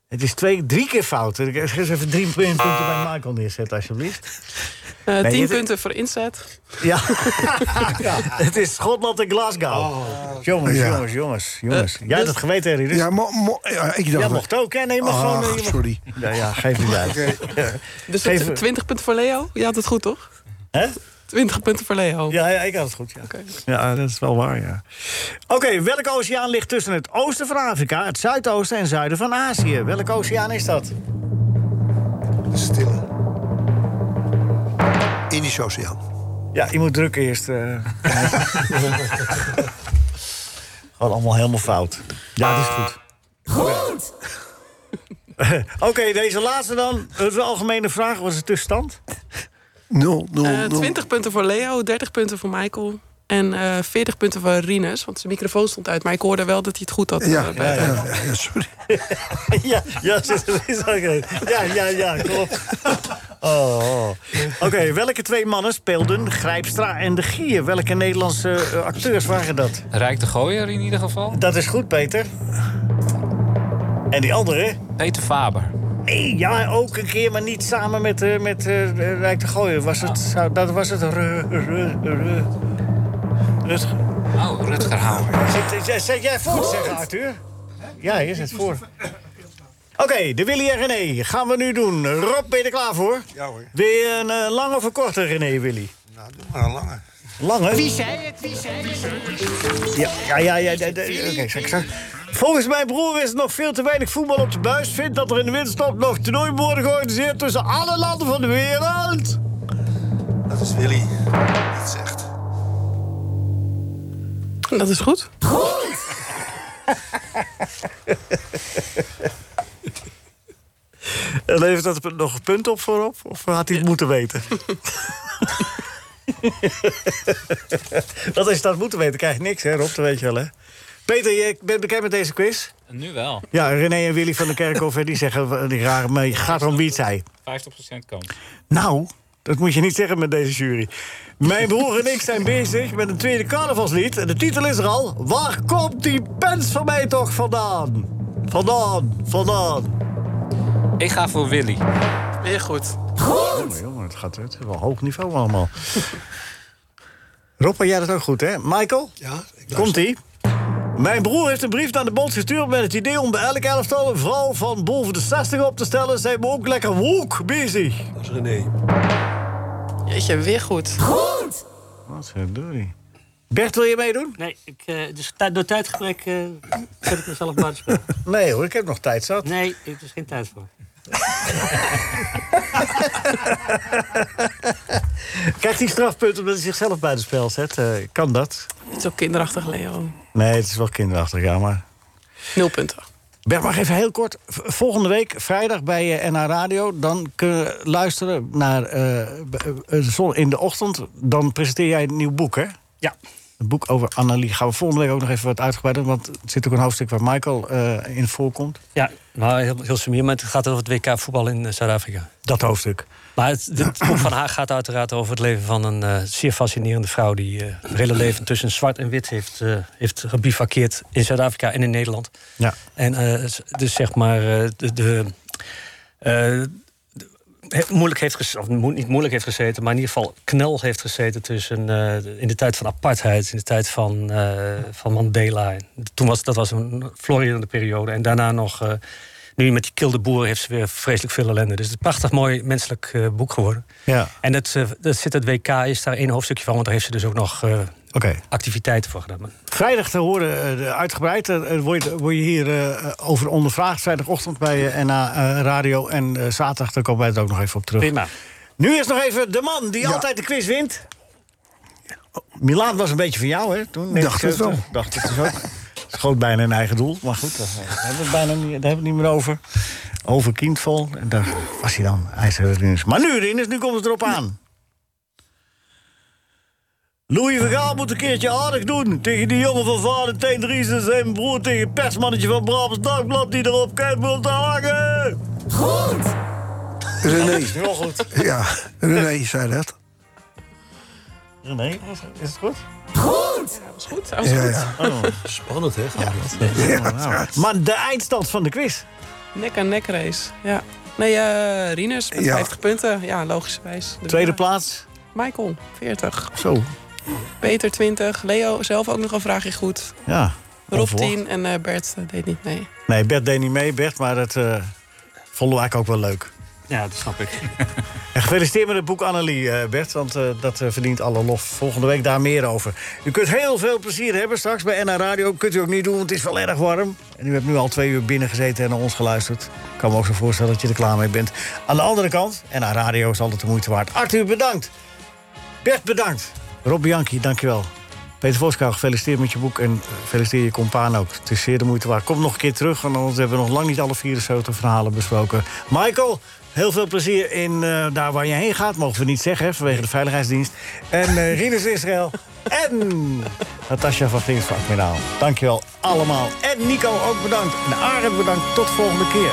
D: Het is twee, drie keer fout. Ik ga eens even drie punten bij Michael neerzetten, alsjeblieft.
H: Eh,
D: Nee,
H: tien
D: het-
H: punten voor inzet.
D: Ja. Het is Schotland en Glasgow. Jongens,
E: Oh. Ja.
D: jongens, jongens, jongens. Jij had
E: dus-
D: het geweten, Harry. Dus...
E: Ja, mo- mo- eh, ja, ik dacht
D: Jij
E: wel.
D: mocht ook, hè? Nee, je mag
E: Ah,
D: gewoon... eh, je mag-
E: sorry.
D: Ja, ja, geef niet uit.
H: Dus
D: Geef-
H: het- 20 punten voor Leo. Je had het goed, toch?
D: Hè?
H: 20 punten voor Leo.
D: Ja, ja ik had het goed, ja. Ja, dat is wel waar, ja. Oké, welke oceaan ligt tussen het oosten van Afrika... het zuidoosten en zuiden van Azië? Welke oceaan is dat?
M: Stille.
C: Indische Oceaan.
D: Ja, je moet drukken eerst. eh. Gewoon allemaal helemaal fout. Ja, dat is goed.
A: Goed!
D: Oké, deze laatste dan. Het is een algemene vraag. Wat is de tussenstand?
E: 0, 0,
H: Eh, 20 punten voor Leo, 30 punten voor Michael. En eh 40 punten voor Rinus, want zijn microfoon stond uit. Maar ik hoorde wel dat hij het goed had.
E: Ja,
H: eh,
E: ja,
H: bij-
E: ja, ja, sorry.
D: ja, ja, dat is oké. ja, ja, ja, klopt. Oh, oh. Oké, welke twee mannen speelden Grijpstra en De Gier? Welke Nederlandse eh, acteurs waren dat?
K: Rijk de Gooier in ieder geval.
D: Dat is goed, Peter. En die andere?
K: Peter Faber.
D: Nee, ja, ook een keer, maar niet samen met, eh, met eh, Rijk de Gooier. Was het, zou- dat was het... Ru, ru, ru. Rutger.
K: Oh, Rutger Hauer.
D: Zet, zet- zet jij voor, zeggen Arthur. Ja, je zet voor. Oké, de Willy en René gaan we nu doen. Rob, ben je er klaar voor?
M: Ja hoor.
D: Wil je een eh, lange of een korte René, Willy?
M: Nou, doe maar een lange.
D: Lange?
M: het? Wie zei
D: Ja, ja, ja. ja, de- de- oké, ik zeg- ik zeg. Volgens mijn broer is er nog veel te weinig voetbal op de buis. Vindt dat er in de winterstop nog toernooien worden georganiseerd tussen alle landen van de wereld.
M: Dat is Willy. Dat zegt.
H: Dat is goed.
D: En levert dat nog een punt op voorop? Of had hij het moeten weten? dat is dat moeten weten, krijg je niks, hè, Rob? Dat weet je wel, hè? Peter, je bent bekend met deze quiz?
K: Nu wel.
D: Ja, René en Willy van de Kerkhof, hè, die zeggen, eh, die rare mee, gaat om wie het zij.
K: 50% kans.
D: Nou, dat moet je niet zeggen met deze jury. Mijn broer en ik zijn bezig met een tweede carnavalslied. En de titel is er al. Waar komt die pens van mij toch vandaan? Vandaan, vandaan.
K: Ik ga voor Willy.
H: Weer goed.
D: Jongen, jongen, Oh, het gaat het is wel hoog niveau allemaal. Rob, had jij dat ook goed, hè? Michael?
M: Ja,
D: Komt-ie. Mijn broer heeft een brief naar de bond gestuurd met het idee om bij elk elftal een vrouw van boven de 60 op te stellen. Zijn we ook lekker woke bezig.
M: Dat is René.
H: Jeetje, weer goed.
D: Goed! Wat verdorie. Bert, wil je meedoen?
G: Nee, ik, eh, dus tijd- door tijdgebrek eh, zet ik mezelf buitenspel.
D: Nee hoor, ik heb nog tijd zat.
G: Nee, er is geen tijd voor.
D: Krijgt hij strafpunten omdat hij zichzelf buitenspel zet? Eh, kan dat?
H: Het is ook kinderachtig, Leo.
D: Nee, het is wel kinderachtig, ja, maar...
H: Nul punten.
D: Bert, mag even heel kort. V- Volgende week, vrijdag bij eh, NH Radio... dan kunnen we luisteren naar... eh, b- eh, zon in de ochtend, dan presenteer jij een nieuw boek, hè?
G: Ja.
D: Een boek over Annelie. Gaan we volgende week ook nog even wat uitgebreider. Want het zit ook een hoofdstuk waar Michael eh, in voorkomt.
G: Ja, maar heel, heel sumier, maar het gaat over het WK voetbal in eh, Zuid-Afrika.
D: Dat hoofdstuk.
G: Maar het, het boek van haar gaat uiteraard over het leven van een eh, zeer fascinerende vrouw... die eh haar hele leven tussen zwart en wit heeft, eh heeft gebivakkeerd in Zuid-Afrika en in Nederland.
D: Ja.
G: En eh, s- dus zeg maar eh, de... de eh, de- he- moeilijk heeft gezeten, of mo- niet moeilijk heeft gezeten, maar in ieder geval knel heeft gezeten tussen eh, de- in de tijd van apartheid, in de tijd van, eh, van Mandela. En Toen was dat was een florierende periode. En daarna nog, eh, nu met die kilde boer heeft ze weer vreselijk veel ellende. Dus het is een prachtig mooi menselijk eh, boek geworden.
D: Ja.
G: En dat, eh, dat zit het WK, is daar één hoofdstukje van, want daar heeft ze dus ook nog eh,
D: Oké.
G: activiteiten voor gedaan.
D: Vrijdag te horen eh, de- uitgebreid. eh, eh, word, je, word je hier eh, over ondervraagd. Vrijdagochtend bij eh, NA eh, Radio. En eh, zaterdag, daar komen wij het ook nog even op terug.
G: Prima.
D: Nu is nog even de man die altijd de quiz wint. Oh, Milaan was een beetje van jou, hè? Toen,
E: Dacht het
D: 1970. Dacht het dus ook. Schoot bijna een eigen doel. Maar goed, daar hebben we het bijna niet, daar hebben we het niet meer over. Over Kindvol. En daar was hij dan. IJzeren Maar nu, Rinus, nu komt het erop aan. Louis Vergaal moet een keertje aardig doen. Tegen die jongen van Valentijn Dries en zijn broer. Tegen het persmannetje van Brabants Dagblad die erop kijkt wil te hangen. Goed!
E: René.
D: Heel goed.
E: Ja, René zei dat.
D: Nee, is het goed?
A: Goed!
H: Ja, dat was goed.
D: Dat was
E: Ja,
D: goed.
E: ja.
D: Oh.
C: Spannend, hè? Ja.
D: Maar de eindstand van de quiz.
H: Nek aan nek race. Ja. Nee, eh Rinus met
D: Ja.
H: 50 punten. Ja, logischerwijs. De
D: Tweede
H: winnaar.
D: plaats.
H: Michael, 40.
D: Zo.
H: Peter, 20. Leo zelf ook nog een vraagje goed.
D: Ja.
H: Rob,
D: onverwacht.
H: 10. En eh, Bert eh, deed niet mee.
D: Nee, Bert deed niet mee, Bert, maar dat eh, vonden we eigenlijk ook wel leuk.
G: Ja, dat snap ik.
D: En gefeliciteerd met het boek Annelie, eh, Bert, want eh, dat eh, verdient alle lof. Volgende week daar meer over. U kunt heel veel plezier hebben straks bij NH Radio. Kunt u ook niet doen, want het is wel erg warm. En u hebt nu al twee uur binnen gezeten en naar ons geluisterd. Ik kan me ook zo voorstellen dat je er klaar mee bent. Aan de andere kant, NH Radio is altijd de moeite waard. Arthur, bedankt. Bert, bedankt. Rob Bianchi, dankjewel. Peter Voskou, gefeliciteerd met je boek en eh, gefeliciteer je compaan ook. Het is zeer de moeite waard. Kom nog een keer terug, want anders hebben we nog lang niet alle 74 verhalen besproken. Michael, heel veel plezier in eh, daar waar je heen gaat, mogen we niet zeggen, hè, vanwege de Veiligheidsdienst. En eh Rinus Israël en Natasja van Ginsvak-Minaal. Dankjewel allemaal. Oh. En Nico ook bedankt. En Arend bedankt. Tot volgende keer.